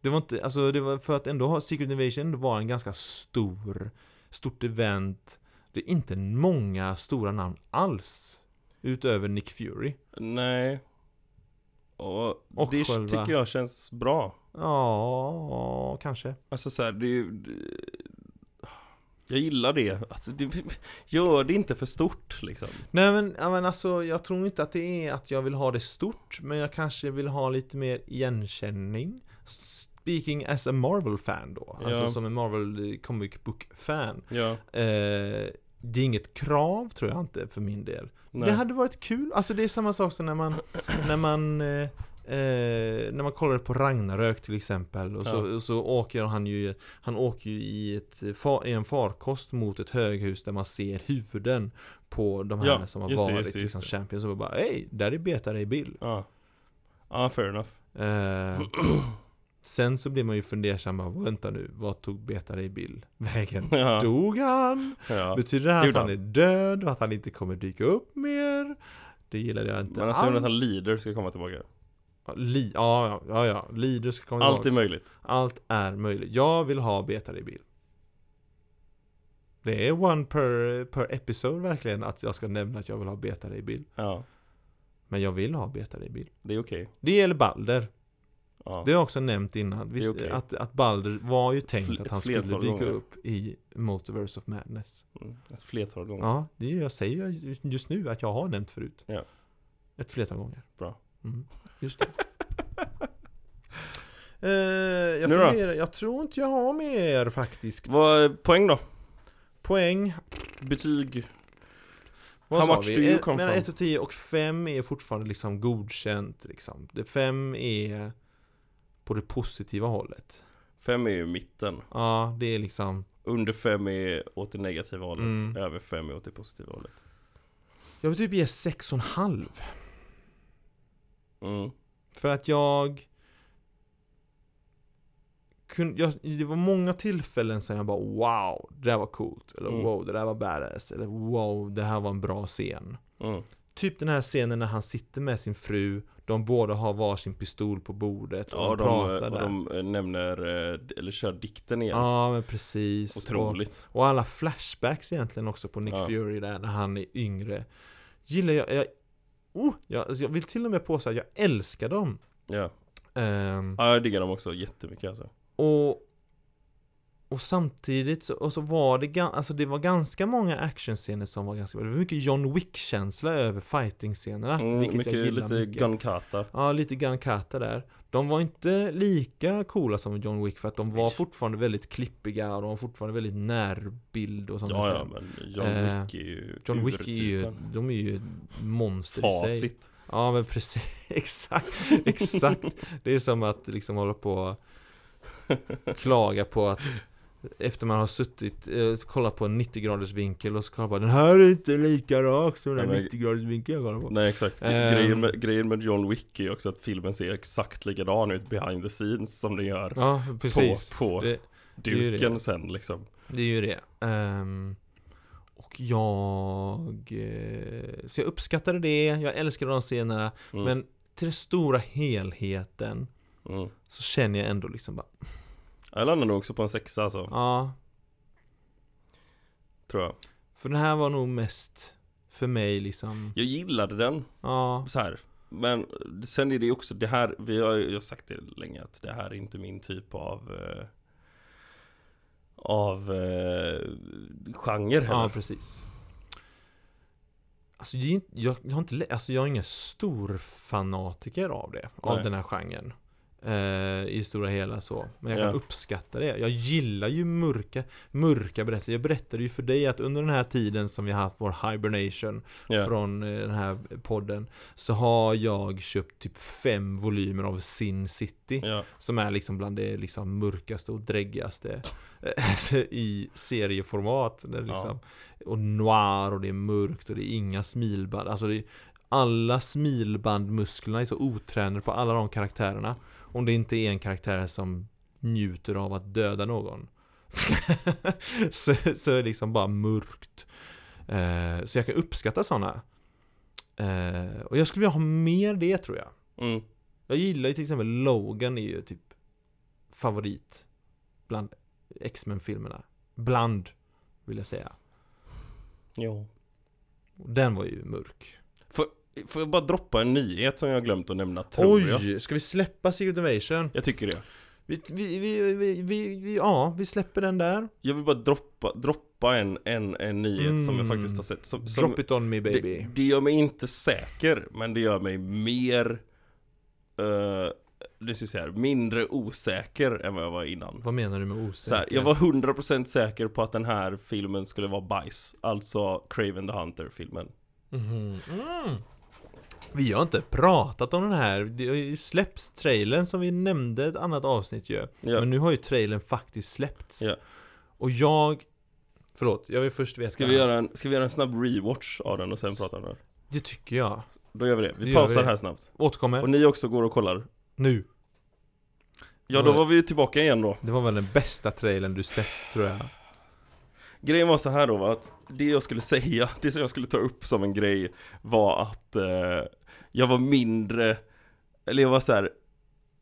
Speaker 2: Det var inte, alltså det var för att ändå ha Secret Invasion var en ganska stor, stort event. Det är inte många stora namn alls. Utöver Nick Fury.
Speaker 1: nej. Och,
Speaker 2: Och
Speaker 1: det
Speaker 2: själva-
Speaker 1: tycker jag känns bra.
Speaker 2: Ja, kanske.
Speaker 1: Alltså så här, det är ju... det- Jag gillar det. Alltså, det. Gör det inte för stort liksom.
Speaker 2: Nej men, ja, men alltså jag tror inte att det är att jag vill ha det stort. Men jag kanske vill ha lite mer igenkänning. Speaking as a Marvel-fan då. Alltså
Speaker 1: Ja.
Speaker 2: som en Marvel eh, comic book-fan.
Speaker 1: Ja,
Speaker 2: Eh, det är inget krav tror jag inte för min del.
Speaker 1: nej.
Speaker 2: Det hade varit kul, alltså det är samma sak som när man När man eh, eh, När man kollar på Ragnarök till exempel och så,
Speaker 1: Ja.
Speaker 2: och så åker han ju Han åker ju i, ett, fa- i en farkost mot ett höghus där man ser huvuden På de här
Speaker 1: Ja,
Speaker 2: som har
Speaker 1: just det,
Speaker 2: varit
Speaker 1: just det, just
Speaker 2: liksom
Speaker 1: det.
Speaker 2: champions och bara Hej, där är Beta Ray Bill
Speaker 1: Ja. ja, fair enough.
Speaker 2: eh, Sen så blir man ju fundersam, bara, vänta nu, vad tog Beta Ray Bill vägen?
Speaker 1: Ja,
Speaker 2: Dog han?
Speaker 1: ja.
Speaker 2: Betyder det
Speaker 1: det
Speaker 2: här att
Speaker 1: gjorde
Speaker 2: han är död och att han inte kommer dyka upp mer? Det gillade jag inte
Speaker 1: Men alltså
Speaker 2: alls.
Speaker 1: Jonathan Leader ska komma tillbaka.
Speaker 2: Ja, Li- ja, ja, ja, ja. Leader ska komma
Speaker 1: Allt är
Speaker 2: tillbaks.
Speaker 1: möjligt.
Speaker 2: Allt är möjligt. Jag vill ha betare i bild. Det är one per, per episode verkligen att jag ska nämna att jag vill ha betare i bild.
Speaker 1: Ja,
Speaker 2: Men jag vill ha betare i bild.
Speaker 1: det är okej.
Speaker 2: Det gäller Balder.
Speaker 1: Ja.
Speaker 2: Det har jag också nämnt innan. Visst,
Speaker 1: okej.
Speaker 2: att, att Balder var ju tänkt
Speaker 1: Fl-
Speaker 2: att han
Speaker 1: ett
Speaker 2: skulle
Speaker 1: flertal
Speaker 2: dyka
Speaker 1: gånger.
Speaker 2: upp i Multiverse of Madness.
Speaker 1: Mm, Ett flertal gånger.
Speaker 2: Ja, det är ju, jag säger ju ju- just nu att jag har nämnt förut.
Speaker 1: Ja.
Speaker 2: Ett flertal gånger.
Speaker 1: Bra.
Speaker 2: Mm, just det. Eh, jag,
Speaker 1: Nu då?
Speaker 2: funderar, jag tror inte jag har mer faktiskt.
Speaker 1: Vad är poäng då?
Speaker 2: Poäng.
Speaker 1: Betyg?
Speaker 2: Vad
Speaker 1: How
Speaker 2: sa
Speaker 1: much
Speaker 2: vi?
Speaker 1: do you
Speaker 2: Eh,
Speaker 1: come
Speaker 2: Mellan
Speaker 1: from?
Speaker 2: 1 och 10 och 5 är fortfarande liksom godkänt. Liksom. Det 5 är på det positiva hållet.
Speaker 1: Fem är ju mitten.
Speaker 2: Ja, det är liksom...
Speaker 1: Under fem är åt det negativa hållet.
Speaker 2: Mm.
Speaker 1: Över fem är åt det positiva hållet.
Speaker 2: Jag vill typ ge 6,5.
Speaker 1: Mm.
Speaker 2: För att jag, kun, jag Det var många tillfällen som jag bara wow, det där var coolt. Eller
Speaker 1: Mm.
Speaker 2: wow, det där var badass. Eller wow, det här var en bra scen.
Speaker 1: Mm.
Speaker 2: Typ den här scenen när han sitter med sin fru, de båda har varsin pistol på bordet och
Speaker 1: Ja, och
Speaker 2: de,
Speaker 1: de,
Speaker 2: pratar
Speaker 1: och
Speaker 2: där.
Speaker 1: de eh, nämner, eh, d- eller kör dikten igen.
Speaker 2: Ja men precis.
Speaker 1: Otroligt.
Speaker 2: Och, och alla flashbacks egentligen också på Nick
Speaker 1: Ja.
Speaker 2: Fury där när han är yngre. Gillar jag, jag, oh, jag, alltså jag vill till och med påstå att jag älskar dem.
Speaker 1: Ja.
Speaker 2: Ehm,
Speaker 1: ja, jag diggar dem också jättemycket alltså.
Speaker 2: Och och samtidigt så, och så var det, gan- alltså det var ganska många actionscener som var ganska bra. Det var mycket John Wick-känsla över fighting-scenerna.
Speaker 1: Mm,
Speaker 2: Ah, vilket
Speaker 1: mycket,
Speaker 2: jag gillar
Speaker 1: lite
Speaker 2: mycket.
Speaker 1: gunkata.
Speaker 2: ja, lite Gun Kata där. De var inte lika coola som John Wick för att de var
Speaker 1: Nej.
Speaker 2: fortfarande väldigt klippiga och de var fortfarande väldigt närbild och sånt
Speaker 1: Ja,
Speaker 2: där.
Speaker 1: ja, men John
Speaker 2: Eh,
Speaker 1: Wick är ju
Speaker 2: John Wick är ju,
Speaker 1: urtypen.
Speaker 2: de är ju monster i sig.
Speaker 1: Facit.
Speaker 2: Ja men precis, exakt, exakt. Det är som att liksom hålla på och klaga på att efter man har suttit, eh, kollat på en 90 graders vinkel och så kollar man på den här är inte lika rak som den
Speaker 1: Nej, men-
Speaker 2: 90 graders vinkeln jag kollar på.
Speaker 1: Nej exakt, G-
Speaker 2: Ehm.
Speaker 1: grejen, med, grejen med John Wick är ju också att filmen ser exakt likadan ut behind the scenes som den gör
Speaker 2: Ja precis.
Speaker 1: på, på
Speaker 2: Det, det är ju det.
Speaker 1: duken sen liksom
Speaker 2: det är ju det. Ehm, och jag... eh, Så jag uppskattade det, jag älskade de scenerna.
Speaker 1: mm.
Speaker 2: Men till den stora helheten
Speaker 1: mm.
Speaker 2: så känner jag ändå liksom bara,
Speaker 1: Jag landar nog också på en sexa alltså,
Speaker 2: ja
Speaker 1: tror jag
Speaker 2: För den här var nog mest för mig liksom
Speaker 1: Jag gillade den
Speaker 2: Ja,
Speaker 1: så här. Men sen är det ju också det här, vi har, ju- jag har sagt det länge att det här är inte min typ av eh, Av eh, genre
Speaker 2: ja
Speaker 1: heller
Speaker 2: precis Alltså, det är inte- jag, jag, har inte, lä- alltså jag är ingen stor fanatiker av det, av
Speaker 1: Nej.
Speaker 2: den här genren eh, I stora hela så, men jag kan
Speaker 1: Ja.
Speaker 2: uppskatta det Jag gillar ju mörka, mörka berättelser Jag berättade ju för dig att under den här tiden som vi har haft vår hibernation
Speaker 1: Ja.
Speaker 2: Från eh, den här podden Så har jag köpt typ fem volymer av Sin City
Speaker 1: ja.
Speaker 2: Som är liksom bland det liksom mörkaste och dräggigaste eh, i serieformat. Där det
Speaker 1: Ja.
Speaker 2: liksom, Och noir och det är mörkt och det är inga smilband. Alltså det är, alla smilbandmusklerna är så otränade på alla de karaktärerna. Om det inte är en karaktär som njuter av att döda någon. så, så är det liksom bara mörkt. Eh, Så jag kan uppskatta sådana. Eh, och jag skulle vilja ha mer det tror jag.
Speaker 1: Mm.
Speaker 2: Jag gillar ju till exempel Logan är ju typ favorit bland X-Men-filmerna. Bland, vill jag säga.
Speaker 1: Ja.
Speaker 2: Och Den var ju mörk.
Speaker 1: Får, får jag bara droppa en nyhet som jag glömt att nämna tror jag?
Speaker 2: Oj! Ska vi släppa Secret Invasion?
Speaker 1: Jag tycker det.
Speaker 2: Vi, vi, vi, vi, vi, vi, ja, vi släpper den där.
Speaker 1: Jag vill bara droppa, droppa en, en, en nyhet som jag
Speaker 2: Mm.
Speaker 1: faktiskt har sett. Som, som,
Speaker 2: Drop it on me baby.
Speaker 1: Det, det gör mig inte säker, men det gör mig mer... Uh, det ska jag säga, här, mindre osäker än vad jag var innan.
Speaker 2: Vad menar du med
Speaker 1: Så
Speaker 2: osäker?
Speaker 1: här, jag var 100% säker på att den här filmen skulle vara bajs. Alltså Craven the Hunter-filmen.
Speaker 2: Mhm. Mm. Vi har inte pratat om den här. Det har ju släppts trailern som vi nämnde i ett annat avsnitt ju.
Speaker 1: Ja.
Speaker 2: Men nu har ju trailern faktiskt släppts.
Speaker 1: Ja.
Speaker 2: Och jag... Förlåt, jag vill först veta.
Speaker 1: Ska vi, göra en, ska vi göra en snabb rewatch av den och sen prata om den?
Speaker 2: Det tycker jag.
Speaker 1: Då gör vi det. Vi
Speaker 2: Det gör
Speaker 1: pausar
Speaker 2: vi.
Speaker 1: här snabbt.
Speaker 2: Återkommer.
Speaker 1: Och ni också går och kollar.
Speaker 2: Nu.
Speaker 1: Ja, då var vi tillbaka igen då.
Speaker 2: Det var väl den bästa trailern du sett tror jag.
Speaker 1: Grejen var så här då va, att det jag skulle säga, det som jag skulle ta upp som en grej var att eh, jag var mindre, eller jag var så här.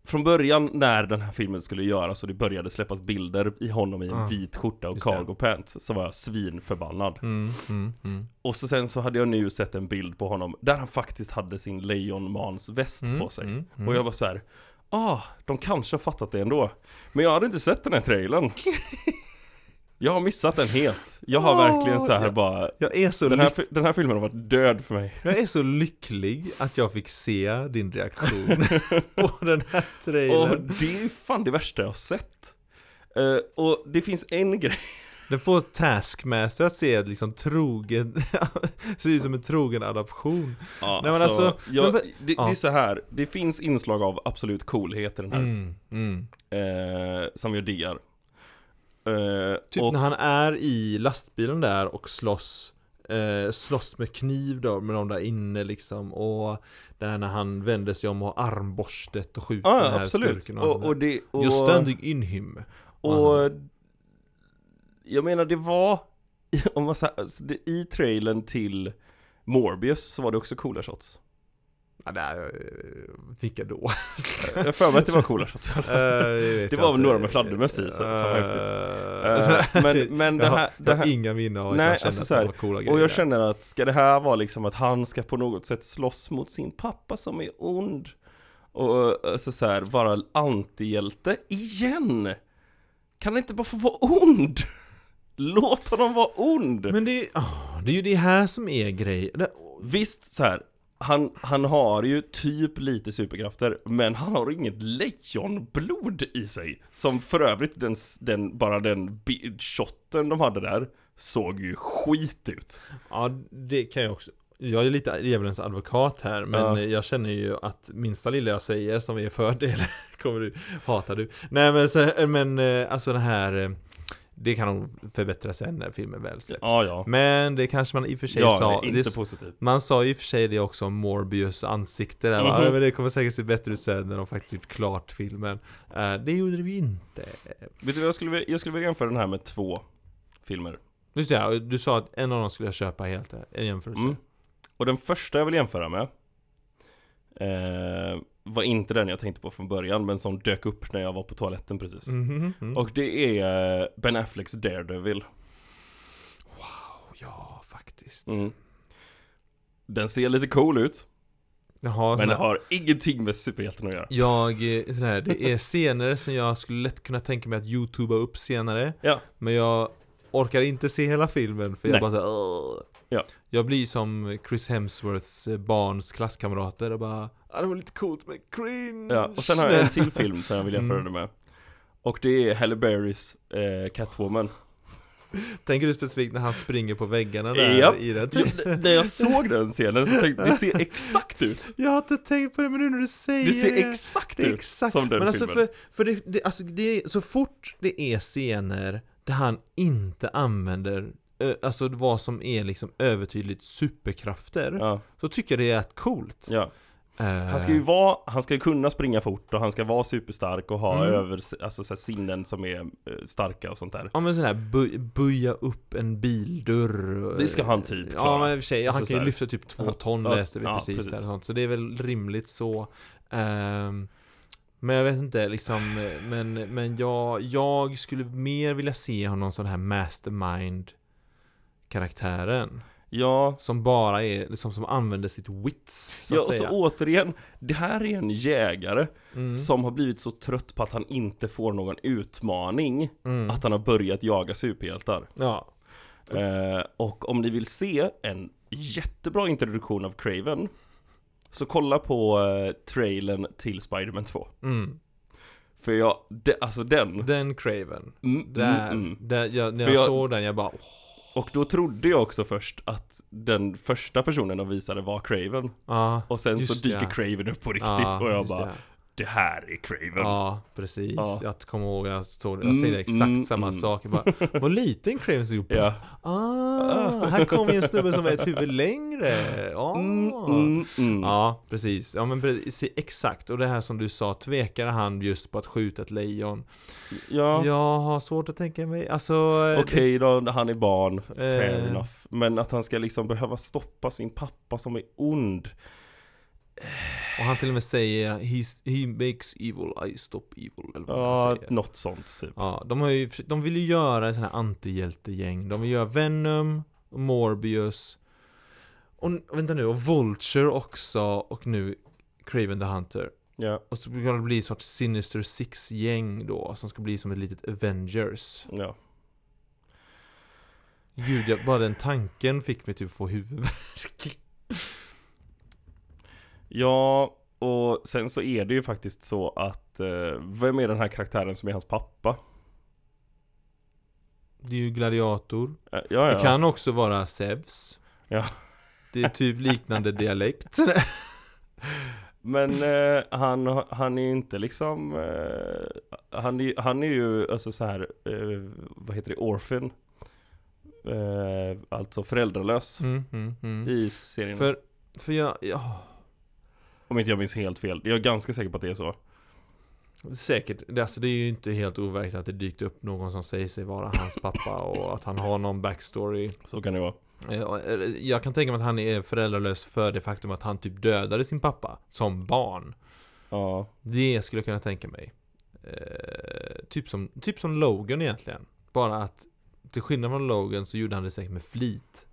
Speaker 1: Från början när den här filmen skulle göras och det började släppas bilder i honom i en
Speaker 2: Ah,
Speaker 1: vit skjorta och
Speaker 2: just det.
Speaker 1: cargo pants så var jag svinförbannad.
Speaker 2: Mm, mm, mm.
Speaker 1: Och så sen så hade jag nu sett en bild på honom där han faktiskt hade sin lejonmansväst
Speaker 2: Mm,
Speaker 1: på sig.
Speaker 2: mm, mm.
Speaker 1: Och jag var så här. ah, de kanske har fattat det ändå. Men jag hade inte sett den här trailern. jag har missat den helt. Jag har
Speaker 2: Åh,
Speaker 1: verkligen så här
Speaker 2: ja.
Speaker 1: bara,
Speaker 2: Jag är så
Speaker 1: den här, fi- den här filmen har varit död för mig.
Speaker 2: Jag är så lycklig att jag fick se din reaktion på den här
Speaker 1: Och
Speaker 2: trailern.
Speaker 1: det är ju fan det värsta jag har sett. Eh, och det finns en grej,
Speaker 2: Den får Taskmaster att se liksom trogen, ser ut som en trogen adaption.
Speaker 1: ja,
Speaker 2: Nej, men
Speaker 1: alltså,
Speaker 2: alltså,
Speaker 1: jag,
Speaker 2: men vad-
Speaker 1: det,
Speaker 2: ja.
Speaker 1: det är så här, det finns inslag av absolut coolhet i den här,
Speaker 2: Mm, mm.
Speaker 1: eh, som jag diggar. Eh,
Speaker 2: Typ
Speaker 1: och,
Speaker 2: när han är i lastbilen där och slåss eh, Slåss med kniv då med de där inne liksom och Där när han vänder sig om och har armborstet och skjuter
Speaker 1: ja,
Speaker 2: den här
Speaker 1: absolut.
Speaker 2: skurken
Speaker 1: Och, och
Speaker 2: och,
Speaker 1: det, och,
Speaker 2: och Just standing in him
Speaker 1: Och jag menar det var, om man säger, alltså, det- i trailern till Morbius så var det också coola shots.
Speaker 2: ja, där, Vilka då?
Speaker 1: Jag har för mig att det var coola shots.
Speaker 2: Eh, jag vet
Speaker 1: Det var
Speaker 2: inte.
Speaker 1: några med fladdermöss i, så- som var häftigt.
Speaker 2: Eh,
Speaker 1: Eh, men men det
Speaker 2: jag har-
Speaker 1: här, det
Speaker 2: Jag har
Speaker 1: här
Speaker 2: inga minnen av att
Speaker 1: Nej,
Speaker 2: jag kände
Speaker 1: alltså
Speaker 2: att
Speaker 1: så här,
Speaker 2: det var coola grejer
Speaker 1: och jag känner att ska det här vara liksom att han ska på något sätt slåss mot sin pappa som är ond och alltså så här, vara antihjälte igen? Kan han inte bara få vara ond? Låt honom vara ond!
Speaker 2: Men det är, åh, det är ju det här som är grejen Det-
Speaker 1: Visst så här. Han, han har ju typ lite superkrafter, men han har inget lejonblod i sig. Som för övrigt, den, s- den, bara den bi- shotten de hade där såg ju skit ut.
Speaker 2: Ja, det kan jag också. Jag är lite djävulens advokat här, men
Speaker 1: Ja.
Speaker 2: jag känner ju att minsta lilla jag säger som är fördel kommer du, hatar du. Nej men, så, men eh, alltså den här, eh, det kan nog förbättras sen när filmen väl släpps.
Speaker 1: Ja, ja.
Speaker 2: Men det kanske man i och för sig
Speaker 1: Ja,
Speaker 2: sa,
Speaker 1: det är inte
Speaker 2: det,
Speaker 1: positivt.
Speaker 2: man sa ju i och för sig det också om Morbius ansikte där, va?
Speaker 1: Mhm.
Speaker 2: Ja, men det kommer säkert se bättre ut sen när de faktiskt gjort klart filmen. Eh, det gjorde det ju inte.
Speaker 1: Vet du vad, jag skulle, vilja- jag skulle vilja jämföra den här med två filmer.
Speaker 2: Just det, ja, du sa att en av dem skulle jag köpa helt, eh, en jämförelse.
Speaker 1: Mm. Och den första jag vill jämföra med eh, var inte den jag tänkte på från början, men som dök upp när jag var på toaletten precis.
Speaker 2: Mhm, mm.
Speaker 1: Och det är eh, Ben Afflecks Daredevil.
Speaker 2: Ja, faktiskt.
Speaker 1: Mm. Den ser lite cool ut,
Speaker 2: Den har
Speaker 1: men
Speaker 2: såna,
Speaker 1: den har ingenting med superhjälten att göra.
Speaker 2: Jag, eh, sån här, det är scener som jag skulle lätt kunna tänka mig att youtuba upp senare
Speaker 1: Ja.
Speaker 2: Men jag orkar inte se hela filmen för
Speaker 1: Nej.
Speaker 2: jag bara såhär "Åh."
Speaker 1: Ja.
Speaker 2: Jag blir som Chris Hemsworths eh, barns klasskamrater och bara ah, det var lite coolt men cringe
Speaker 1: Ja, och sen har jag en till film som jag
Speaker 2: Mm.
Speaker 1: vill jämföra det med. Och det är Halle Berrys eh, Catwoman.
Speaker 2: Tänker du specifikt när han springer på väggarna där
Speaker 1: Japp.
Speaker 2: i den
Speaker 1: Jag, n- när jag såg den scenen så tänkte jag, det ser exakt ut!
Speaker 2: Jag har inte tänkt på det men nu när du säger
Speaker 1: Det ser exakt
Speaker 2: Det är
Speaker 1: ut
Speaker 2: Exakt.
Speaker 1: Typ, som den
Speaker 2: men alltså
Speaker 1: filmen.
Speaker 2: för, för det, det, alltså det, är- så fort det är scener där han inte använder ö, Alltså vad som är liksom övertydligt superkrafter
Speaker 1: Ja,
Speaker 2: Så tycker jag det är coolt Eh,
Speaker 1: ja. Han
Speaker 2: Äh.
Speaker 1: ska ju vara, han ska ju kunna springa fort och han ska vara superstark och ha
Speaker 2: Mm.
Speaker 1: över, alltså så här, sinnen som är eh, starka och sånt där.
Speaker 2: Ja men sån här bö- böja upp en bildörr
Speaker 1: Det ska han typ
Speaker 2: Eh, Ja
Speaker 1: klara.
Speaker 2: men i och för sig,
Speaker 1: Alltså
Speaker 2: han
Speaker 1: så
Speaker 2: kan ju
Speaker 1: här-
Speaker 2: lyfta typ två
Speaker 1: Ja,
Speaker 2: ton
Speaker 1: ja,
Speaker 2: läste vi
Speaker 1: ja,
Speaker 2: precis,
Speaker 1: precis.
Speaker 2: Där, och sånt, så det är väl rimligt så Ehm, Men jag vet inte liksom eh, Men, men jag, jag skulle mer vilja se honom som den här mastermind Karaktären
Speaker 1: Ja,
Speaker 2: Som bara är, liksom som använder sitt wits så
Speaker 1: ja
Speaker 2: att
Speaker 1: och så
Speaker 2: säga
Speaker 1: återigen, det här är en jägare
Speaker 2: mm,
Speaker 1: som har blivit så trött på att han inte får någon utmaning
Speaker 2: mm,
Speaker 1: att han har börjat jaga superhjältar.
Speaker 2: Ja Mm.
Speaker 1: Eh, och om ni vill se en jättebra introduktion av Craven så kolla på eh, trailern till Spider-Man 2.
Speaker 2: mm.
Speaker 1: För jag, de, alltså den,
Speaker 2: Den Craven
Speaker 1: mm,
Speaker 2: Där,
Speaker 1: mm, mm.
Speaker 2: där jag, när
Speaker 1: För
Speaker 2: jag,
Speaker 1: jag-
Speaker 2: såg den jag bara åh,
Speaker 1: Och då trodde jag också först att den första personen de visade var Craven
Speaker 2: ja,
Speaker 1: Och sen
Speaker 2: Just
Speaker 1: så dyker
Speaker 2: det.
Speaker 1: Craven upp på riktigt
Speaker 2: ja,
Speaker 1: och jag
Speaker 2: just
Speaker 1: bara
Speaker 2: det.
Speaker 1: Det här är Craven
Speaker 2: Ja, precis.
Speaker 1: Ja.
Speaker 2: Jag kommer ihåg, jag såg jag
Speaker 1: Mm,
Speaker 2: säger exakt
Speaker 1: mm,
Speaker 2: samma
Speaker 1: mm.
Speaker 2: sak. Jag bara, vad liten Craven såg upp.
Speaker 1: Ja.
Speaker 2: Ah, här kom ju en snubbe som var ett huvud längre. Ah.
Speaker 1: Mm, mm, mm.
Speaker 2: Ja, precis. Ja, men precis. Exakt. Och det här som du sa, tvekade han just på att skjuta ett lejon?
Speaker 1: ja.
Speaker 2: Jag har svårt att tänka mig, alltså...
Speaker 1: Okej då, han är barn, fair
Speaker 2: Eh.
Speaker 1: enough Men att han ska liksom behöva stoppa sin pappa som är ond
Speaker 2: Och han till och med säger, "He's- he makes evil, I stop evil. Eller vad han
Speaker 1: Ja,
Speaker 2: säger.
Speaker 1: något sånt typ
Speaker 2: Ja, de, har ju, de vill ju göra en sån här antihjältegäng. De vill göra Venom, Morbius, och vänta nu, och Vulture också, och nu Craven the Hunter.
Speaker 1: Ja,
Speaker 2: Och så kan det bli ett sorts Sinister Six-gäng då, som ska bli som ett litet Avengers.
Speaker 1: ja
Speaker 2: Gud, jag, bara den tanken fick mig typ få huvudvärk.
Speaker 1: Ja, och sen så är det ju faktiskt så att eh, Vem är den här karaktären som är hans pappa?
Speaker 2: Det är ju Gladiator.
Speaker 1: Eh, ja, ja.
Speaker 2: Det kan också vara Zeus.
Speaker 1: Ja.
Speaker 2: Det är typ liknande dialekt.
Speaker 1: Men eh, han, han är ju inte liksom eh, han, är, han är ju alltså så här eh, Vad heter det? Orphan eh, Alltså föräldralös
Speaker 2: Mm, mm, mm.
Speaker 1: I serien
Speaker 2: För, för jag, ja.
Speaker 1: Om inte jag minns helt fel Jag är ganska säker på att det är så
Speaker 2: Säkert. Det, alltså, det är ju inte helt overkligt att det dykt upp någon som säger sig vara hans pappa och att han har någon backstory.
Speaker 1: Så kan det vara
Speaker 2: Eh, och, eh, Jag kan tänka mig att han är föräldralös för det faktum att han typ dödade sin pappa som barn.
Speaker 1: Ja
Speaker 2: Det skulle jag kunna tänka mig. Eh, typ, som, typ som Logan egentligen. Bara att till skillnad från Logan så gjorde han det säkert med flit.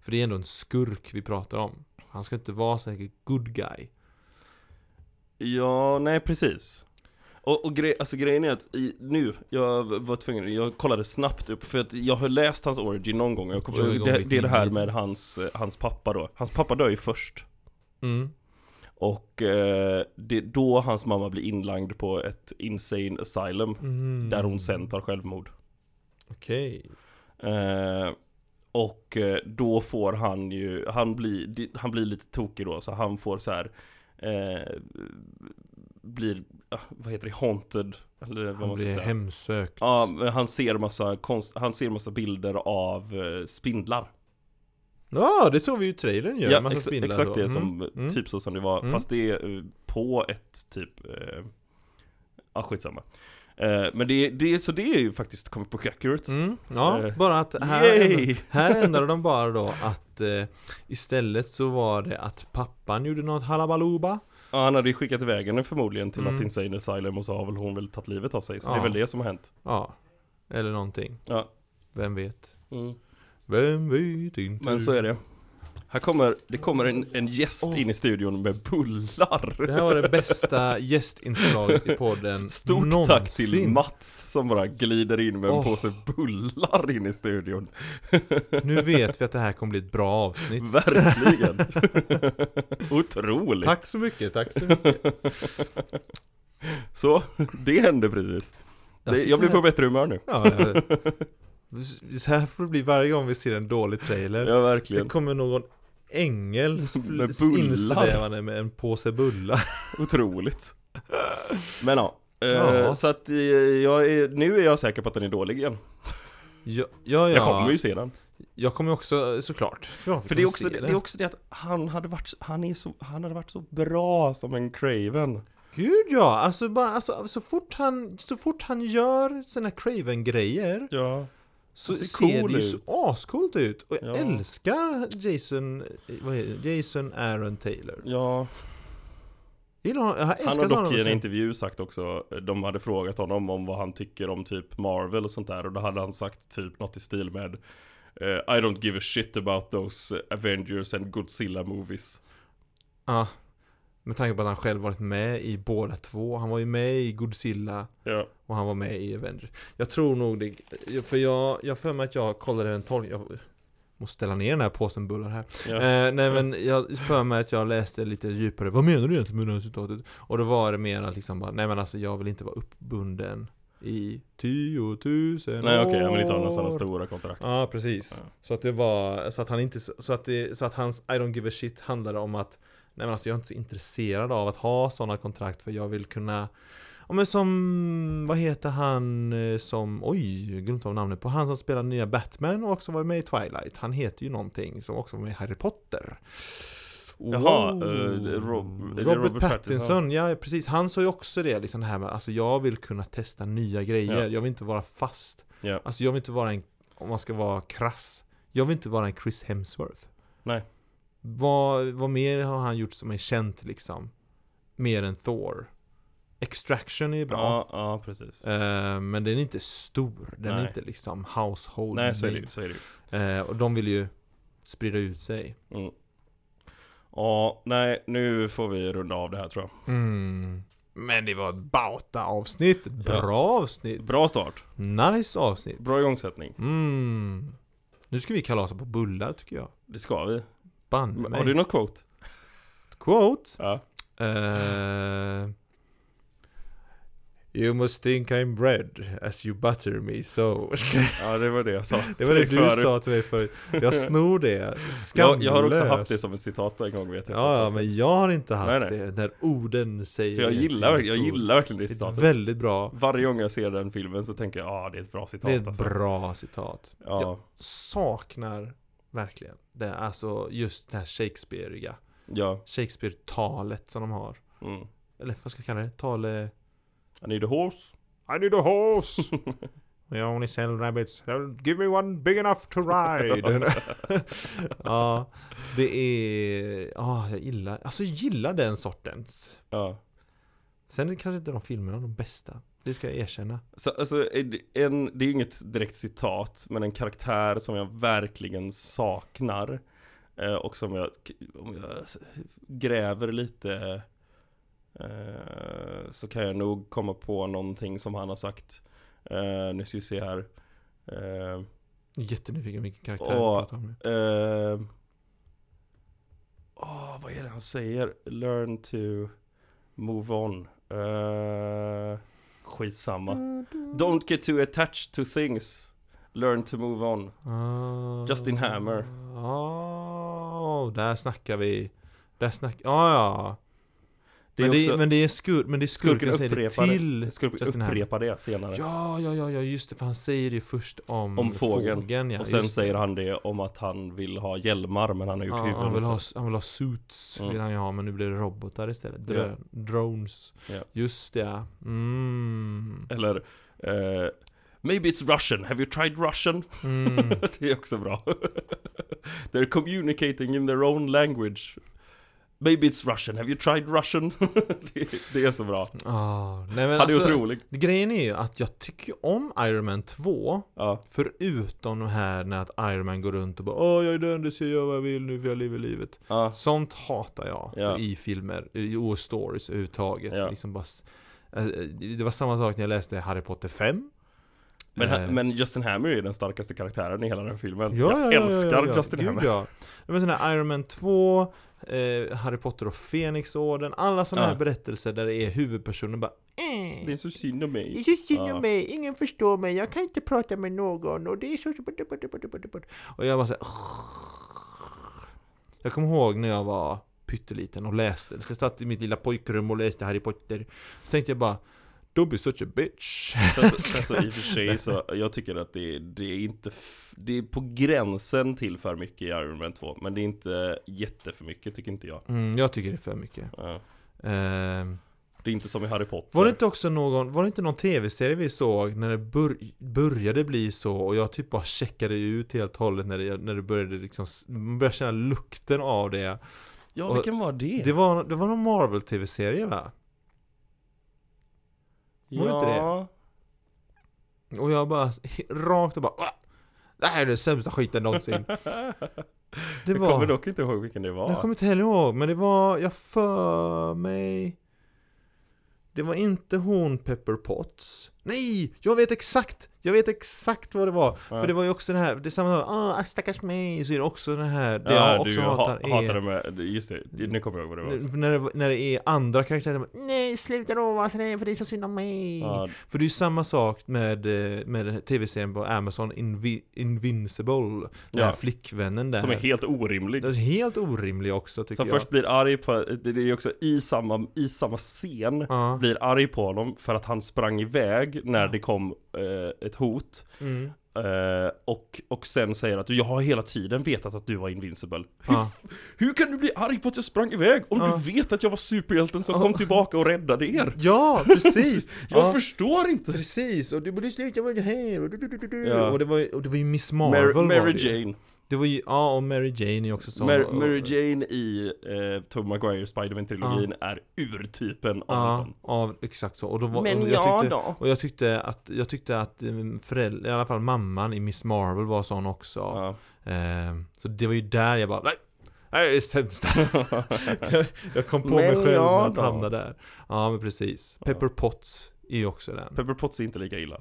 Speaker 2: För det är ändå en skurk vi pratar om. Han ska inte vara säkert good guy.
Speaker 1: Ja, nej precis och, och grej, alltså grejen är att i, nu, jag var tvungen, jag kollade snabbt upp för att jag har läst hans origin någon gång jag
Speaker 2: Jag är
Speaker 1: kommer,
Speaker 2: igång
Speaker 1: det,
Speaker 2: mitt
Speaker 1: det är det här
Speaker 2: inne i det.
Speaker 1: med hans, eh, hans pappa då Hans pappa dör ju först
Speaker 2: Mm.
Speaker 1: Och eh, det är då hans mamma blir inlagd på ett insane asylum
Speaker 2: Mm.
Speaker 1: Där hon sen tar självmord
Speaker 2: Okej.
Speaker 1: eh, Och eh, då får han ju, han blir, di- han blir lite tokig då så han får så här eh, Blir, ah, vad heter det, haunted? Eller vad
Speaker 2: Han
Speaker 1: man ska
Speaker 2: blir
Speaker 1: säga
Speaker 2: hemsökt.
Speaker 1: Ja, men han ser massa konst, han ser massa bilder av eh, spindlar
Speaker 2: Ja, det såg vi ju i trailern ju.
Speaker 1: Ja,
Speaker 2: massa
Speaker 1: ex-
Speaker 2: spindlar
Speaker 1: exakt
Speaker 2: så.
Speaker 1: det
Speaker 2: Mm,
Speaker 1: som,
Speaker 2: mm.
Speaker 1: typ så som det var
Speaker 2: Mm.
Speaker 1: Fast det är eh, på ett typ eh, Ja skitsamma eh, Men det, det, så det är ju faktiskt comic book accurate
Speaker 2: Mm. Ja,
Speaker 1: Eh,
Speaker 2: bara att här, ändå,
Speaker 1: Yay!
Speaker 2: här ändrade de bara då att eh, istället så var det att pappan gjorde något halabaluba.
Speaker 1: Ja, han hade ju skickat iväg henne förmodligen till
Speaker 2: Mm.
Speaker 1: något insane asylum och så har väl hon väl tagit livet av sig Så
Speaker 2: Ja.
Speaker 1: det är väl det som har hänt
Speaker 2: Ja, eller någonting.
Speaker 1: Ja.
Speaker 2: Vem vet? Vem vet inte?
Speaker 1: Men så är det Här kommer, det kommer en, en gäst
Speaker 2: Åh.
Speaker 1: in i studion med bullar
Speaker 2: Det här var det bästa gästinslaget i podden
Speaker 1: Stort
Speaker 2: någonsin.
Speaker 1: tack till Mats som bara glider in med en
Speaker 2: Åh.
Speaker 1: påse bullar in i studion
Speaker 2: Nu vet vi att det här kommer bli ett bra avsnitt.
Speaker 1: Verkligen! Otroligt!
Speaker 2: Tack så mycket, tack så mycket.
Speaker 1: Så, det hände precis. Det, jag blir på bättre humör nu.
Speaker 2: Ja, ja. Så här får det bli varje gång vi ser en dålig trailer.
Speaker 1: Ja,
Speaker 2: Det
Speaker 1: verkligen.
Speaker 2: kommer någon ängel
Speaker 1: Med
Speaker 2: fl-
Speaker 1: bullar.
Speaker 2: insvävande med en påse bullar.
Speaker 1: Otroligt. Men ja. eh,
Speaker 2: Ja.
Speaker 1: Så att eh, jag är, nu är jag säker på att den är dålig igen.
Speaker 2: Ja, ja, ja.
Speaker 1: Jag kommer ju se den.
Speaker 2: Jag kommer ju också eh, såklart. såklart
Speaker 1: För det är, också, det. är också det att han hade varit, så- han är så, han hade varit så bra som en Craven.
Speaker 2: Gud ja! Alltså, bara, alltså så, fort han, så fort han gör sina Craven-grejer
Speaker 1: Ja.
Speaker 2: så
Speaker 1: Han ser
Speaker 2: ser,
Speaker 1: cool
Speaker 2: det ju så
Speaker 1: ut.
Speaker 2: ascoolt ut. Och jag
Speaker 1: Ja.
Speaker 2: älskar Jason, eh, vad heter det? Jason Aaron Taylor.
Speaker 1: Ja,
Speaker 2: Jag gillar honom- Jag har älskat
Speaker 1: han har dock i en
Speaker 2: sen-
Speaker 1: intervju sagt också, de hade frågat honom om vad han tycker om typ Marvel och sånt där och då hade han sagt typ något i stil med eh, I don't give a shit about those Avengers and Godzilla movies.
Speaker 2: Ja. Med tanke på att han själv varit med i båda två. Han var ju med i Godzilla
Speaker 1: Ja,
Speaker 2: och han var med i Avengers. Jag tror nog det, för jag, jag har för mig att jag kollade en tolk, jag måste ställa ner den här påsen bullar här.
Speaker 1: ja.
Speaker 2: Eh, nej men jag har för mig att jag läste lite djupare, vad menar du egentligen med det här citatet? Och då var det mer att liksom bara, nej men alltså jag vill inte vara uppbunden i tiotusen år.
Speaker 1: Nej okej, jag vill inte ha några sådana stora kontrakt.
Speaker 2: Ja, precis.
Speaker 1: Ja.
Speaker 2: Så att det var, så att han inte, så att, det, så att hans I don't give a shit handlade om att Nej men alltså jag är inte så intresserad av att ha sådana kontrakt för jag vill kunna Ja men som, vad heter han eh, som, oj, jag glömde av namnet på Han som spelar nya Batman och också var med i Twilight Han heter ju någonting som också var med i Harry Potter
Speaker 1: Jaha,
Speaker 2: Wow.
Speaker 1: eh, Rob- är det
Speaker 2: Robert,
Speaker 1: Robert
Speaker 2: Pattinson, ja precis Han sa ju också det liksom det här med Alltså jag vill kunna testa nya grejer
Speaker 1: Ja.
Speaker 2: Jag vill inte vara fast
Speaker 1: Ja.
Speaker 2: Alltså jag vill inte vara en, om man ska vara krass Jag vill inte vara en Chris Hemsworth
Speaker 1: Nej.
Speaker 2: Vad, vad mer har han gjort som är känt liksom? Mer än Thor Extraction är ju bra
Speaker 1: Ja, ja precis.
Speaker 2: eh, Men den är inte stor, den
Speaker 1: Nej.
Speaker 2: är inte liksom household
Speaker 1: Nej så är det
Speaker 2: name.
Speaker 1: ju, så är det ju.
Speaker 2: Eh, Och de vill ju sprida ut sig
Speaker 1: Mm. Ja, nej nu får vi runda av det här tror jag.
Speaker 2: Mm. Men det var ett Bauta-avsnitt, bra avsnitt
Speaker 1: Bra start,
Speaker 2: Nice avsnitt
Speaker 1: bra igångsättning.
Speaker 2: mm. Nu ska vi kalasa på bullar tycker jag
Speaker 1: Det ska vi.
Speaker 2: Banne mig
Speaker 1: Har du något quote?
Speaker 2: Quote
Speaker 1: Ja.
Speaker 2: Uh, you must think I'm bread as you butter me so.
Speaker 1: ja, det var det jag sa.
Speaker 2: Det var det
Speaker 1: till
Speaker 2: du
Speaker 1: dig
Speaker 2: sa till mig förut. Jag snor det.
Speaker 1: Jag,
Speaker 2: Skamlöst.
Speaker 1: jag har också haft det som ett citat en gång vet jag.
Speaker 2: Ja, ja, men jag har inte haft
Speaker 1: Nej, nej.
Speaker 2: det. När orden säger...
Speaker 1: För jag gillar, verk- jag
Speaker 2: egentligen ett ord.
Speaker 1: gillar verkligen det
Speaker 2: Det är ett
Speaker 1: citatet.
Speaker 2: väldigt bra.
Speaker 1: Varje gång jag ser den filmen så tänker jag, ja ah, det är ett bra citat
Speaker 2: Det är ett
Speaker 1: alltså.
Speaker 2: bra citat.
Speaker 1: Ja,
Speaker 2: Saknar verkligen det. Alltså just det här Shakespeare-iga.
Speaker 1: ja.
Speaker 2: Shakespeare-talet som de har.
Speaker 1: Mm.
Speaker 2: Eller vad ska jag kalla det? Tale...
Speaker 1: I need a horse.
Speaker 2: I need a horse! We only sell rabbits. Well, Give me one big enough to ride! ja, det är... Ja, jag gillar... Alltså jag gillar den sortens.
Speaker 1: Ja.
Speaker 2: Sen är kanske inte de filmerna de bästa. Det ska jag erkänna.
Speaker 1: Så, alltså, är det en, det är ju inget direkt citat, men en karaktär som jag verkligen saknar. eh, Och som jag, om jag s- gräver lite eh, så kan jag nog komma på någonting som han har sagt. Eh, Nu ska vi se här. Eh,
Speaker 2: Jag är Jättenyfiken vilken karaktär
Speaker 1: Åh.
Speaker 2: vi pratar om nu.
Speaker 1: Eh, åh, vad är det han säger? Learn to move on. Eh, skitsamma.
Speaker 2: Ah.
Speaker 1: Don't get too attached to things. Learn to move on.
Speaker 2: Ah.
Speaker 1: Justin Hammer.
Speaker 2: Ja, Ah, där snackar vi. Där snackar... Ja, ja.
Speaker 1: Det är
Speaker 2: men, det är,
Speaker 1: också-
Speaker 2: men det är skurk, men det är skurken som säger det
Speaker 1: upprepa det.
Speaker 2: till
Speaker 1: Jag skulle
Speaker 2: Justin Hammer.
Speaker 1: upprepa det senare.
Speaker 2: Ja, ja, ja, ja, just det, för han säger det först om,
Speaker 1: Om fågeln.
Speaker 2: ja,
Speaker 1: Och sen
Speaker 2: just
Speaker 1: säger han det om att han vill ha hjälmar men han typ har
Speaker 2: det.
Speaker 1: gjort
Speaker 2: ja,
Speaker 1: huvudet
Speaker 2: han, vill ha,
Speaker 1: nästan.
Speaker 2: han vill ha suits,
Speaker 1: Mm.
Speaker 2: vill han ju ha, men nu blir det robotar istället. Drö, Drones.
Speaker 1: Ja.
Speaker 2: Just det, ja. Mm.
Speaker 1: Eller eh, Maybe it's Russian, have you tried Russian?
Speaker 2: Mm.
Speaker 1: Det är också bra. They're communicating in their own language. Maybe it's Russian, have you tried Russian? det, det är så bra.
Speaker 2: Ah, nej, men
Speaker 1: Han är
Speaker 2: alltså,
Speaker 1: otrolig.
Speaker 2: grejen är ju att jag tycker ju om Iron Man 2,
Speaker 1: Ja,
Speaker 2: förutom de här när att Iron Man går runt och bara Åh, jag är döende så jag gör vad jag vill nu för jag lever livet.
Speaker 1: ja,
Speaker 2: Sånt hatar jag
Speaker 1: Ja.
Speaker 2: i filmer, i och stories överhuvudtaget.
Speaker 1: Ja.
Speaker 2: Liksom bara, s- eh, det var samma sak när jag läste Harry Potter 5.
Speaker 1: men,
Speaker 2: Eh,
Speaker 1: han- men Justin Hammer är den starkaste karaktären i hela den här filmen.
Speaker 2: ja, ja, ja,
Speaker 1: jag
Speaker 2: ja,
Speaker 1: älskar
Speaker 2: ja, ja.
Speaker 1: Justin
Speaker 2: Gud,
Speaker 1: Hammer.
Speaker 2: Ja. Det var sådana här Iron Man 2, eh, Harry Potter och Fenixorden, alla sådana
Speaker 1: Ja.
Speaker 2: här berättelser där det är huvudpersonen bara eh.
Speaker 1: Det är så synd om mig.
Speaker 2: Det är så synd om
Speaker 1: Ja.
Speaker 2: mig, ingen förstår mig, jag kan inte prata med någon och det är så... Och jag bara såhär... Jag kommer ihåg när jag var pytteliten och läste, så jag satt i mitt lilla pojkrum och läste Harry Potter. Så tänkte jag bara... Don't be such a bitch.
Speaker 1: Sen så, sen så i och för sig så, jag tycker att det, det är inte, f- det är på gränsen till för mycket i Iron Man 2. Men det är inte jätteför mycket tycker inte jag.
Speaker 2: Mm, jag tycker det är för mycket.
Speaker 1: Ja.
Speaker 2: Ehm,
Speaker 1: Det är inte som i Harry Potter.
Speaker 2: var det inte också någon, var det inte någon tv-serie vi såg när det bör, började bli så och jag typ bara checkade ut helt och hållet när det, när det började liksom, s- man började känna lukten av det.
Speaker 1: Ja,
Speaker 2: och-
Speaker 1: vilken var det?
Speaker 2: Det var, det var någon Marvel-tv-serie va? var det inte det?
Speaker 1: ja,
Speaker 2: Och jag bara, rakt och bara "Åh, Det här är den sämsta skiten någonsin. Det
Speaker 1: Jag kommer
Speaker 2: var...
Speaker 1: dock inte ihåg vilken det var.
Speaker 2: Jag kommer inte heller ihåg, men det var, jag för mig Det var inte hon Pepper Potts Nej! Jag vet exakt! Jag vet exakt vad det var!
Speaker 1: Ja.
Speaker 2: För det var ju också det här, det är samma sak, ah stackars mig! Så är det också det här, det
Speaker 1: ja,
Speaker 2: jag också
Speaker 1: du
Speaker 2: hatar
Speaker 1: ha, hatar det med, just det, nu kommer jag ihåg vad det var.
Speaker 2: är när det, när det är andra karaktärer som bara, Nej sluta då, alltså, nej, för det är så synd om mig!
Speaker 1: Ja,
Speaker 2: För det är ju samma sak med, eh, med tv-serien på Amazon Invi- Invincible Den
Speaker 1: Ja.
Speaker 2: här flickvännen där
Speaker 1: som är helt orimlig.
Speaker 2: Det är helt orimlig också tycker
Speaker 1: Som
Speaker 2: jag
Speaker 1: först blir arg på, det är ju också i samma, i samma scen
Speaker 2: Ja.
Speaker 1: Blir arg på honom för att han sprang iväg när det kom eh, ett hot
Speaker 2: Mm.
Speaker 1: eh, och, och sen säger att jag har hela tiden vetat att du var invincible
Speaker 2: Ja.
Speaker 1: Hur kan du bli arg på att jag sprang iväg om
Speaker 2: Ja.
Speaker 1: du vet att jag var superhjälten som kom tillbaka och räddade er?
Speaker 2: Ja, precis!
Speaker 1: Jag
Speaker 2: ja,
Speaker 1: förstår inte!
Speaker 2: Precis, och du borde sluta vara här och du, du, du, du, du.
Speaker 1: Ja.
Speaker 2: Och, det var, ju- och det var ju Miss Marvel
Speaker 1: Mary,
Speaker 2: var
Speaker 1: Mary
Speaker 2: det ju.
Speaker 1: Jane
Speaker 2: Det var ju, ja och Mary Jane är också sån
Speaker 1: Mary,
Speaker 2: och-
Speaker 1: Mary Jane i eh, Tobey Maguire Spiderman-trilogin är urtypen av en
Speaker 2: Ja,
Speaker 1: sån
Speaker 2: av, exakt så. Och då var,
Speaker 1: Men
Speaker 2: och
Speaker 1: ja
Speaker 2: tyckte,
Speaker 1: då.
Speaker 2: Och jag tyckte att, jag tyckte att eh, föräldrar, i alla fall mamman i Miss Marvel var sån också
Speaker 1: Ja.
Speaker 2: Ehm, Så det var ju där jag bara nej! Det här är det sämsta! jag, jag kom på mig
Speaker 1: Men
Speaker 2: själv
Speaker 1: ja
Speaker 2: när att
Speaker 1: då.
Speaker 2: hamna där Ja men precis, Pepper Potts är ju också den
Speaker 1: Pepper Potts är inte lika illa.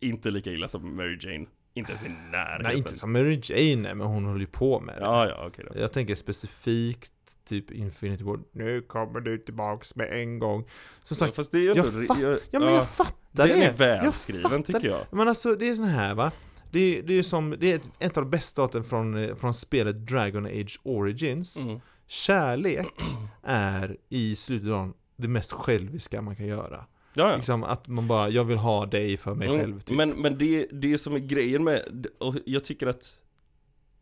Speaker 1: Inte lika illa som Mary Jane. Inte ens i närheten.
Speaker 2: Nej inte som Mary Jane, nej, men hon håller ju på med det
Speaker 1: Ja, ja, okej då.
Speaker 2: Jag tänker specifikt typ Infinity War. Nu kommer du tillbaks med en gång. Som sagt,
Speaker 1: Fast det är ju
Speaker 2: jag
Speaker 1: inte-
Speaker 2: fatt-
Speaker 1: jag-
Speaker 2: ja men jag fattar
Speaker 1: Den
Speaker 2: det.
Speaker 1: är välskriven
Speaker 2: jag.
Speaker 1: tycker jag.
Speaker 2: fattar- Men alltså det är sån här va. Det är, det är som, det är ett, ett av de bästa staten från, eh, från spelet Dragon Age Origins.
Speaker 1: Mm.
Speaker 2: Kärlek är i slutändan det mest själviska man kan göra.
Speaker 1: Ja, ja.
Speaker 2: Liksom att man bara, jag vill ha dig för mig
Speaker 1: Mm.
Speaker 2: själv typ.
Speaker 1: Men, men det, det som är grejen med, och jag tycker att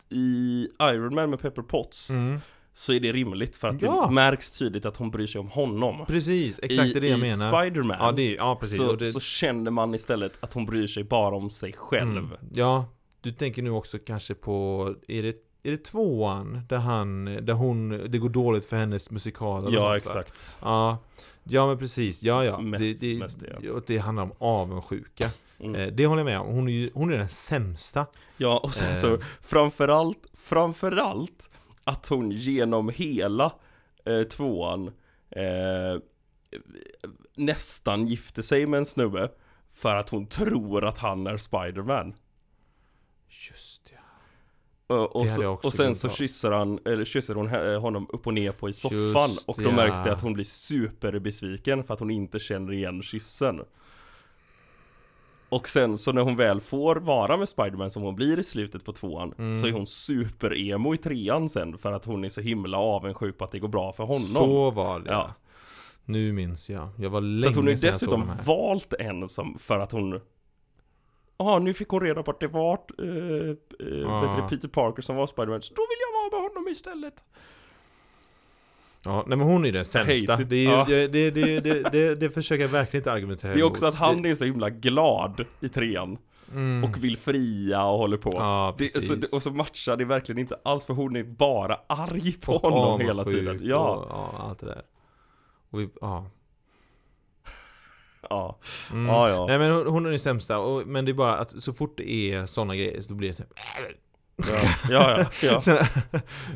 Speaker 1: i Iron Man med Pepper Potts
Speaker 2: Mm.
Speaker 1: så är det rimligt för att
Speaker 2: Ja.
Speaker 1: det märks tydligt att hon bryr sig om honom.
Speaker 2: Precis, exakt
Speaker 1: I,
Speaker 2: det är det jag
Speaker 1: i
Speaker 2: menar.
Speaker 1: Spider-Man
Speaker 2: Ja, det är, ja precis.
Speaker 1: så,
Speaker 2: Och det,
Speaker 1: så känner man istället att hon bryr sig bara om sig själv.
Speaker 2: Mm. Ja, du tänker nu också kanske på, är det, är det tvåan? Där han, där hon, det går dåligt för hennes musikaler och sånt,
Speaker 1: Ja,
Speaker 2: va?
Speaker 1: exakt.
Speaker 2: Ja, ja men precis, ja ja.
Speaker 1: Mest-
Speaker 2: det, det,
Speaker 1: mest det,
Speaker 2: och det handlar om avundsjuka.
Speaker 1: Mm.
Speaker 2: Eh, Det håller jag med om, hon är, ju- hon är den sämsta.
Speaker 1: Ja, och sen så
Speaker 2: Eh.
Speaker 1: framförallt, framförallt att hon genom hela eh, tvåan eh, nästan gifte sig med en snubbe för att hon tror att han är Spiderman.
Speaker 2: Just det,
Speaker 1: Eh, Och, och,
Speaker 2: Det hade jag
Speaker 1: så,
Speaker 2: också
Speaker 1: och sen
Speaker 2: glömt
Speaker 1: så
Speaker 2: av.
Speaker 1: kysser, han, eller kysser hon he- honom upp och ner på i soffan
Speaker 2: Just
Speaker 1: och då
Speaker 2: det,
Speaker 1: märks
Speaker 2: ja.
Speaker 1: det att hon blir superbesviken för att hon inte känner igen kyssen. Och sen så när hon väl får vara med Spiderman som hon blir i slutet på tvåan
Speaker 2: Mm.
Speaker 1: så är hon superemo i trean sen för att hon är så himla avundsjuk på att det går bra för honom.
Speaker 2: så var det
Speaker 1: Ja.
Speaker 2: Nu minns jag, jag var
Speaker 1: Så
Speaker 2: länge
Speaker 1: att hon har ju
Speaker 2: sedan jag såg
Speaker 1: dessutom
Speaker 2: de här.
Speaker 1: valt en som, för att hon Ja, nu fick hon reda på att det var eh, eh,
Speaker 2: Ah.
Speaker 1: vad heter det, Peter Parker som var Spiderman, så då vill jag vara med honom istället!
Speaker 2: Ja, nej men hon är den sämsta.
Speaker 1: Hated.
Speaker 2: Det, är,
Speaker 1: typ. Ja.
Speaker 2: det, det, det, det, det, det försöker jag verkligen inte argumentera
Speaker 1: Det är också
Speaker 2: emot.
Speaker 1: att han är så himla glad i trean
Speaker 2: Det- mm.
Speaker 1: och vill fria och håller på.
Speaker 2: Ja,
Speaker 1: det, så,
Speaker 2: precis.
Speaker 1: och så matchar det verkligen inte alls för hon är bara arg på honom
Speaker 2: avundsjuk
Speaker 1: hela tiden.
Speaker 2: och-
Speaker 1: Ja,
Speaker 2: ja, allt det där. Och vi, ja.
Speaker 1: ja,
Speaker 2: Mm.
Speaker 1: ja, ja.
Speaker 2: Nej men hon, hon är den sämsta, och, men det är bara att så fort det är såna grejer så blir det typ
Speaker 1: ja, ja, ja.
Speaker 2: Sån här,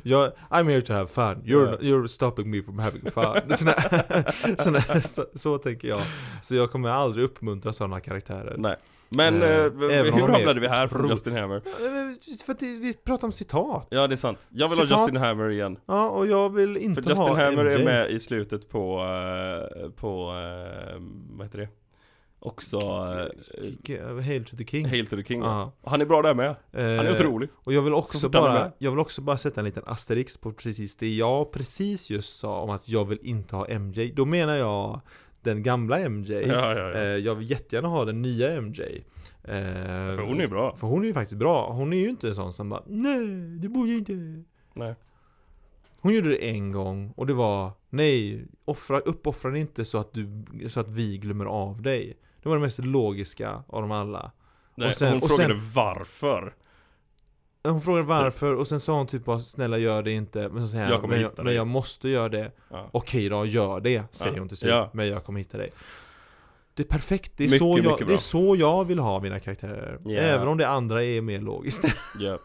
Speaker 2: jag, I'm here to have fun, you're,
Speaker 1: Ja.
Speaker 2: you're stopping me from having fun sån här, sån här, så, så tänker jag Så jag kommer aldrig uppmuntra såna karaktärer
Speaker 1: Nej. Men
Speaker 2: Eh,
Speaker 1: eh,
Speaker 2: även om
Speaker 1: hur
Speaker 2: de är
Speaker 1: hamnade vi här från
Speaker 2: otroligt-
Speaker 1: Justin Hammer?
Speaker 2: Ja, men För att det, vi pratar om citat
Speaker 1: Ja, det är sant. Jag vill ha
Speaker 2: Citat.
Speaker 1: Justin Hammer igen.
Speaker 2: Ja, och jag vill inte
Speaker 1: För Justin
Speaker 2: ha
Speaker 1: Hammer
Speaker 2: MJ.
Speaker 1: är med i slutet på, eh, på, eh, vad heter det? Också eh,
Speaker 2: K- k- Hail to the King
Speaker 1: Hail to the King.
Speaker 2: Ja.
Speaker 1: Han är bra där med. Han är
Speaker 2: Eh,
Speaker 1: otrolig.
Speaker 2: Och jag vill,
Speaker 1: Så
Speaker 2: också
Speaker 1: fort han är
Speaker 2: bara,
Speaker 1: med.
Speaker 2: jag vill också bara sätta en liten asterisk på precis det jag precis just sa om att jag vill inte ha MJ. Då menar jag den gamla MJ.
Speaker 1: Ja, ja,
Speaker 2: Eh,
Speaker 1: ja.
Speaker 2: Jag vill jättegärna ha den nya MJ. Eh,
Speaker 1: För hon är ju bra.
Speaker 2: För hon är ju faktiskt bra. Hon är ju inte en sån som bara Nej, det borde jag inte.
Speaker 1: Nej.
Speaker 2: Hon gjorde det en gång och det var Nej, offra, uppoffra dig inte så att, du, så att vi glömmer av dig. Det var det mest logiska av dem alla.
Speaker 1: Nej,
Speaker 2: Och sen-
Speaker 1: hon
Speaker 2: och
Speaker 1: frågade varför.
Speaker 2: Hon frågade varför och sen sa hon typ bara Snälla gör det inte. Men så säger
Speaker 1: Typ. Jag
Speaker 2: han
Speaker 1: kommer
Speaker 2: men,
Speaker 1: hitta
Speaker 2: jag,
Speaker 1: dig."
Speaker 2: men jag måste göra det.
Speaker 1: Ja.
Speaker 2: Okej då, gör det, säger
Speaker 1: Ja.
Speaker 2: hon till slut.
Speaker 1: Ja.
Speaker 2: Men jag kommer hitta dig. Det är perfekt, det är,
Speaker 1: Mycket,
Speaker 2: så jag,
Speaker 1: mycket bra.
Speaker 2: det är så jag vill ha mina karaktärer.
Speaker 1: Ja.
Speaker 2: Även om det andra är mer logiskt.
Speaker 1: Ja.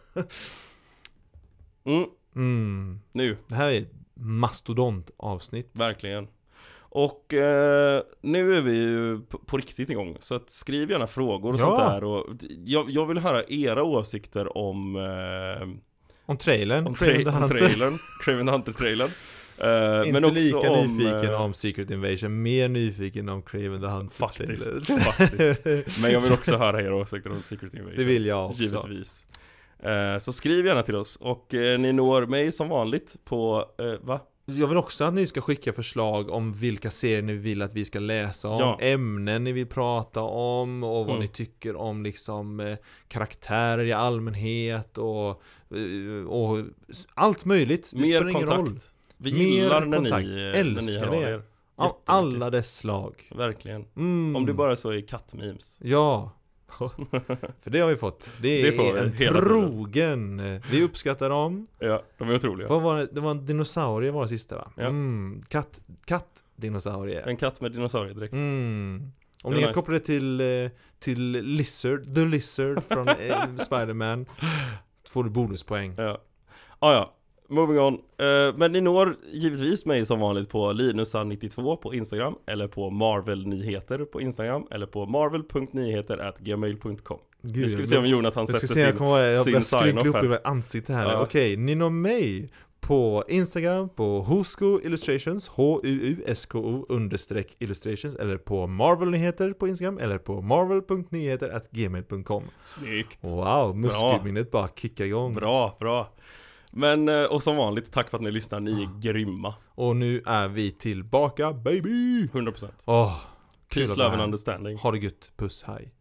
Speaker 1: Mm,
Speaker 2: Mm.
Speaker 1: nu,
Speaker 2: Det här är ett mastodontavsnitt.
Speaker 1: verkligen. Och eh, nu är vi ju på, på riktigt igång. Så att skriv gärna frågor och
Speaker 2: Ja.
Speaker 1: sånt där. Och, jag, jag vill höra era åsikter om eh,
Speaker 2: Om trailern,
Speaker 1: Om,
Speaker 2: Craven the
Speaker 1: tra- om
Speaker 2: Hunter.
Speaker 1: trailern, Craven the Hunter-trailern Eh,
Speaker 2: Inte
Speaker 1: Men också
Speaker 2: lika
Speaker 1: om,
Speaker 2: nyfiken
Speaker 1: eh,
Speaker 2: om Secret Invasion, mer nyfiken om Craven the Hunter
Speaker 1: Faktiskt,
Speaker 2: trailern.
Speaker 1: faktiskt. Men jag vill också höra era åsikter om Secret Invasion
Speaker 2: Det vill jag också.
Speaker 1: Givetvis Eh, Så skriv gärna till oss och eh, ni når mig som vanligt på, eh, va?
Speaker 2: Jag vill också att ni ska skicka förslag om vilka serier ni vill att vi ska läsa om,
Speaker 1: Ja.
Speaker 2: ämnen ni vill prata om och vad
Speaker 1: Mm.
Speaker 2: ni tycker om liksom eh, karaktärer i allmänhet och, eh, och s- allt möjligt. Det spelar
Speaker 1: Mer
Speaker 2: ingen roll.
Speaker 1: kontakt Vi
Speaker 2: Mer
Speaker 1: gillar när
Speaker 2: kontakt.
Speaker 1: ni, eh, när ni
Speaker 2: Älskar
Speaker 1: hör av
Speaker 2: det.
Speaker 1: er
Speaker 2: Av
Speaker 1: Jättemycket.
Speaker 2: alla dess slag.
Speaker 1: Verkligen
Speaker 2: Mm.
Speaker 1: Om det bara så är kattmemes
Speaker 2: Ja. För det har vi fått. Det,
Speaker 1: Det får
Speaker 2: är
Speaker 1: vi
Speaker 2: en
Speaker 1: hela
Speaker 2: trogen. Vi uppskattar dem.
Speaker 1: Ja, de är otroliga
Speaker 2: Vad var det? Det var en dinosaurie var det sista va?
Speaker 1: Ja.
Speaker 2: Mm. Katt, katt dinosaurie.
Speaker 1: En katt med dinosauriedräkt
Speaker 2: Mm. Om
Speaker 1: Det
Speaker 2: ni
Speaker 1: var
Speaker 2: kan
Speaker 1: nice.
Speaker 2: koppla det till, eh, till Lizard, The Lizard från eh, Spider-Man Får du bonuspoäng.
Speaker 1: Ja, ah, ja. Moving on. Eh, men ni når givetvis mig som vanligt på linusan92 på Instagram eller på Marvel-nyheter på Instagram eller på marvel.nyheter.gmail.com
Speaker 2: Gud,
Speaker 1: Nu ska vi se om Jonathan
Speaker 2: jag ska
Speaker 1: sätter
Speaker 2: se, jag
Speaker 1: sin...
Speaker 2: kommer vara, jag
Speaker 1: sin
Speaker 2: börjar
Speaker 1: sign-off
Speaker 2: skrynkla upp
Speaker 1: här.
Speaker 2: i mitt ansikte här nu.
Speaker 1: Ja.
Speaker 2: Okej, ni når mig på Instagram på Husko Illustrations, H-U-U-S-K-O understreck illustrations eller på Marvel-nyheter på Instagram eller på marvel.nyheter.gmail.com
Speaker 1: Snyggt!
Speaker 2: Wow, muskelminnet bara kickar igång.
Speaker 1: Bra, bra. Men, eh, och som vanligt, tack för att ni lyssnar. Ni
Speaker 2: Ah.
Speaker 1: är grymma.
Speaker 2: Och nu är vi tillbaka baby!
Speaker 1: 100%.
Speaker 2: Åh, kul
Speaker 1: Peace,
Speaker 2: att vara
Speaker 1: love and
Speaker 2: här.
Speaker 1: understanding.
Speaker 2: Ha det gött, puss, hej.